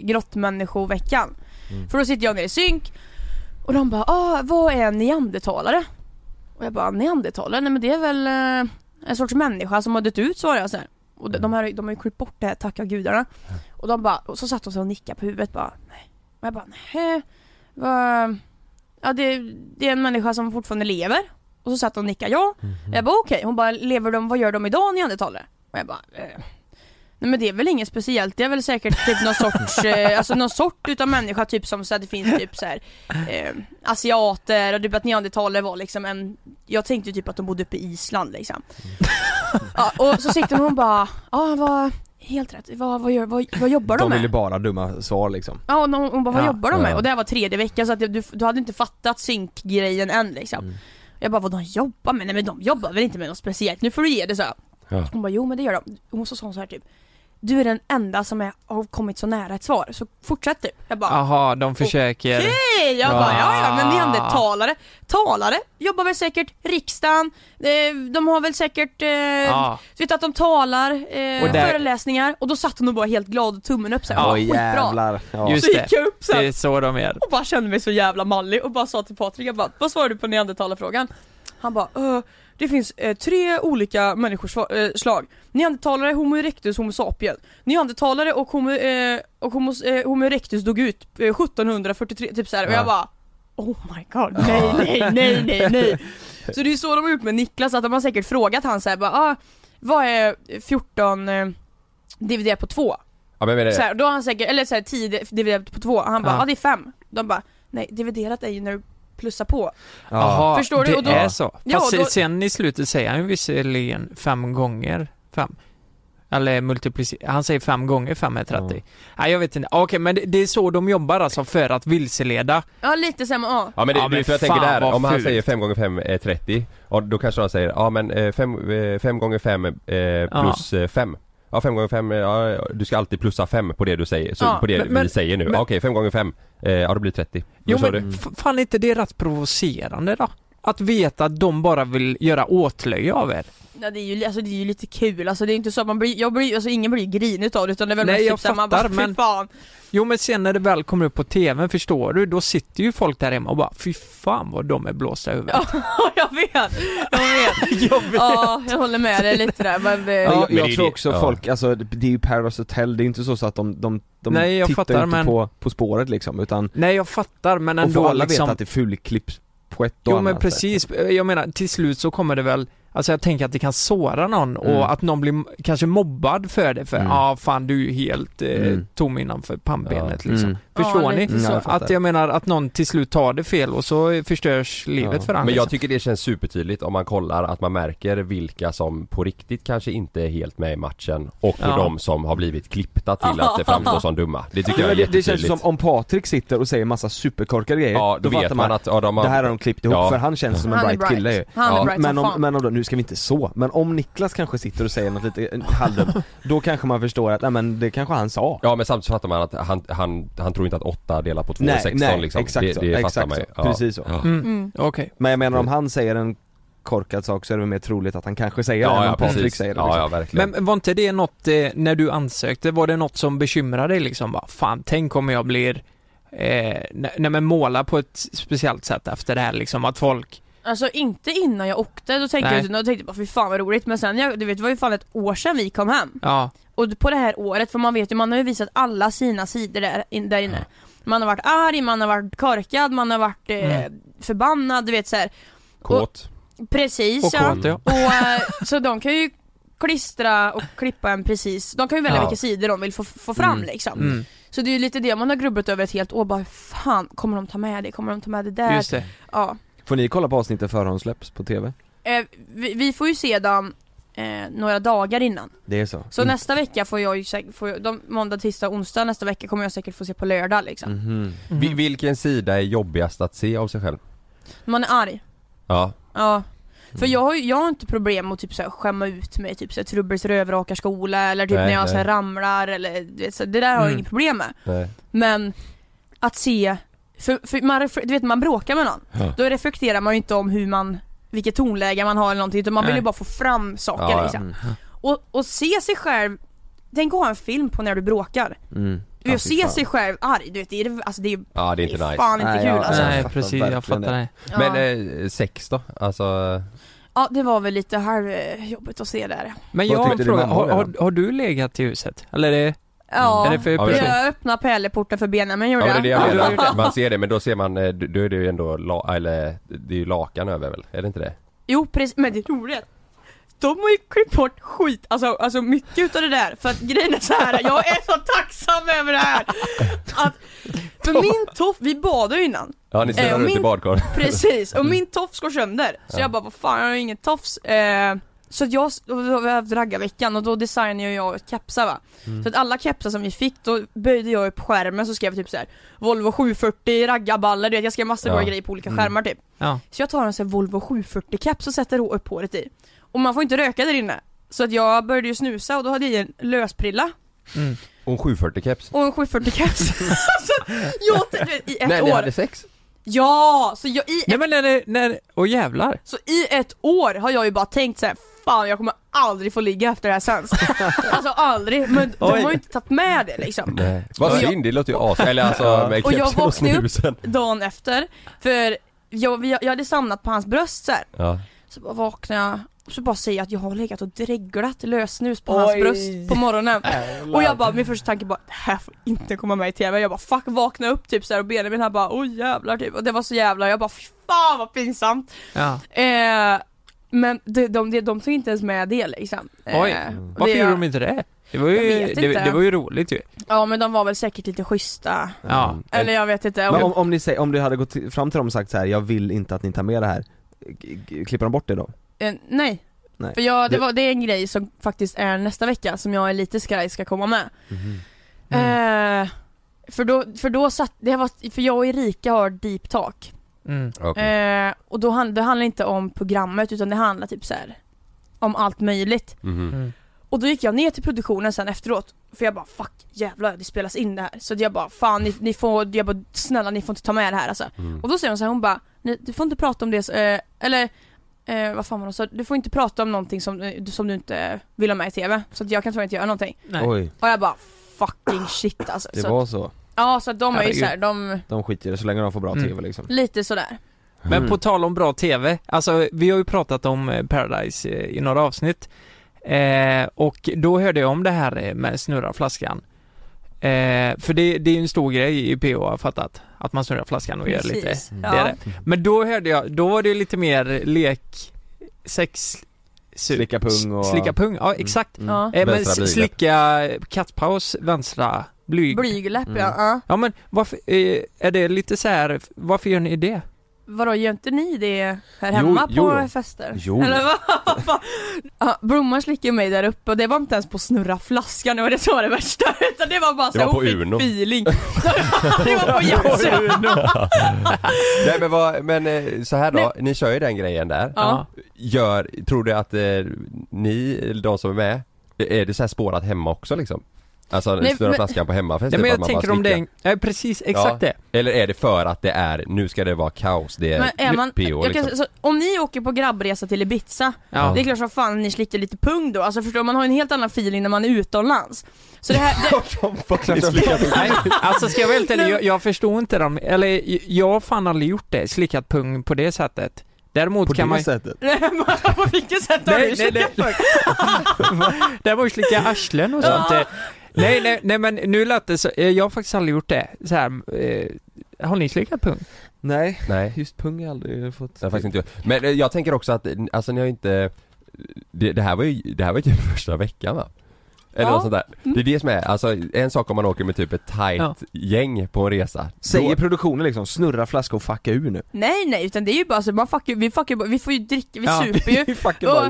Speaker 6: grottmänniskoveckan. För då sitter jag nere i synk och de bara ah, vad är en neandertalare? Och jag bara neandertalare? Nej men det är väl eh, en sorts människa som har dött ut svarade jag så här. Och de, de, här, de har ju klippt bort det här, tacka gudarna. Och de bara, och så satt de sig och nickade på huvudet bara nej. Och jag bara nej. Vad... Ja det, det är en människa som fortfarande lever. Och så satt hon och nickade ja.
Speaker 2: Mhm.
Speaker 6: Jag bara okej, hon bara lever de, vad gör de idag neandertalare? Och jag bara eh. Nej men det är väl inget speciellt, det är väl säkert typ någon sorts, eh, alltså någon sort utav människa typ som så att det finns typ så här, eh, asiater och typ att neandertalare var liksom en, jag tänkte typ att de bodde uppe i Island liksom.
Speaker 2: Mm.
Speaker 6: Ja, och så sitter hon och bara, ja vad, helt rätt, vad, vad, gör, vad, vad jobbar de,
Speaker 2: De
Speaker 6: med?
Speaker 2: vill ju bara dumma svar liksom
Speaker 6: Ja och hon, hon bara, vad
Speaker 3: Ja.
Speaker 6: jobbar de med?
Speaker 2: Ja.
Speaker 6: Och det här var tredje veckan så att du, du hade inte fattat synkgrejen än liksom.
Speaker 3: Mm.
Speaker 6: Jag bara, vad de jobbar med? Nej men de jobbar väl inte med något speciellt, nu får du ge det så.
Speaker 4: Ja.
Speaker 6: Hon bara, jo men det gör de. Hon så sa hon så här typ, du är den enda som är, har kommit så nära ett svar, så fortsätt typ. Jag bara,
Speaker 3: Aha, de försöker.
Speaker 6: Hej! Jag bara, ja ja men vi hade
Speaker 3: Ah.
Speaker 6: talare. Talare jobbar väl säkert riksdagen, eh, de har väl säkert, eh,
Speaker 3: Ah.
Speaker 6: du vet att de talar, eh,
Speaker 3: Och där-
Speaker 6: föreläsningar och då satt hon och bara helt glad och tummen upp såhär,
Speaker 3: Ja,
Speaker 6: ja, skitbra.
Speaker 2: ja.
Speaker 3: Just
Speaker 6: Så gick jag upp
Speaker 3: Det
Speaker 6: såhär
Speaker 3: är så de är.
Speaker 6: och bara kände mig så jävla mallig och bara sa till Patrik, jag bara, vad svarar du på neandertalarfrågan? Han bara, "Eh, det finns eh, tre olika människoslag. Neandertalare, Homo erectus, Homo sapien. Neandertalare och Homo, eh, och homo, eh, homo erectus dog ut eh, 1743, typ såhär. Och jag bara, oh my god, nej nej nej nej nej. Så det är så de har gjort med Niklas, att de har säkert frågat han såhär bara, ah, vad är 14 eh, dividerat på 2?
Speaker 4: Ja men jag menar,
Speaker 6: Så här, då har han säkert, eller så här, 10 di- dividerat på två, han bara
Speaker 3: Eh. Ja.
Speaker 6: ja ah, det är fem. De bara nej dividerat är ju när du plussar på.
Speaker 3: Aha,
Speaker 6: Förstår du?
Speaker 3: det
Speaker 6: Och då-
Speaker 3: är så.
Speaker 6: Ja,
Speaker 3: Fast
Speaker 6: då-
Speaker 3: sen i slutet säger han ju visserligen fem gånger fem. Eller multiplicera, han säger fem gånger fem är 30. Nej jag vet inte, okej men det, det är så de jobbar alltså för att vilseleda.
Speaker 6: Ja lite så här, men, ja.
Speaker 4: Ja men det,
Speaker 3: Ja, men
Speaker 4: det, för jag
Speaker 3: fan
Speaker 4: tänker där,
Speaker 3: vad
Speaker 4: om han
Speaker 3: fult.
Speaker 4: säger 5 gånger 5 är 30 och Då kanske han säger, ja men eh, 5 gånger 5 plus 5 Ja 5 gånger 5 ja, du ska alltid plussa 5 på det du säger, så,
Speaker 6: Ja,
Speaker 4: på det
Speaker 3: men- men-
Speaker 4: vi säger nu.
Speaker 3: men-
Speaker 4: Ja, Okej 5 gånger 5, ja det blir 30.
Speaker 3: Jo
Speaker 4: Då sa
Speaker 3: men
Speaker 4: du.
Speaker 3: f- fan är inte det rätt provocerande då? Att veta att de bara vill göra åtlöje av er.
Speaker 6: Nej, det, är ju, alltså, det är ju lite kul, alltså, det är inte så att man blir, jag blir, alltså, ingen blir ju grinig utav det utan det är väl
Speaker 3: Nej,
Speaker 6: mest
Speaker 3: jag
Speaker 6: typ så här, man
Speaker 3: fattar,
Speaker 6: bara, "Fy
Speaker 3: men-
Speaker 6: fan.
Speaker 3: Jo men sen när det väl kommer upp på TVn förstår du, då sitter ju folk där hemma och bara fy fan vad de är blåsta i huvudet.
Speaker 6: Ja, jag vet, jag vet.
Speaker 3: jag vet.
Speaker 6: Ja, jag håller med dig lite där men, eh,
Speaker 2: Ja,
Speaker 4: men
Speaker 2: jag
Speaker 4: det är
Speaker 2: tror
Speaker 4: det-
Speaker 2: också
Speaker 4: ja.
Speaker 2: folk, alltså det det är ju Paradise Hotel, det är inte så, så att de, de, de
Speaker 3: Nej, jag
Speaker 2: tittar
Speaker 3: fattar,
Speaker 2: inte
Speaker 3: men-
Speaker 2: på, på spåret liksom utan,
Speaker 3: Nej jag fattar men
Speaker 2: och
Speaker 3: ändå
Speaker 2: får alla
Speaker 3: liksom...
Speaker 2: veta att det är fulklipp på ett och
Speaker 3: Jo men
Speaker 2: annat sätt.
Speaker 3: precis, jag menar till slut så kommer det väl Alltså jag tänker att det kan såra någon
Speaker 2: Mm.
Speaker 3: och att någon blir m- kanske mobbad för det för ja
Speaker 2: Mm.
Speaker 3: ah, fan du är ju helt eh,
Speaker 2: Mm.
Speaker 3: tom innanför pannbenet
Speaker 2: Ja.
Speaker 3: liksom.
Speaker 2: Mm.
Speaker 3: Förstår
Speaker 6: Ja,
Speaker 3: ni?
Speaker 6: lite så.
Speaker 2: Ja, jag fattar.
Speaker 3: att jag menar att någon till slut tar det fel och så eh, förstörs livet
Speaker 2: Ja.
Speaker 3: för han
Speaker 4: Men jag
Speaker 3: liksom.
Speaker 4: tycker det känns supertydligt om man kollar att man märker vilka som på riktigt kanske inte är helt med i matchen och
Speaker 3: Ja.
Speaker 4: de som har blivit klippta till att det framstår som dumma. Det tycker jag är
Speaker 2: Men det, det känns
Speaker 4: jättetydligt.
Speaker 2: ju som om Patrik sitter och säger massa superkorkade grejer,
Speaker 4: Ja, då, vet
Speaker 2: fattar
Speaker 4: man att ja, de har...
Speaker 2: det här har de klippt ihop
Speaker 4: Ja.
Speaker 2: för han känns som en
Speaker 6: Han är
Speaker 2: bright, kille ju
Speaker 6: bright. Han är
Speaker 2: Ja.
Speaker 6: bright som
Speaker 2: men, om,
Speaker 6: fan.
Speaker 2: men om, de- nu nu ska vi inte så, men om Niklas kanske sitter och säger något lite eh, halvdumt, då kanske man förstår att, nej men det kanske han sa
Speaker 4: Ja men samtidigt så fattar man att han, han, han tror inte att 8 delat på 2 är
Speaker 2: Nej,
Speaker 4: 16
Speaker 2: nej,
Speaker 4: liksom.
Speaker 2: exakt
Speaker 4: det,
Speaker 2: så,
Speaker 4: det fattar
Speaker 2: exakt
Speaker 4: man ju.
Speaker 2: så. Precis så.
Speaker 4: Ja.
Speaker 3: Mm. Okej.
Speaker 2: Men jag menar om han säger en korkad sak så är det väl mer troligt att han kanske säger det
Speaker 4: Ja,
Speaker 2: än
Speaker 4: ja,
Speaker 2: om Patrik
Speaker 4: precis.
Speaker 2: säger det
Speaker 4: Ja,
Speaker 2: liksom.
Speaker 4: ja, verkligen.
Speaker 3: Men var inte det något, eh, när du ansökte, var det något som bekymrade dig liksom? Bara, fan, tänk om jag blir, eh, nej nej, men måla på ett speciellt sätt efter det här liksom, att folk
Speaker 6: Alltså inte innan jag åkte, då tänkte
Speaker 3: Nej.
Speaker 6: jag då tänkte jag bara fy fan vad roligt men sen, jag, du vet det var ju fan ett år sedan vi kom hem
Speaker 3: Ja,
Speaker 6: Och på det här året, för man vet ju, man har ju visat alla sina sidor där, in, där inne Man har varit arg, man har varit korkad, man har varit eh,
Speaker 3: Mm.
Speaker 6: förbannad, du vet så här.
Speaker 4: Kåt.
Speaker 6: Precis
Speaker 3: och
Speaker 6: ja.
Speaker 3: kåt ja.
Speaker 6: Och, eh, så de kan ju klistra och klippa en precis, de kan ju välja
Speaker 4: Ja.
Speaker 6: vilka sidor de vill få, få fram liksom
Speaker 3: Mm,
Speaker 6: Så det är ju lite det man har grubblat över ett helt år, bara fan kommer de ta med det, kommer de ta med det där?
Speaker 3: Mm. just det.
Speaker 6: Ja.
Speaker 2: Får ni kolla på avsnittet förhandsläpps på TV?
Speaker 6: Eh, vi, vi får ju se dem eh, några dagar innan
Speaker 2: Det är så? Mm.
Speaker 6: Så
Speaker 3: Mm.
Speaker 6: nästa vecka får jag ju säkert, får jag, de, måndag, tisdag, onsdag nästa vecka kommer jag säkert få se på lördag liksom
Speaker 2: Mhm.
Speaker 4: Vi- Vilken sida är jobbigast att se av sig själv?
Speaker 6: Man är arg,
Speaker 4: Ja,
Speaker 6: ja
Speaker 4: Mm.
Speaker 6: För jag har, ju- jag har inte problem med att typ så här, skämma ut mig, typ såhär trubbels rövrakarsskola eller typ
Speaker 4: Nej,
Speaker 6: när jag så här,
Speaker 4: nej.
Speaker 6: ramlar eller du vet, så, här, det där har jag
Speaker 3: Mm.
Speaker 6: inget problem med
Speaker 4: nej.
Speaker 6: Men att se, för, för man, refle- du vet man bråkar med någon,
Speaker 4: Ja.
Speaker 6: då reflekterar man ju inte om hur man, vilket tonläge man har eller någonting utan man vill
Speaker 3: Nej.
Speaker 6: ju bara få fram saker
Speaker 4: Ja, ja.
Speaker 6: liksom
Speaker 2: Mm.
Speaker 6: och, och se sig själv, tänk att ha en film på när du bråkar
Speaker 2: Mm. Ja,
Speaker 6: Jag
Speaker 2: fy
Speaker 6: ser
Speaker 2: fan.
Speaker 6: sig själv arg, du vet det är, alltså, det är,
Speaker 4: ja det är
Speaker 6: det
Speaker 4: inte
Speaker 6: är
Speaker 4: nice.
Speaker 6: fan inte
Speaker 2: Nej,
Speaker 6: kul
Speaker 2: ja,
Speaker 6: alltså.
Speaker 2: jag
Speaker 3: Nej
Speaker 2: fattar
Speaker 3: precis, jag
Speaker 2: verkligen
Speaker 3: fattar det.
Speaker 6: ja.
Speaker 4: Men eh, sex då? Alltså,
Speaker 6: ja det var väl lite halvjobbigt att se där
Speaker 3: Men
Speaker 2: Vad
Speaker 3: jag har en
Speaker 2: tyckte din
Speaker 3: fråga,
Speaker 2: mamma
Speaker 3: har,
Speaker 2: då?
Speaker 3: har, har du legat i huset? Eller är det,
Speaker 6: Ja,
Speaker 3: är det för
Speaker 4: Ja,
Speaker 3: person?
Speaker 6: jag öppnade pärleporten för Benjamin
Speaker 4: ja
Speaker 6: gjorde
Speaker 4: men det är det jag
Speaker 6: Ja,
Speaker 4: menar. Man ser det men då ser man, eh, då är det ju ändå, la, eller det är ju lakan över väl? Är det inte det?
Speaker 6: Jo precis, men det är roligt de har ju klippt bort skit, alltså, alltså mycket utav det där för att grejen är så här. jag är så tacksam över det här! Att, för min toff, vi badade ju innan,
Speaker 4: Ja ni
Speaker 6: Eh,
Speaker 4: stirrar ut i
Speaker 6: min-
Speaker 4: badkar.
Speaker 6: precis,
Speaker 4: Mm.
Speaker 6: och min tofs går sönder så jag bara vad fan jag har ju ingen tofs eh, så att jag, då har vi haft raggarveckan och då designade ju jag kepsar va
Speaker 4: Mm.
Speaker 6: Så att alla kepsar som vi fick, då böjde jag upp skärmen så skrev jag typ så här Volvo 740 raggarballer, du vet jag skrev massor
Speaker 4: Ja. Mm.
Speaker 6: av grejer på olika skärmar typ
Speaker 3: Ja.
Speaker 6: Så jag tar en sån här Volvo 740 keps och sätter upp håret i Och man får inte röka där inne Så att jag började ju snusa och då hade jag i en lösprilla
Speaker 4: Och en 740 keps.
Speaker 6: och en 740 keps Så jag, du vet, i ett
Speaker 4: Nej ni
Speaker 6: år
Speaker 4: hade sex?
Speaker 6: Ja! Så jag, i
Speaker 3: Nej men när det, när, åh jävlar.
Speaker 6: Så i ett år har jag ju bara tänkt så här, fan jag kommer aldrig få ligga efter det här sen. alltså aldrig, men de
Speaker 3: Oj.
Speaker 6: har ju inte tagit med det liksom.
Speaker 4: Nej. Vad
Speaker 6: Och jag-
Speaker 4: synd, det låter ju as... Eller alltså med
Speaker 6: Och jag
Speaker 4: kepsen och
Speaker 6: vaknade upp.
Speaker 4: snusen.
Speaker 6: Dagen efter, för jag, vi- jag hade samlat på hans bröst så här.
Speaker 4: Ja.
Speaker 6: så bara vaknade jag och så bara säger jag att jag har legat och dreglat lösnus på hans bröst på morgonen. Och jag bara, min första tanke bara, det här får inte komma med i TV. Jag bara fuck, vakna upp typ så här och Benjamin här bara, oj jävlar typ. Och det var så jävla, jag bara fy fan vad pinsamt.
Speaker 3: Ja.
Speaker 6: Eh, men de, de, de, de tog inte ens med det liksom. Eh,
Speaker 3: Oj,
Speaker 2: Mm.
Speaker 6: och
Speaker 3: Varför
Speaker 6: det-
Speaker 3: gjorde de inte det? Det var
Speaker 6: Jag
Speaker 3: ju,
Speaker 6: vet
Speaker 3: det,
Speaker 6: inte.
Speaker 3: det var ju roligt ju.
Speaker 6: Ja men de var väl säkert lite schyssta.
Speaker 3: Ja.
Speaker 6: Eller jag vet inte.
Speaker 2: Mm. Men om, om, ni säger, om du hade gått till- fram till dem och sagt så här, jag vill inte att ni tar med det här, g- g- klipper de bort det då?
Speaker 6: Eh, nej.
Speaker 2: Nej.
Speaker 6: För jag, det,
Speaker 2: Det-
Speaker 6: var, det är en grej som faktiskt är nästa vecka som jag är lite skraj ska komma med.
Speaker 3: Mhm.
Speaker 6: Eh, för då, för då satt, det var, för jag och Erika har deep talk.
Speaker 3: Mm.
Speaker 4: Okej.
Speaker 6: Eh, och då hand, det handlar inte om programmet utan det handlar typ så här om allt möjligt.
Speaker 4: Mhm.
Speaker 3: Mm.
Speaker 6: Och då gick jag ner till produktionen sen efteråt För jag bara fuck jävlar det spelas in det här Så jag bara fan ni, ni får, jag bara snälla ni får inte ta med det här alltså
Speaker 4: Mm.
Speaker 6: Och då säger hon så här, hon bara "Ni- du får inte prata om det, så- eh, eller eh, vad fan var det hon sa? Du får inte prata om någonting som, eh, du- som du inte vill ha med i TV Så att jag kan tyvärr inte göra någonting
Speaker 3: Nej.
Speaker 2: Oj,
Speaker 6: Och jag bara fucking shit alltså
Speaker 2: det
Speaker 6: så,
Speaker 2: var så.
Speaker 6: Ja så att de är ju
Speaker 3: Herregud.
Speaker 6: såhär, de,
Speaker 2: De skiter i det så länge de får bra
Speaker 3: Mm.
Speaker 2: TV liksom.
Speaker 6: lite sådär
Speaker 3: Men
Speaker 2: Mm.
Speaker 3: på tal om bra TV, alltså vi har ju pratat om eh, Paradise eh, i några avsnitt eh, och då hörde jag om det här eh, med snurra flaskan. Eh, för det, det är ju en stor grej i PO har jag fattat, att man snurrar flaskan och gör lite
Speaker 6: Precis.
Speaker 3: det är
Speaker 6: Ja.
Speaker 3: det. Men då hörde jag, då var det ju lite mer lek, sex, su-
Speaker 2: typ Slicka pung och...
Speaker 3: slicka pung, ja exakt.
Speaker 2: Mm.
Speaker 6: Ja.
Speaker 3: Eh, men
Speaker 4: Vänstra
Speaker 3: s-
Speaker 4: blygdläpp.
Speaker 3: slicka kattpaus, vänstra blyg.
Speaker 6: Blygläpp
Speaker 2: Mm.
Speaker 6: ja, ja.
Speaker 3: Ja men varför, eh, är det lite så här, varför gör ni det?
Speaker 6: Vadå, gör inte ni det här
Speaker 2: Jo,
Speaker 6: hemma
Speaker 2: jo
Speaker 6: på
Speaker 2: då.
Speaker 6: fester?
Speaker 2: Jo då.
Speaker 6: Eller vad? fan? ja, Bromma slickade mig där uppe och det var inte ens på snurra flaskan, det var det som var det värsta. Utan det var bara
Speaker 4: Det
Speaker 6: så här,
Speaker 4: var på
Speaker 6: hon fick
Speaker 4: Uno.
Speaker 6: feeling. det var på Jazzy.
Speaker 4: Nej men vad, men eh, så här då, ni kör ju den grejen där.
Speaker 6: Ja.
Speaker 4: Gör, tror du att eh, ni, eller de som är med, är det så här spårat hemma också liksom? Alltså
Speaker 3: Nej,
Speaker 4: snurra
Speaker 3: men-
Speaker 4: flaskan på hemmafest?
Speaker 3: Nej,
Speaker 4: typ, att
Speaker 3: men jag
Speaker 4: man bara
Speaker 3: tänker om det
Speaker 4: slickar.
Speaker 3: är, ja, precis, exakt
Speaker 4: Ja.
Speaker 3: det.
Speaker 4: Eller är det för att det är, nu ska det vara kaos, det är,
Speaker 6: Men är man,
Speaker 4: PO
Speaker 6: jag kan,
Speaker 4: liksom.
Speaker 6: så, om ni åker på grabbresa till Ibiza,
Speaker 4: Ja.
Speaker 6: det är klart som fan ni slickar lite pung då, alltså förstår du, man har ju en helt annan feeling när man är utomlands. Så det här, det,
Speaker 3: Nej, alltså ska jag vara helt ärlig, jag, jag förstår inte dem, eller jag har fan aldrig gjort det, slickat pung på det sättet. Däremot
Speaker 2: På
Speaker 3: kan
Speaker 2: det
Speaker 3: man
Speaker 2: sättet?
Speaker 6: på vilket sätt har
Speaker 3: Nej,
Speaker 6: du
Speaker 3: nej, nej. Däremot slicka arslen och sånt. eh. Nej, nej, nej men nu lät det så, eh, jag har faktiskt aldrig gjort det. Så här, eh, har ni slickat pung?
Speaker 2: Nej,
Speaker 4: Nej,
Speaker 2: just pung har jag aldrig fått
Speaker 4: det har faktiskt inte gjort. Men eh, jag tänker också att, eh, alltså ni har ju inte, det, det här var ju, det här var ju typ första veckan va? Eller
Speaker 6: Ja.
Speaker 4: något sånt där. Det är det som är, alltså en sak om man åker med typ ett tight
Speaker 3: Ja.
Speaker 4: gäng på en resa.
Speaker 2: Säger produktionen liksom, snurra flaska och fucka ur nu
Speaker 6: Nej nej, utan det är ju bara så, man fuckar, ju- vi fuckar ju bara- vi får ju dricka, vi
Speaker 3: Ja.
Speaker 6: super ju.
Speaker 2: Fucka
Speaker 6: Och,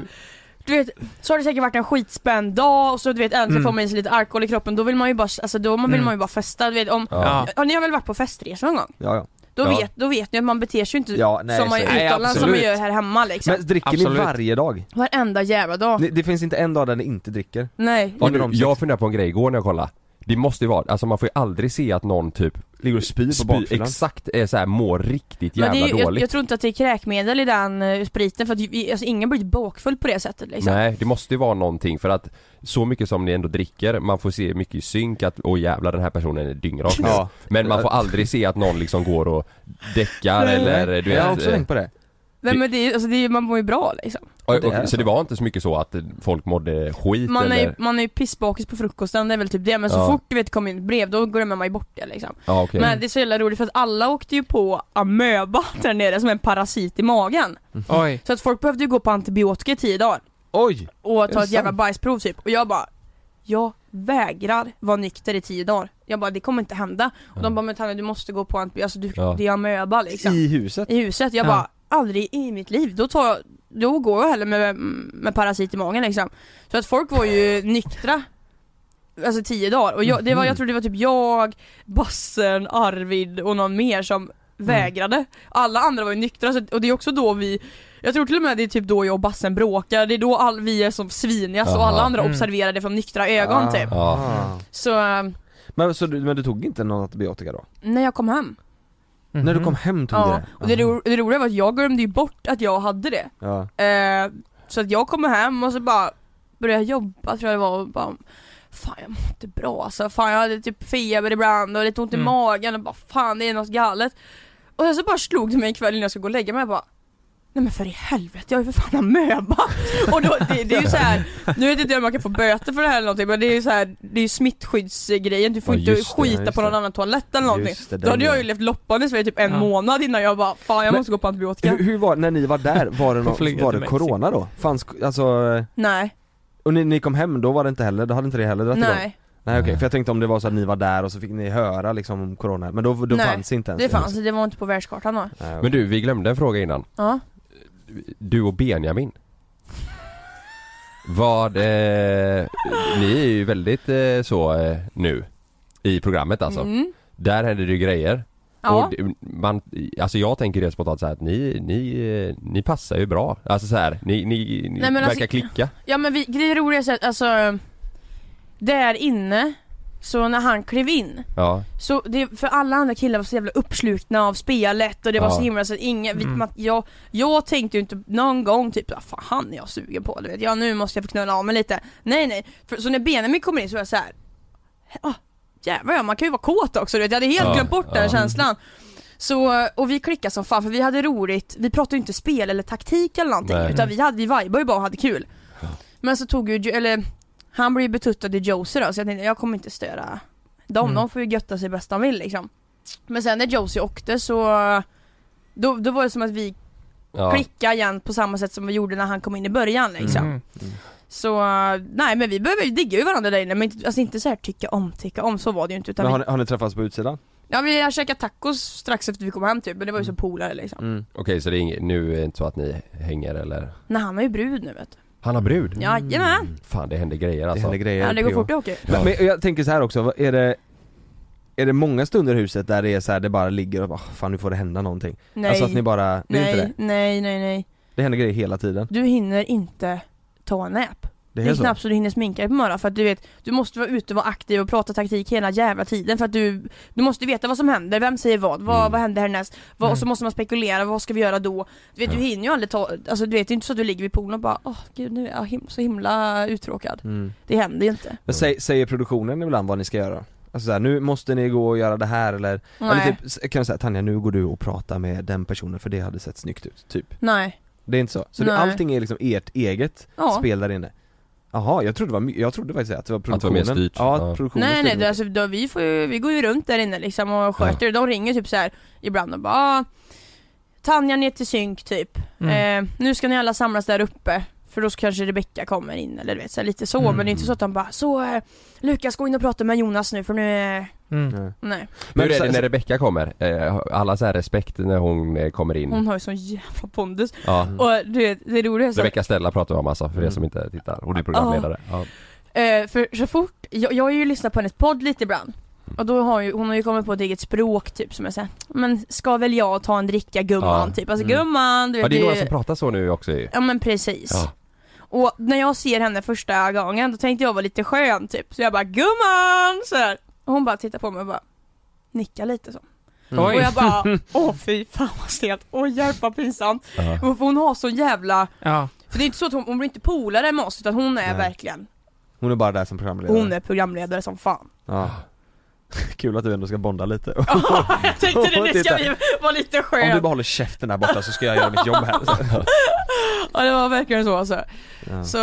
Speaker 6: du vet, så har det säkert varit en skitspänd dag och så du vet äntligen
Speaker 3: Mm.
Speaker 6: får man i sig lite alkohol i kroppen, då vill man ju bara, alltså då man vill
Speaker 3: Mm.
Speaker 6: man ju bara festa, du vet om
Speaker 4: Ja.
Speaker 3: Ja.
Speaker 6: Ja, ni har väl varit på festresa någon gång?
Speaker 2: Ja, ja.
Speaker 6: Då,
Speaker 4: Ja.
Speaker 6: vet, då vet ni att man beter sig ju inte
Speaker 2: Ja, nej,
Speaker 6: som man
Speaker 2: så-
Speaker 6: gör
Speaker 3: nej,
Speaker 6: utomlands som man
Speaker 2: absolut.
Speaker 6: gör här hemma liksom.
Speaker 2: Men dricker
Speaker 3: Absolut.
Speaker 2: ni varje dag?
Speaker 6: Varenda jävla dag.
Speaker 2: Det, det finns inte en dag där ni inte dricker
Speaker 6: Nej.
Speaker 4: Ja,
Speaker 2: Under
Speaker 4: du,
Speaker 2: de typ- sex-
Speaker 4: jag funderar på en grej igår när jag kollade. Det måste ju vara, alltså man får ju aldrig se att någon typ
Speaker 2: Ligger och spyr på
Speaker 4: spy,
Speaker 2: bakfyllan
Speaker 4: exakt är så här, mår riktigt
Speaker 6: Men
Speaker 4: jävla
Speaker 6: det är, ju- jag,
Speaker 4: dåligt.
Speaker 6: jag tror inte att det är kräkmedel i den eh, spriten för att vi, alltså, ingen blir bakfull på det sättet liksom.
Speaker 4: Nej, det måste ju vara någonting för att så mycket som ni ändå dricker, man får se mycket i synk att åh jävlar den här personen är dyngrak nu.
Speaker 2: Ja.
Speaker 4: Men man får aldrig se att någon liksom går och däckar
Speaker 2: Nej.
Speaker 4: eller du
Speaker 2: Jag har
Speaker 4: vet.
Speaker 2: också
Speaker 4: eh,
Speaker 2: tänkt på det
Speaker 6: Nej men det är, alltså, det är, man mår ju bra liksom.
Speaker 4: och,
Speaker 2: Det
Speaker 4: och,
Speaker 2: är
Speaker 4: så det var inte så mycket så att folk mådde skit
Speaker 6: Man är,
Speaker 4: eller?
Speaker 6: ju- man är ju pissbakis på frukosten, det är väl typ det. Men så
Speaker 4: Ja.
Speaker 6: fort du vet kommer in ett brev, då glömmer man ju bort det liksom.
Speaker 4: Ja okej.
Speaker 6: Men det är så jävla roligt för att alla åkte ju på amöba där nere som en parasit i magen.
Speaker 3: Oj.
Speaker 6: Så att folk behövde ju gå på antibiotika i tio dagar
Speaker 2: Oj!
Speaker 6: och
Speaker 2: det
Speaker 6: ta ett jävla
Speaker 2: sant?
Speaker 6: bajsprov typ. Och jag bara, jag vägrar vara nykter i tio dagar. Jag bara, det kommer inte hända. Och de bara, men Tanja du måste gå på antibiotika, alltså du,
Speaker 4: Ja.
Speaker 6: det är amöba liksom.
Speaker 2: I huset?
Speaker 6: I huset, jag
Speaker 3: Ja.
Speaker 6: bara, aldrig i mitt liv. Då tar jag, då går jag hellre med, med parasit i magen liksom. Så att folk var ju nyktra Alltså tio dagar, och jag, det
Speaker 2: Mhm.
Speaker 6: var, jag tror det var typ jag, Bassen, Arvid och någon mer som
Speaker 2: Mm.
Speaker 6: vägrade Alla andra var ju nyktra, så, och det är också då vi Jag tror till och med det är typ då jag och Bassen bråkar, det är då all, vi är som svinigast och alla
Speaker 4: Aha.
Speaker 6: andra
Speaker 3: Mm.
Speaker 6: observerar det från nyktra ögon typ
Speaker 4: Ja.
Speaker 2: Ah.
Speaker 6: Så, eh,
Speaker 2: Men, så du, men du tog inte någon antibiotika då?
Speaker 6: när jag kom hem,
Speaker 2: När
Speaker 6: Mhm.
Speaker 2: du kom hem tog du
Speaker 6: ja,
Speaker 2: Mm-hmm. det?
Speaker 6: och det, ro, det roliga var att jag glömde ju bort att jag hade det
Speaker 2: Ja.
Speaker 6: Eh, så att jag kommer hem och så bara börjar jag jobba tror jag det var och bara Fan jag mår inte bra alltså, fan jag hade typ feber ibland och lite ont i
Speaker 3: Mm.
Speaker 6: magen och bara fan det är något galet Och sen så bara slog det mig en kväll innan jag skulle gå och lägga mig jag bara Nej men för i helvete, jag är ju för fan amöba! Och då, det, det är ju så här, nu vet inte jag om man kan få böter för det här eller någonting men det är ju så här, det är ju smittskyddsgrejen, du får
Speaker 4: Ja,
Speaker 6: inte
Speaker 4: just det,
Speaker 6: skita
Speaker 2: just
Speaker 6: på någon
Speaker 2: det.
Speaker 6: annan toalett eller någonting
Speaker 2: Just det,
Speaker 6: Då hade
Speaker 2: den
Speaker 6: jag
Speaker 2: är-
Speaker 6: ju levt loppanis för typ en
Speaker 3: Ja.
Speaker 6: månad innan jag bara fan jag
Speaker 2: Men-
Speaker 6: måste gå på antibiotika
Speaker 2: Hur, hur var när ni var där, var det,
Speaker 3: Får flyga
Speaker 2: någon, var det
Speaker 3: till Mexiko.
Speaker 2: corona då? Fanns, alltså,
Speaker 6: Nej,
Speaker 2: och ni, ni kom hem, då var det inte heller, då hade inte det heller dragit igång?
Speaker 6: nej
Speaker 2: Nej okej, för jag tänkte om det var så att ni var där och så fick ni höra liksom om corona, men då, då
Speaker 6: Nej,
Speaker 2: fanns inte ens
Speaker 6: Det fanns, det var inte på världskartan då.
Speaker 2: Nej, okej.
Speaker 4: Men du, vi glömde en fråga innan.
Speaker 6: Ja.
Speaker 4: Du och Benjamin. Vad, eh, ni är ju väldigt eh, så eh, nu i programmet alltså.
Speaker 6: Mm.
Speaker 4: Där händer det ju grejer.
Speaker 6: Ja.
Speaker 4: Och det- man, alltså jag tänker rent spontant så här att ni, ni, eh, ni passar ju bra. Alltså så här, ni, ni, ni
Speaker 6: Nej, men
Speaker 4: verkar
Speaker 6: alltså-
Speaker 4: klicka.
Speaker 6: ja men vi, det roliga är så att alltså Där inne, så när han klev in
Speaker 4: Ja.
Speaker 6: så det, för alla andra killar var så jävla uppslukna av spelet och det var
Speaker 4: Ja.
Speaker 6: så himla så att ingen, vi,
Speaker 3: Mm.
Speaker 6: man, jag, jag tänkte ju inte någon gång typ "Ah, fan han är jag sugen på, du vet, ja nu måste jag få knulla av mig lite Nej nej, för, så när Benjamin kommer in så var jag så här. Ah, jävlar ja, man kan ju vara kåt också du vet, jag hade helt
Speaker 4: Ja,
Speaker 6: glömt bort
Speaker 4: ja.
Speaker 6: den känslan så, och vi klickade som fan för vi hade roligt, vi pratade ju inte spel eller taktik eller någonting
Speaker 4: Nej.
Speaker 6: utan vi, hade, vi vibade ju bara och hade kul Men så tog ju, Jo- eller han blev ju betuttad i Josie då så jag tänkte jag kommer inte störa dem,
Speaker 3: Mm.
Speaker 6: de får ju götta sig bäst de vill liksom Men sen när Josie åkte så då, då var det som att vi
Speaker 4: ja.
Speaker 6: klickade igen på samma sätt som vi gjorde när han kom in i början liksom
Speaker 3: Mm.
Speaker 6: Så nej men vi behöver digga ju varandra där inne men inte, alltså inte så här tycka om, tycka om, så var det ju inte utan
Speaker 2: Men har
Speaker 6: vi,
Speaker 2: ni, har ni träffats på utsidan?
Speaker 6: Ja vi har käkat tacos strax efter vi kom hem typ, men det var ju som polare liksom.
Speaker 2: Mm.
Speaker 4: Okej så det är inget, nu är det inte så att ni hänger eller?
Speaker 6: Nej han är ju brud nu vet du.
Speaker 4: Han har brud?
Speaker 6: Jajamän!
Speaker 2: Mm.
Speaker 4: Fan det händer grejer
Speaker 2: Det
Speaker 4: alltså
Speaker 2: händer grejer.
Speaker 6: Ja det går
Speaker 2: P.O.
Speaker 6: fort i hockey.
Speaker 2: Men, men jag tänker så här också, vad- är det är det många stunder i huset där det är så här, det bara ligger och bara, fan nu får det hända någonting?
Speaker 6: Nej,
Speaker 2: Alltså att ni bara, det är inte
Speaker 6: nej,
Speaker 2: det?
Speaker 6: nej, nej, nej.
Speaker 2: Det händer grejer hela tiden?
Speaker 6: Du hinner inte ta en näp.
Speaker 2: Det
Speaker 6: Det
Speaker 2: är,
Speaker 6: är,
Speaker 2: så?
Speaker 6: knappt så du hinner sminka dig på morgonen för att du vet, du måste vara ute och vara aktiv och prata taktik hela jävla tiden för att du Du måste veta vad som händer, vem säger vad, vad,
Speaker 2: Mm.
Speaker 6: vad händer härnäst? Vad, Och så måste man spekulera, vad ska vi göra då? Du vet du hinner ju aldrig ta, alltså du vet det är inte så att du ligger vid poolen och bara åh gud nu är jag him- så himla uttråkad
Speaker 2: Mm.
Speaker 6: Det händer ju inte
Speaker 2: Men säg, säger produktionen ibland vad ni ska göra? Alltså så här, nu måste ni gå och göra det här eller, eller
Speaker 6: Nej,
Speaker 2: typ, s- kan jag säga Tanja nu går du och pratar med den personen för det hade sett snyggt ut, typ
Speaker 6: nej,
Speaker 2: Det är inte så? Så det,
Speaker 6: Nej.
Speaker 2: allting är liksom ert eget
Speaker 6: ja
Speaker 2: spel där inne? Jaha, jag trodde, det var, my- jag trodde faktiskt att det var
Speaker 4: det var mer
Speaker 2: produktionen
Speaker 4: styrt.
Speaker 2: Ja,
Speaker 4: Ja.
Speaker 2: produktionen
Speaker 6: Nej nej,
Speaker 2: styrde
Speaker 6: det, alltså, då, vi, får ju, vi går ju runt där inne liksom och sköter De ringer typ så här ibland och bara "Ah, Tanja ner till synk typ
Speaker 3: Mm.
Speaker 6: Eh, nu ska ni alla samlas där uppe för då kanske Rebecka kommer in eller du vet så här, lite så
Speaker 3: Mm.
Speaker 6: men det är inte så att han bara så eh, Lukas gå in och prata med Jonas nu för nu är...
Speaker 3: Mm.
Speaker 2: mycket. Nej.
Speaker 6: Nej,
Speaker 4: Men hur
Speaker 2: Men
Speaker 4: är det
Speaker 2: så-
Speaker 4: när Rebecca kommer? Eh, Alla så här respekt när hon eh, kommer in
Speaker 6: hon har ju sån jävla pondus
Speaker 4: Ja
Speaker 6: och du vet det roliga är Mm. så
Speaker 4: Rebecca Stella pratar vi om alltså, för er
Speaker 2: Mm.
Speaker 4: som inte tittar. Hon är programledare. Ja.
Speaker 6: eh, för så fort, jag, jag har ju lyssnat på hennes podd lite ibland
Speaker 4: Mm.
Speaker 6: och då har ju, hon har ju kommit på ett eget språk typ som är såhär Men ska väl jag ta en dricka gumman
Speaker 4: Ja.
Speaker 6: typ, alltså
Speaker 2: Mm.
Speaker 6: gumman du vet
Speaker 4: ja, det är några
Speaker 6: ju-
Speaker 4: som pratar så nu också ju.
Speaker 6: Ja men precis
Speaker 4: Ja.
Speaker 6: Och när jag ser henne första gången då tänkte jag vara lite skön typ Så jag bara 'Gumman!' så här. Och hon bara tittar på mig och bara nickar lite så
Speaker 2: Mm.
Speaker 3: Oj.
Speaker 6: Och jag bara 'Åh fy fan vad stelt, åh hjälp vad pinsamt'
Speaker 4: Ja.
Speaker 6: Och För hon har så jävla
Speaker 3: Ja.
Speaker 6: För det är inte så att hon, hon blir inte polare med oss utan hon är
Speaker 2: Nej.
Speaker 6: verkligen
Speaker 2: Hon är bara där som programledare
Speaker 6: Hon är programledare som fan
Speaker 2: Ja. Kul att du ändå ska bonda lite
Speaker 6: Jag tänkte det, nu
Speaker 2: Titta.
Speaker 6: ska vi vara lite
Speaker 2: Om du
Speaker 6: skön
Speaker 2: bara håller käften där borta så ska jag göra mitt jobb här
Speaker 6: Ja det var verkligen så alltså
Speaker 2: ja.
Speaker 6: Så,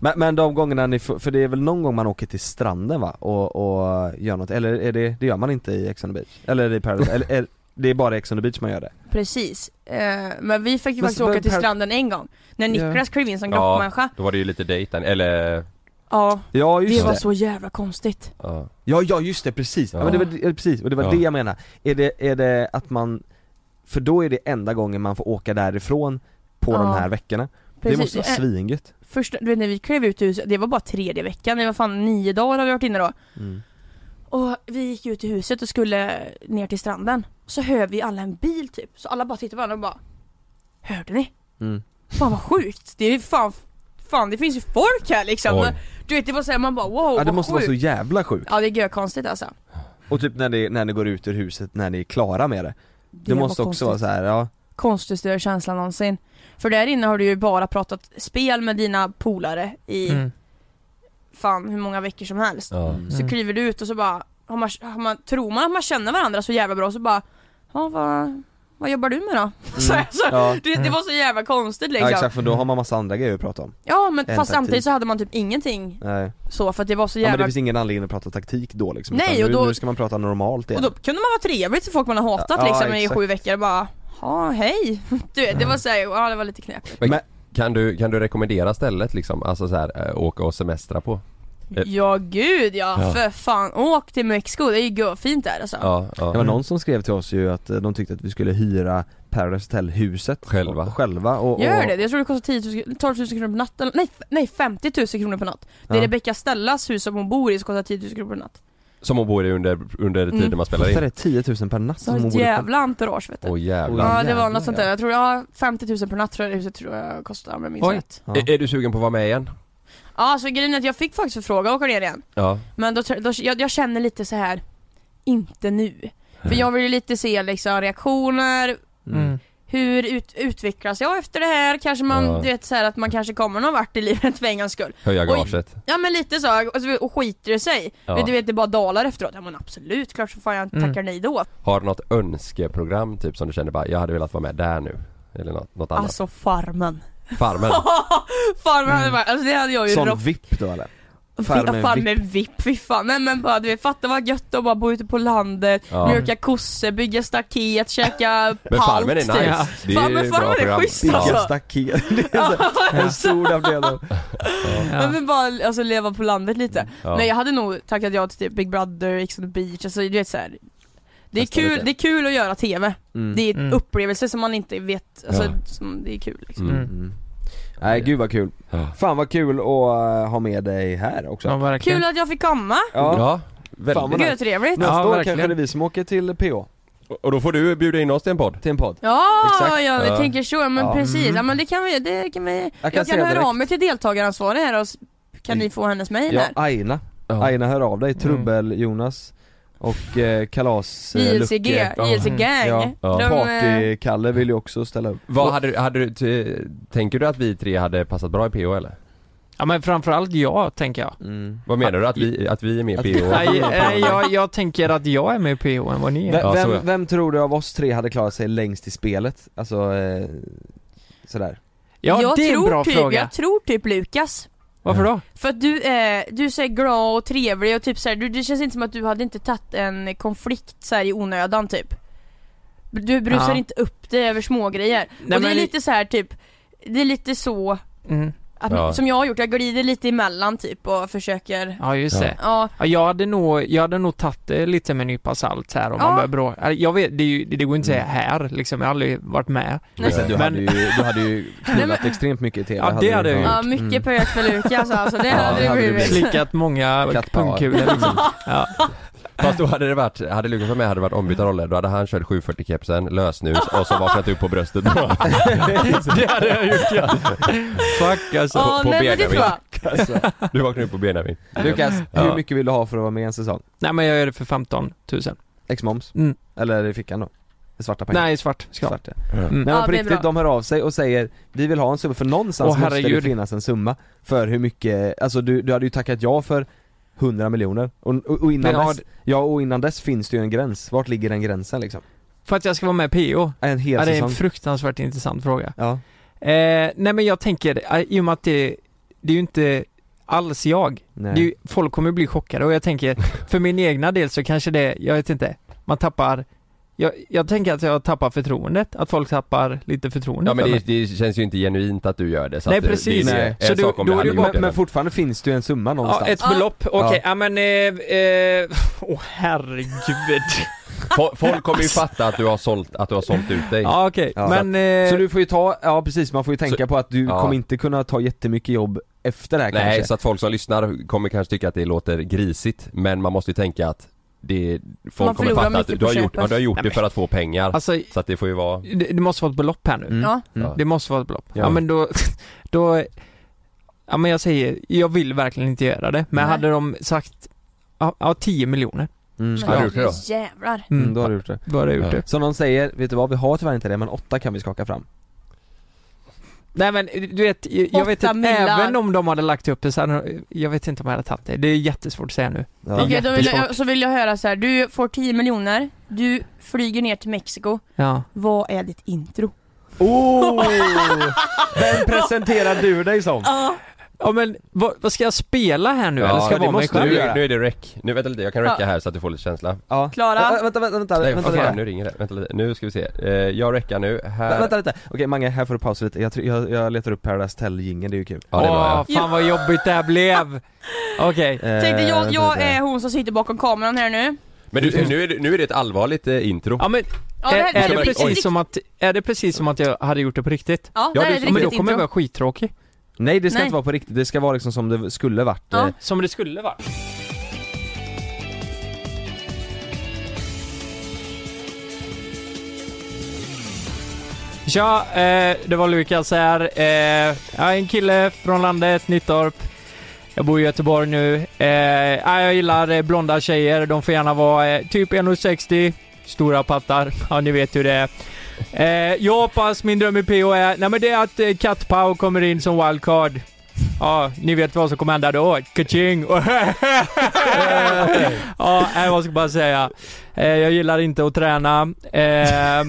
Speaker 2: men, men de gångerna ni, får- för det är väl någon gång man åker till stranden va? Och, och gör något, eller är det, det gör man inte i Ex on the beach? Eller är det i Paradise, eller är, det är bara i Ex on the beach man gör det?
Speaker 6: precis Eh, Men vi fick
Speaker 2: Men
Speaker 6: ju faktiskt
Speaker 2: så-
Speaker 6: åka
Speaker 2: men
Speaker 6: till
Speaker 2: per-
Speaker 6: stranden en gång När Niklas klev in som grottmänniska
Speaker 4: Då var det ju lite dejten, eller...
Speaker 6: Ja,
Speaker 2: Ja
Speaker 6: det
Speaker 2: just det!
Speaker 6: var så jävla konstigt
Speaker 4: Ja.
Speaker 2: Ja, ja just det, precis! Ja.
Speaker 4: Ja.
Speaker 2: men det var, det- precis, och det var
Speaker 4: Ja.
Speaker 2: det jag menade. Är det, är det att man, för då är det enda gången man får åka därifrån på
Speaker 6: Ja.
Speaker 2: de här veckorna.
Speaker 6: Precis.
Speaker 2: Det måste vara
Speaker 6: Eh,
Speaker 2: svingött.
Speaker 6: Första, du vet när vi klev ut ur huset, det var bara tredje veckan, det var fan nio dagar har vi varit inne då
Speaker 2: Mm.
Speaker 6: Och vi gick ut i huset och skulle ner till stranden Så hör vi alla en bil typ, så alla bara tittar på varandra och bara Hörde ni?
Speaker 2: Mm.
Speaker 6: Fan vad sjukt! Det är fan, fan det finns ju folk här liksom
Speaker 4: Oj.
Speaker 6: Du vet det var såhär man bara wow
Speaker 2: Ja det
Speaker 6: vad
Speaker 2: måste vara
Speaker 6: sjukt
Speaker 2: så jävla sjukt.
Speaker 6: Ja det är görkonstigt alltså
Speaker 2: Och typ när ni, när ni går ut ur huset, när ni är klara med det. Det,
Speaker 6: var
Speaker 2: måste också
Speaker 6: konstigt.
Speaker 2: vara så här, ja.
Speaker 6: Konstigaste känslan någonsin För där inne har du ju bara pratat spel med dina polare i
Speaker 3: Mm.
Speaker 6: fan hur många veckor som helst
Speaker 4: Ja.
Speaker 6: Så
Speaker 3: Mm.
Speaker 6: kliver du ut och så bara, har man, har man, tror man att man känner varandra så jävla bra så bara Ja vad, vad jobbar du med då? Så, så,
Speaker 2: Mm. Ja.
Speaker 6: det, det var så jävla konstigt liksom
Speaker 2: ja
Speaker 6: Ja,
Speaker 2: exakt, för då har man massa andra grejer att prata om.
Speaker 6: men
Speaker 2: En
Speaker 6: fast
Speaker 2: taktik.
Speaker 6: samtidigt så hade man typ ingenting
Speaker 2: Nej.
Speaker 6: så för att det var så
Speaker 2: Ja, men det
Speaker 6: jävla
Speaker 2: finns ingen anledning att prata taktik då liksom.
Speaker 6: Nej,
Speaker 2: utan
Speaker 6: och då-
Speaker 2: nu, nu ska man prata normalt igen.
Speaker 6: Och då kunde man vara trevlig till folk man har hatat
Speaker 2: Ja,
Speaker 6: liksom i
Speaker 2: exakt.
Speaker 6: sju veckor och bara Ja, hej! Du vet, det var såhär, ja det var lite knepigt
Speaker 4: Men,
Speaker 2: Men-
Speaker 4: kan, du, kan du rekommendera stället liksom, alltså så här, eh, åka och semestra på? Eh.
Speaker 6: Ja gud ja,
Speaker 4: Ja.
Speaker 6: för fan, åk till Mexiko, det är ju fint där alltså
Speaker 4: Ja, ja.
Speaker 2: Det var någon som skrev till oss ju att eh, de tyckte att vi skulle hyra Paradise Hotel huset
Speaker 4: Själva.
Speaker 2: och, själva och, och
Speaker 6: Gör det? Jag tror det kostar 10 000, 12 000 kronor per natt, eller, nej, f- nej 50 000 kronor per natt Det är
Speaker 2: Ja.
Speaker 6: Rebecca Stellas hus som hon bor i som kostar 10 000 kronor per natt
Speaker 4: Som hon bor i under, under tiden
Speaker 6: Mm.
Speaker 4: man spelar
Speaker 2: Kostar
Speaker 4: in?
Speaker 2: det 10 000 per natt
Speaker 6: Så
Speaker 2: som
Speaker 6: har
Speaker 2: hon
Speaker 6: ett
Speaker 2: borde
Speaker 6: jävla entourage vet du
Speaker 4: Åh jävlar.
Speaker 6: Ja det var
Speaker 2: jävlar,
Speaker 6: något sånt där, jag tror, ja 50 000 per natt tror jag det huset tror jag kostar om jag minns
Speaker 3: Oj.
Speaker 6: rätt
Speaker 2: Ja.
Speaker 4: Är, är du sugen på att vara med igen?
Speaker 6: Ja så grejen är att jag fick faktiskt förfrågan att åka ner igen
Speaker 4: Ja.
Speaker 6: Men då, då jag, jag känner lite så här inte nu För jag vill ju lite se liksom reaktioner,
Speaker 3: Mm.
Speaker 6: hur ut, utvecklas jag efter det här? Kanske man,
Speaker 4: Ja.
Speaker 6: du vet så här att man kanske kommer någon vart i livet för en gångs skull
Speaker 4: Höja
Speaker 6: Oj.
Speaker 4: gaget.
Speaker 6: Ja men lite så, alltså, och skiter det sig?
Speaker 4: Ja.
Speaker 6: Du vet det bara dalar efteråt, ja men absolut, klart så fan jag
Speaker 3: Mm.
Speaker 6: tackar nej då
Speaker 4: Har du något önskeprogram typ som du känner bara, jag hade velat vara med där nu? Eller något, något annat?
Speaker 6: Alltså farmen
Speaker 4: Farmen?
Speaker 6: Farmen hade varit, alltså det hade jag ju
Speaker 2: Sån
Speaker 6: rock- Alltså-
Speaker 2: VIP då eller?
Speaker 6: Farmen, farmen VIP, fy fan. Nej men bara du vet, fatta vad gött att bara bo ute på landet,
Speaker 4: Ja.
Speaker 6: mjölka kossor, bygga staket, käka
Speaker 4: Men
Speaker 6: palt,
Speaker 4: Farmen är nice.
Speaker 6: typ.
Speaker 3: Ja.
Speaker 4: Det är
Speaker 6: Farmen-
Speaker 4: ju
Speaker 6: Farmen
Speaker 4: bra
Speaker 6: är
Speaker 4: program.
Speaker 6: schysst,
Speaker 4: Ja.
Speaker 6: alltså.
Speaker 2: Vilka staket, det är så här, en sol av delen
Speaker 6: Men,
Speaker 3: Ja.
Speaker 6: men bara alltså, leva på landet lite.
Speaker 4: Ja.
Speaker 6: Nej jag hade nog tackat ja till typ Big Brother, Ex on the beach, alltså du vet såhär Det är,
Speaker 2: Nästa
Speaker 6: kul,
Speaker 2: vecka.
Speaker 6: det är kul att göra TV.
Speaker 2: Mm.
Speaker 6: Det är
Speaker 3: Mm.
Speaker 6: en upplevelse som man inte vet, alltså,
Speaker 4: Ja.
Speaker 6: som, det är kul liksom.
Speaker 4: Mm.
Speaker 2: Mm. Nej gud vad kul.
Speaker 4: Ja.
Speaker 2: Fan vad kul att eh, ha med dig här också.
Speaker 3: Ja, verkligen.
Speaker 6: Kul att jag fick komma,
Speaker 2: Ja.
Speaker 4: Ja, väldigt.
Speaker 2: Fan vad
Speaker 6: gud vad
Speaker 2: nice.
Speaker 6: trevligt.
Speaker 2: Nästa
Speaker 3: Mm. Ja,
Speaker 2: år
Speaker 3: verkligen.
Speaker 2: kanske det är vi som åker till PH,
Speaker 4: Och då får du bjuda in oss till en podd.
Speaker 2: till en podd.
Speaker 6: Ja,
Speaker 2: Exakt.
Speaker 6: ja, vi
Speaker 4: Ja.
Speaker 6: tänker så, men
Speaker 2: Ja.
Speaker 6: precis. Ja, men det kan vi, det kan vi. Jag kan,
Speaker 2: säga
Speaker 6: höra
Speaker 2: direkt-
Speaker 6: av mig till deltagaransvarig här och s- kan ni få hennes mail
Speaker 2: Ja, alltså,
Speaker 6: här?
Speaker 2: Aina. Aina hör av dig,
Speaker 6: Mm.
Speaker 2: Trubbel-Jonas och eh,
Speaker 6: JLCG,
Speaker 2: Kalas-Lucke.
Speaker 4: Ja.
Speaker 6: JLC Gang.
Speaker 2: Ja.
Speaker 4: Ja.
Speaker 6: De, eh,
Speaker 2: Party-Kalle vill ju också ställa upp.
Speaker 4: Vad hade, du- hade du, t- tänker du att vi tre hade passat bra i PO eller?
Speaker 3: Ja men framförallt jag, tänker jag.
Speaker 2: Mm.
Speaker 4: Vad menar du? Att vi, att vi är med i PO?
Speaker 3: Nej, eh, nej jag, jag tänker att jag är med i PO än vad ni är.
Speaker 2: Vem,
Speaker 4: Ja, så är
Speaker 2: vem,
Speaker 4: det.
Speaker 2: vem tror du av oss tre hade klarat sig längst i spelet? Alltså, eh, sådär.
Speaker 3: Ja,
Speaker 6: jag,
Speaker 3: det är en
Speaker 6: tror
Speaker 3: bra
Speaker 6: typ,
Speaker 3: fråga.
Speaker 6: jag tror typ Lukas.
Speaker 3: Varför då?
Speaker 6: För att du är, du är så här glad och trevlig och typ så här, du, det känns inte som att du hade inte tagit en konflikt så här i onödan typ. Du brusar
Speaker 3: Ja.
Speaker 6: inte upp dig över smågrejer.
Speaker 3: Nej,
Speaker 6: och det är
Speaker 3: men-
Speaker 6: lite så här typ, det är lite så
Speaker 3: Mm.
Speaker 6: att,
Speaker 4: Ja.
Speaker 6: som jag har gjort, jag glider lite emellan typ och försöker,
Speaker 3: Ja, just det.
Speaker 6: ja.
Speaker 3: Ja, jag hade nog, jag hade nog tagit det lite med en nypa salt här om
Speaker 6: Ja.
Speaker 3: man börjar bråka. Jag vet, det, är ju, det går inte att säga här liksom, jag har aldrig varit med.
Speaker 2: Men sen, du,
Speaker 3: Men-
Speaker 2: hade ju, du hade ju knullat extremt mycket i TV.
Speaker 3: Ja, det hade jag
Speaker 6: Ja, mycket
Speaker 3: Mm.
Speaker 2: Mm.
Speaker 6: pöjk för Lukas alltså, det
Speaker 2: Ja,
Speaker 6: hade
Speaker 2: det
Speaker 6: det
Speaker 2: hade det
Speaker 6: blivit.
Speaker 3: Slickat många
Speaker 2: Kattpaar.
Speaker 3: pungkulor liksom. Ja.
Speaker 4: Fast då hade det varit, hade Lukas varit med hade det varit ombytta roller. Då hade han kört 740 kepsen, lösnus och så vaknat upp på bröstet.
Speaker 3: Det hade jag gjort ja.
Speaker 4: Fuck alltså.
Speaker 6: Ja,
Speaker 4: på, på
Speaker 6: nej men det
Speaker 4: Benjamin.
Speaker 6: tror jag.
Speaker 2: Alltså,
Speaker 4: Du vaknade upp på Benjamin.
Speaker 2: Lukas, hur
Speaker 4: Ja.
Speaker 2: mycket vill du ha för att vara med en säsong?
Speaker 3: Nej men jag gör det för 15 000.
Speaker 2: Ex-moms?
Speaker 3: Mm.
Speaker 2: Eller i fickan då? I svarta pengar?
Speaker 3: Nej, svart ska jag ha.
Speaker 2: Svart, ja.
Speaker 4: Mm.
Speaker 2: Nej men
Speaker 6: Ja,
Speaker 2: på
Speaker 6: det är
Speaker 2: riktigt,
Speaker 6: bra.
Speaker 2: de hör av sig och säger Vi vill ha en summa, för någonstans
Speaker 3: Åh,
Speaker 2: måste det
Speaker 3: herregud.
Speaker 2: finnas en summa För hur mycket, alltså du, du hade ju tackat ja för 100 miljoner och, och, och innan
Speaker 3: Men har-
Speaker 2: dess, ja och innan dess finns det ju en gräns, vart ligger den gränsen liksom?
Speaker 3: För att jag ska vara med i PO?
Speaker 2: Äh, En hel
Speaker 3: Ja, det är
Speaker 2: säsong?
Speaker 3: en fruktansvärt intressant fråga.
Speaker 2: ja.
Speaker 3: Eh, nej men jag tänker, eh, i och med att det, det är ju inte alls jag.
Speaker 2: Nej.
Speaker 3: Det är ju, folk kommer bli chockade och jag tänker, för min egna del så kanske det, jag vet inte, man tappar jag, jag tänker att jag tappar förtroendet, att folk tappar lite förtroende
Speaker 4: Ja men
Speaker 3: för mig.
Speaker 4: det, det känns ju inte genuint att du gör det. Så
Speaker 3: Nej,
Speaker 4: att det-
Speaker 3: precis.
Speaker 4: Det, är
Speaker 2: Nej.
Speaker 4: en
Speaker 3: Så du-
Speaker 4: sak om vi
Speaker 3: då är det
Speaker 4: hade
Speaker 3: ju bara-
Speaker 4: gjort det.
Speaker 2: men, men fortfarande finns det ju en summa
Speaker 3: Ja,
Speaker 2: någonstans
Speaker 3: ett belopp. Okej,
Speaker 2: Ja.
Speaker 3: ja men, eh, eh, åh herregud.
Speaker 4: Fo- Folk kommer ju fatta att du har sålt, att du har sålt ut dig.
Speaker 3: ja okej,
Speaker 2: Ja.
Speaker 3: men, eh,
Speaker 2: Så du får ju ta, ja precis man får ju tänka på att du
Speaker 4: ja.
Speaker 2: kommer inte kunna ta jättemycket jobb efter det här
Speaker 4: Nej,
Speaker 2: kanske
Speaker 4: så att folk som lyssnar kommer kanske tycka att det låter grisigt, men man måste ju tänka att det, folk kommer
Speaker 6: Man förlorar
Speaker 4: fatta att
Speaker 6: mycket
Speaker 4: du har
Speaker 6: på
Speaker 4: gjort, ja,
Speaker 6: köpet.
Speaker 4: du har gjort
Speaker 3: Nej,
Speaker 4: det
Speaker 3: men-
Speaker 4: för att få pengar.
Speaker 3: alltså
Speaker 4: Så att det får ju vara...
Speaker 3: det, det måste vara ett belopp här nu.
Speaker 2: Mm.
Speaker 6: Ja.
Speaker 4: Ja.
Speaker 3: Det måste vara ett belopp. Ja,
Speaker 4: Ja.
Speaker 3: men då, då, ja men jag säger, jag vill verkligen inte göra det, men
Speaker 6: Nej.
Speaker 3: hade de sagt, ja, ja 10 miljoner,
Speaker 2: mm.
Speaker 4: Har du
Speaker 6: Men
Speaker 4: gjort det då?
Speaker 6: jävlar.
Speaker 3: mm,
Speaker 2: Mm, då har du gjort det
Speaker 3: då hade jag gjort
Speaker 4: Ja.
Speaker 3: det.
Speaker 2: Som de säger, vet du vad? Vi har tyvärr inte det men åtta kan vi skaka fram
Speaker 3: Nej men du vet, jag jag vet
Speaker 6: Åtta
Speaker 3: att
Speaker 6: millar.
Speaker 3: även om de hade lagt upp det så hade, jag vet inte om jag hade tagit det, det är jättesvårt att säga nu.
Speaker 2: ja.
Speaker 3: Det är
Speaker 6: Okej, då vill jag,
Speaker 3: jättesvårt.
Speaker 6: så vill jag höra så här. du får 10 miljoner, du flyger ner till Mexiko,
Speaker 3: Ja.
Speaker 6: vad är ditt intro?
Speaker 2: Oh! Vem presenterar du dig som?
Speaker 3: Ja men vad, vad ska jag spela här nu
Speaker 4: Ja,
Speaker 3: eller ska jag
Speaker 2: det
Speaker 3: vara mig
Speaker 2: måste du
Speaker 3: själv?
Speaker 2: göra.
Speaker 4: Nu, nu är det räck. Nu vänta lite, jag kan räcka
Speaker 6: Ja.
Speaker 4: här så att du får lite känsla.
Speaker 2: Ja.
Speaker 6: Klara?
Speaker 2: Vä-
Speaker 3: Eh,
Speaker 2: Vänta, vänta, vänta,
Speaker 4: Nej,
Speaker 2: vänta,
Speaker 4: vad fan,
Speaker 2: vänta,
Speaker 4: nu ringer det. Vänta lite. Nu ska vi se. Eh, jag räckar nu. Här...
Speaker 2: vänta, vänta lite. Okej Mange, här får du pausa lite. Jag, tror- jag, jag letar upp Paradise tell jingeln det är ju kul.
Speaker 4: Ja, det var jag.
Speaker 3: Åh, fan vad jobbigt det här blev! Okej,
Speaker 6: Tänkte
Speaker 3: eh,
Speaker 6: jag, jag
Speaker 2: Eh, vänta.
Speaker 6: är hon som sitter bakom kameran här nu.
Speaker 4: Men du, nu, är det, nu är det ett allvarligt eh, intro.
Speaker 3: ja men
Speaker 6: Ja,
Speaker 3: är, är,
Speaker 6: ett
Speaker 3: det
Speaker 4: Oj.
Speaker 6: riktigt-
Speaker 3: precis som att, är det precis som att jag hade gjort det på riktigt?
Speaker 6: Ja,
Speaker 4: Ja,
Speaker 6: det här
Speaker 4: det
Speaker 6: är ett
Speaker 4: är-
Speaker 3: Ja, men då
Speaker 6: riktigt
Speaker 3: kommer jag
Speaker 6: intro.
Speaker 3: vara skittråkig.
Speaker 2: Nej det ska
Speaker 6: Nej.
Speaker 2: inte vara på riktigt, det ska vara liksom som det skulle varit.
Speaker 6: Ja.
Speaker 2: Eh,
Speaker 3: Som det skulle vara. Tja, eh, det var Lukas här. Eh, jag är en kille från landet, Nittorp. Jag bor i Göteborg nu. Eh, ja, jag gillar eh, blonda tjejer. De får gärna vara eh, typ 1,60. Stora pattar. Ja, ni vet hur det är. Eh, jag hoppas min dröm i PO är... Nej men det är att eh, Kat Pau kommer in som wildcard. Ja, ni vet vad som kommer hända då. Kaching! ja, nej, vad ska jag bara säga? Eh, Jag gillar inte att träna. Eh,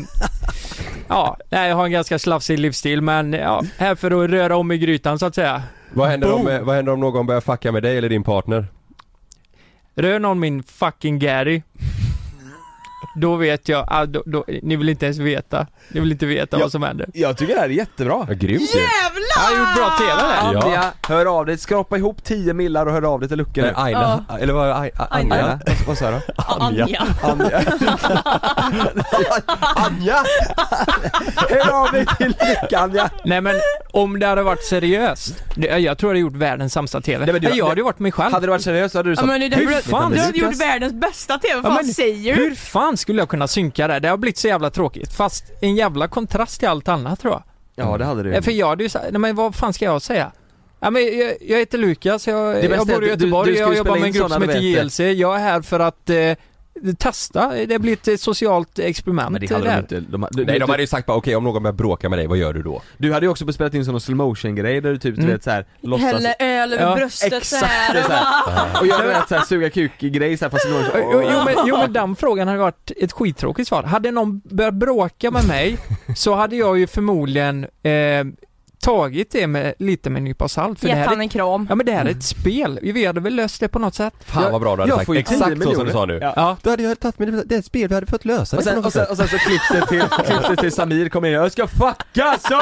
Speaker 3: Ja, nej, jag har en ganska slafsig livsstil men ja, här för att röra om i grytan så att säga.
Speaker 4: Vad, händer om, eh, vad händer om någon börjar fucka med dig eller din partner?
Speaker 3: Rör någon min fucking Gary? då vet jag, ah, då, då, ni vill inte ens veta. Ni vill inte veta
Speaker 2: Ja.
Speaker 3: vad som händer.
Speaker 2: Jag tycker det här är jättebra.
Speaker 4: Ja, grymt ju!
Speaker 3: Jag har gjort bra TV där.
Speaker 4: Ja.
Speaker 2: Antia, hör av dig, skrapa ihop 10 millar och hör av dig till Lucke nu.
Speaker 4: Men Aina, eller vad, Ai- A- Anja?
Speaker 2: Anna, vad- vad sa du?
Speaker 6: Anja.
Speaker 2: Anja! Anja! Hör av dig till Lycka Anja!
Speaker 3: Nej men om det hade varit seriöst, det, jag tror jag hade gjort världens sämsta TV.
Speaker 2: Nej, men du-
Speaker 3: jag hade ju varit mig själv.
Speaker 2: Hade du varit seriös så hade du
Speaker 6: Ja,
Speaker 2: sagt
Speaker 6: men det är
Speaker 3: Hur
Speaker 6: därför
Speaker 3: fan
Speaker 6: du, du har
Speaker 3: lyckas-
Speaker 6: gjort världens bästa TV, vad
Speaker 3: Ja,
Speaker 6: fan
Speaker 3: men
Speaker 6: säger du?
Speaker 3: Hur fan skulle jag kunna synka det? Det har blivit så jävla tråkigt. Fast en jävla kontrast till allt annat tror jag.
Speaker 2: Ja det hade du
Speaker 3: Eh, För jag hade ju sagt, nej men vad fan ska jag säga? Ja, men jag, jag heter Lukas, jag,
Speaker 2: bästa
Speaker 3: jag
Speaker 2: är att
Speaker 3: bor i
Speaker 2: du-
Speaker 3: Göteborg,
Speaker 2: du ska ju
Speaker 3: jag
Speaker 2: spela
Speaker 3: jobbar med en
Speaker 2: in
Speaker 3: grupp som
Speaker 2: sådana,
Speaker 3: heter
Speaker 2: du vet
Speaker 3: JLC. Jag är här för att eh, testa, det blir ett eh, socialt experiment eh,
Speaker 2: Men det hade de
Speaker 3: där.
Speaker 2: inte, de, du,
Speaker 4: Nej
Speaker 2: du,
Speaker 4: de hade ju sagt bara okej om någon börjar bråka med dig, vad gör du då?
Speaker 2: du hade ju också spelat in sådana slow motion grejer där du typ du
Speaker 3: Mm.
Speaker 2: vet såhär låtsas
Speaker 6: Häller öl över
Speaker 3: Ja,
Speaker 6: bröstet
Speaker 2: Exakt!
Speaker 6: såhär
Speaker 2: det är
Speaker 6: och
Speaker 2: så
Speaker 6: bara
Speaker 2: här. Och jag menar såhär suga kuk-grej såhär fast slow motion.
Speaker 3: Eh, Jo, jo, men, jo men den frågan hade varit ett skittråkigt svar. Hade någon börjat bråka med mig så hade jag ju förmodligen eh, tagit det med lite med en nypa salt. För det
Speaker 6: gett
Speaker 3: här
Speaker 6: han
Speaker 3: är,
Speaker 6: en kram.
Speaker 3: ja men det här är ett spel, vi hade väl löst det på något sätt.
Speaker 4: Fan
Speaker 2: Jag-
Speaker 4: vad bra du hade
Speaker 2: jag
Speaker 4: sagt,
Speaker 2: får ju 10
Speaker 4: exakt så som
Speaker 2: miljoner.
Speaker 4: du sa nu.
Speaker 2: Ja.
Speaker 3: Ja.
Speaker 4: Då hade jag tagit med det, det är ett spel, vi hade fått lösa
Speaker 2: Och sen, och, sen, och sen så klipps det till, klipps det till Samir kommer in jag ska fucka så!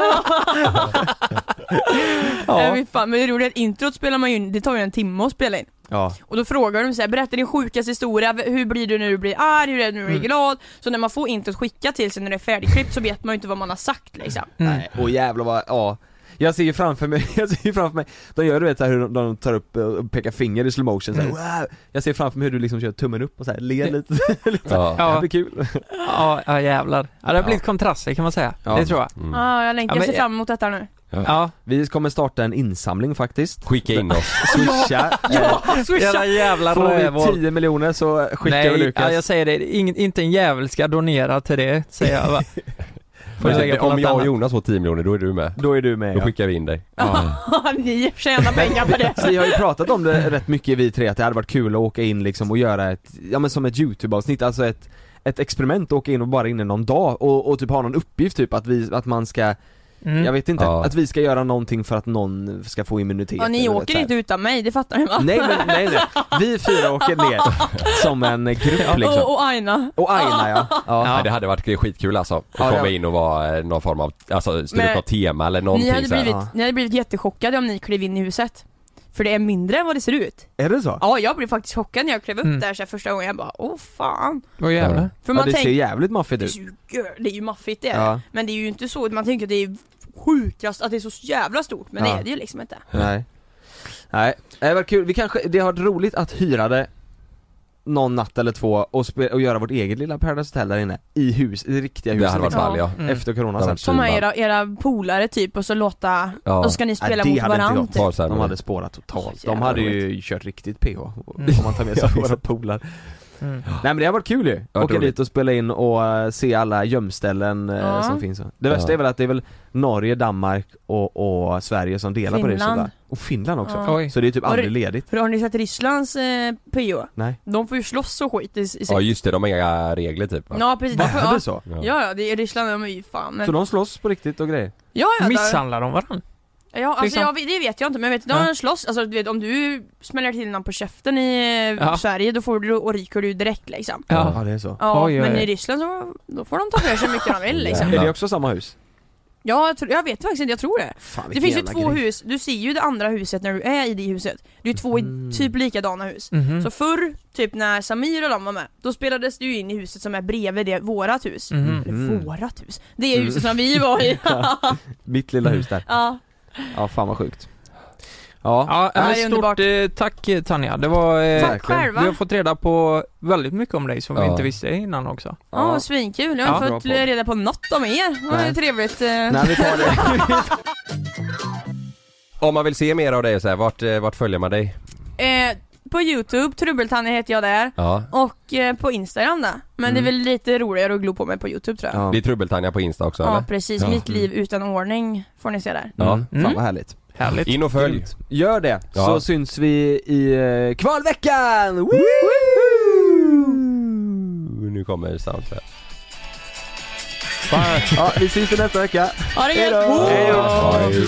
Speaker 6: Ja.
Speaker 4: Mm.
Speaker 6: men fan, men det roliga är att introt spelar man ju in, det tar ju en timme att spela in.
Speaker 2: Ja.
Speaker 6: Och då frågar de såhär, berätta din sjukaste historia, v- hur blir du när du blir arg, hur är du när du är glad? Så när man får introt skickat till sig när det är färdigklippt så vet man ju inte vad man har sagt liksom.
Speaker 3: Mm.
Speaker 2: Nej, och jävlar vad, ja jag ser ju framför mig, jag ser ju framför mig, de gör du vet så här hur de, de tar upp eh, och pekar finger i slow motion
Speaker 4: Mm.
Speaker 2: så här, wow. Jag ser framför mig hur du liksom kör tummen upp och så här ler lite, lite så här.
Speaker 4: Ja.
Speaker 2: Det här
Speaker 3: Ja,
Speaker 2: blir kul.
Speaker 3: ja, ja jävlar. Ja, det har blivit kontraster kan man säga,
Speaker 2: Ja.
Speaker 3: det tror jag.
Speaker 4: Mm.
Speaker 6: Ah, jag längtar,
Speaker 3: Ja,
Speaker 6: jag
Speaker 3: men-
Speaker 6: ser fram emot detta nu.
Speaker 3: Ja.
Speaker 2: Vi kommer starta en insamling faktiskt.
Speaker 4: Skicka in oss.
Speaker 2: Swisha, eh,
Speaker 6: Ja, swisha!
Speaker 3: Era jävla
Speaker 2: får vi
Speaker 3: rövhål.
Speaker 2: 10 miljoner så skickar vi Lukas.
Speaker 3: ja, jag säger det, Ingen, inte en jävel ska donera till det, säger jag bara. Får du lägga
Speaker 4: Men,
Speaker 3: på
Speaker 4: om
Speaker 3: något
Speaker 4: jag och
Speaker 3: annat?
Speaker 4: Jonas får 10 miljoner, då är du med.
Speaker 2: Då är du med
Speaker 4: Då
Speaker 2: ja.
Speaker 4: skickar vi in dig.
Speaker 6: Ni tjänar pengar på det.
Speaker 2: Vi har ju pratat om det rätt mycket vi tre, att det hade varit kul att åka in liksom och göra ett, ja men som ett YouTube-avsnitt, alltså ett, ett experiment, åka in och bara in i någon dag och, och typ ha någon uppgift typ att vi, att man ska
Speaker 3: Mm.
Speaker 2: Jag vet inte,
Speaker 4: Ja.
Speaker 2: att vi ska göra någonting för att någon ska få immunitet
Speaker 6: Ja, ni
Speaker 2: eller
Speaker 6: åker
Speaker 2: så här.
Speaker 6: inte utan mig, det fattar ni va?
Speaker 2: Nej men nej, nej. vi fyra åker ner som en grupp
Speaker 6: Och,
Speaker 2: liksom
Speaker 6: och Aina.
Speaker 2: Och Aina ja, ja.
Speaker 4: Nej, det hade varit skitkul alltså, att
Speaker 2: det
Speaker 4: komma
Speaker 2: var-
Speaker 4: in och vara eh, någon form av, alltså styra
Speaker 6: Men-
Speaker 4: upp något tema eller
Speaker 6: Ni
Speaker 4: någonting
Speaker 6: hade,
Speaker 4: så här.
Speaker 6: blivit, ni hade blivit jättechockade om ni klev in i huset. För det är mindre än vad det ser ut.
Speaker 2: Är det så?
Speaker 6: Ja, jag blev faktiskt chockad när jag klev upp
Speaker 3: Mm.
Speaker 6: där så här, första gången. Jag bara, åh fan.
Speaker 3: Vad jävlar.
Speaker 6: För
Speaker 2: Ja,
Speaker 6: man
Speaker 2: det ser
Speaker 6: tänker,
Speaker 2: jävligt maffigt
Speaker 6: det är,
Speaker 2: ut
Speaker 6: ju, gör- det är ju maffigt det.
Speaker 2: Ja.
Speaker 6: Men det är ju inte så, man tänker att det är sjukast, att det är så jävla stort. Men
Speaker 2: Ja.
Speaker 6: det är det ju liksom inte.
Speaker 2: Nej Nej, det var kul, vi kanske, det har varit roligt att hyra det någon natt eller två och, spe, och göra vårt eget lilla Paradise Hotel där inne, i hus, i riktiga
Speaker 4: Det
Speaker 2: huset
Speaker 4: hade varit
Speaker 6: liksom.
Speaker 4: ball ja.
Speaker 3: Mm.
Speaker 2: Efter corona
Speaker 4: Det
Speaker 2: sen
Speaker 4: hade
Speaker 6: Ta med
Speaker 4: Typ,
Speaker 6: era, era polare typ och så låta,
Speaker 4: Ja.
Speaker 6: och så ska ni
Speaker 2: Nej,
Speaker 6: spela
Speaker 2: det
Speaker 6: mot
Speaker 2: hade inte
Speaker 6: varandra.
Speaker 2: jag
Speaker 6: typ.
Speaker 4: Barsen.
Speaker 2: De hade spårat totalt, de
Speaker 6: Jävla
Speaker 2: hade ju kört riktigt PH, om
Speaker 3: Mm.
Speaker 2: man tar med sig
Speaker 4: Ja,
Speaker 2: våra
Speaker 4: exakt.
Speaker 2: polare
Speaker 3: Mm.
Speaker 2: Nej men det har varit kul ju,
Speaker 4: varit
Speaker 2: åka
Speaker 4: roligt.
Speaker 2: dit och spela in och eh, se alla gömställen eh,
Speaker 6: Ja.
Speaker 2: som finns Det värsta
Speaker 4: Ja.
Speaker 2: är väl att det är väl Norge, Danmark och, och Sverige som delar på det
Speaker 6: Finland.
Speaker 2: sådär Och Finland också,
Speaker 6: Ja.
Speaker 3: Oj.
Speaker 2: så det är typ
Speaker 6: Var det-
Speaker 2: aldrig ledigt
Speaker 6: För har ni sett Rysslands eh, PO?
Speaker 2: Nej.
Speaker 6: De får ju slåss och skit i, i sig.
Speaker 4: Ja just det, de har inga regler typ va?
Speaker 6: Ja precis, de får,
Speaker 2: Är
Speaker 6: ja.
Speaker 2: det så?
Speaker 4: Ja.
Speaker 6: Ja, ja, det är Ryssland, de är ju fan men...
Speaker 2: Så de slåss på riktigt och grejer?
Speaker 6: Ja, ja, där,
Speaker 3: Misshandlar de varandra?
Speaker 6: ja alltså,
Speaker 3: liksom.
Speaker 6: jag, vet- det vet jag inte men jag vet, de
Speaker 3: Nej.
Speaker 6: slåss, alltså du vet om du smäller till någon på käften i eh,
Speaker 3: Ja.
Speaker 6: Sverige då får du, och ryker du direkt liksom
Speaker 3: Ja.
Speaker 2: det är så
Speaker 6: Ja,
Speaker 3: Oj, oj,
Speaker 6: men
Speaker 3: oj.
Speaker 6: i Ryssland så då får de ta för sig hur mycket de vill liksom.
Speaker 2: Är
Speaker 4: Jävlar.
Speaker 2: det också samma hus?
Speaker 6: Ja, jag, tror, jag vet faktiskt inte, jag tror det.
Speaker 2: Fan,
Speaker 6: Det
Speaker 2: vilken
Speaker 6: finns ju
Speaker 2: jävla
Speaker 6: två
Speaker 2: grej.
Speaker 6: hus, du ser ju det andra huset när du är i det huset. Det är ju två i-
Speaker 2: Mhm.
Speaker 6: typ likadana hus.
Speaker 3: Mhm.
Speaker 2: Mm.
Speaker 6: Så förr, typ när Samir och de var med, då spelades det ju in i huset som är bredvid det, vårat hus.
Speaker 3: Mhm.
Speaker 2: Mm.
Speaker 6: Eller vårat hus? Det är huset som vi var i.
Speaker 2: Mitt lilla hus där,
Speaker 6: ja.
Speaker 2: ja fan vad sjukt Ja,
Speaker 3: Ja,
Speaker 6: Ja,
Speaker 3: men
Speaker 6: det är
Speaker 3: stort eh, tack eh, Tanja. Det var... Eh,
Speaker 6: Tack
Speaker 2: verkligen.
Speaker 6: själva!
Speaker 3: vi har fått reda på väldigt mycket om dig som vi
Speaker 4: Ja.
Speaker 3: inte visste innan också.
Speaker 6: Ja, svinkul. Jag
Speaker 2: Ja,
Speaker 6: har
Speaker 2: bra
Speaker 6: fått
Speaker 2: podd.
Speaker 6: reda på något om er. Det var
Speaker 2: Nej.
Speaker 6: ju trevligt. eh.
Speaker 2: Nej vi tar det
Speaker 4: Om man vill se mer av dig och så här, vart, eh, vart följer man dig?
Speaker 6: Eh, på Youtube, Trubbeltanne heter jag där.
Speaker 4: Ja.
Speaker 6: Och eh, på Instagram där. Men det är väl lite roligare att glo på mig på Youtube tror jag.
Speaker 2: Mm. ja.
Speaker 4: Det är Trubbeltanja på Insta också
Speaker 6: Ja,
Speaker 4: eller?
Speaker 6: precis.
Speaker 4: Ja.
Speaker 6: Mitt liv utan ordning får ni se där.
Speaker 2: Mm.
Speaker 3: Mm.
Speaker 2: Fan vad härligt
Speaker 3: Härligt.
Speaker 4: In och följ!
Speaker 2: Grymt. Gör det,
Speaker 4: Ja.
Speaker 2: så syns vi i eh, kvalveckan! Woo!
Speaker 4: Nu kommer soundtrack.
Speaker 2: Ja, vi syns i nästa vecka.
Speaker 6: Ha det gött!
Speaker 2: Hej då!
Speaker 4: Hej.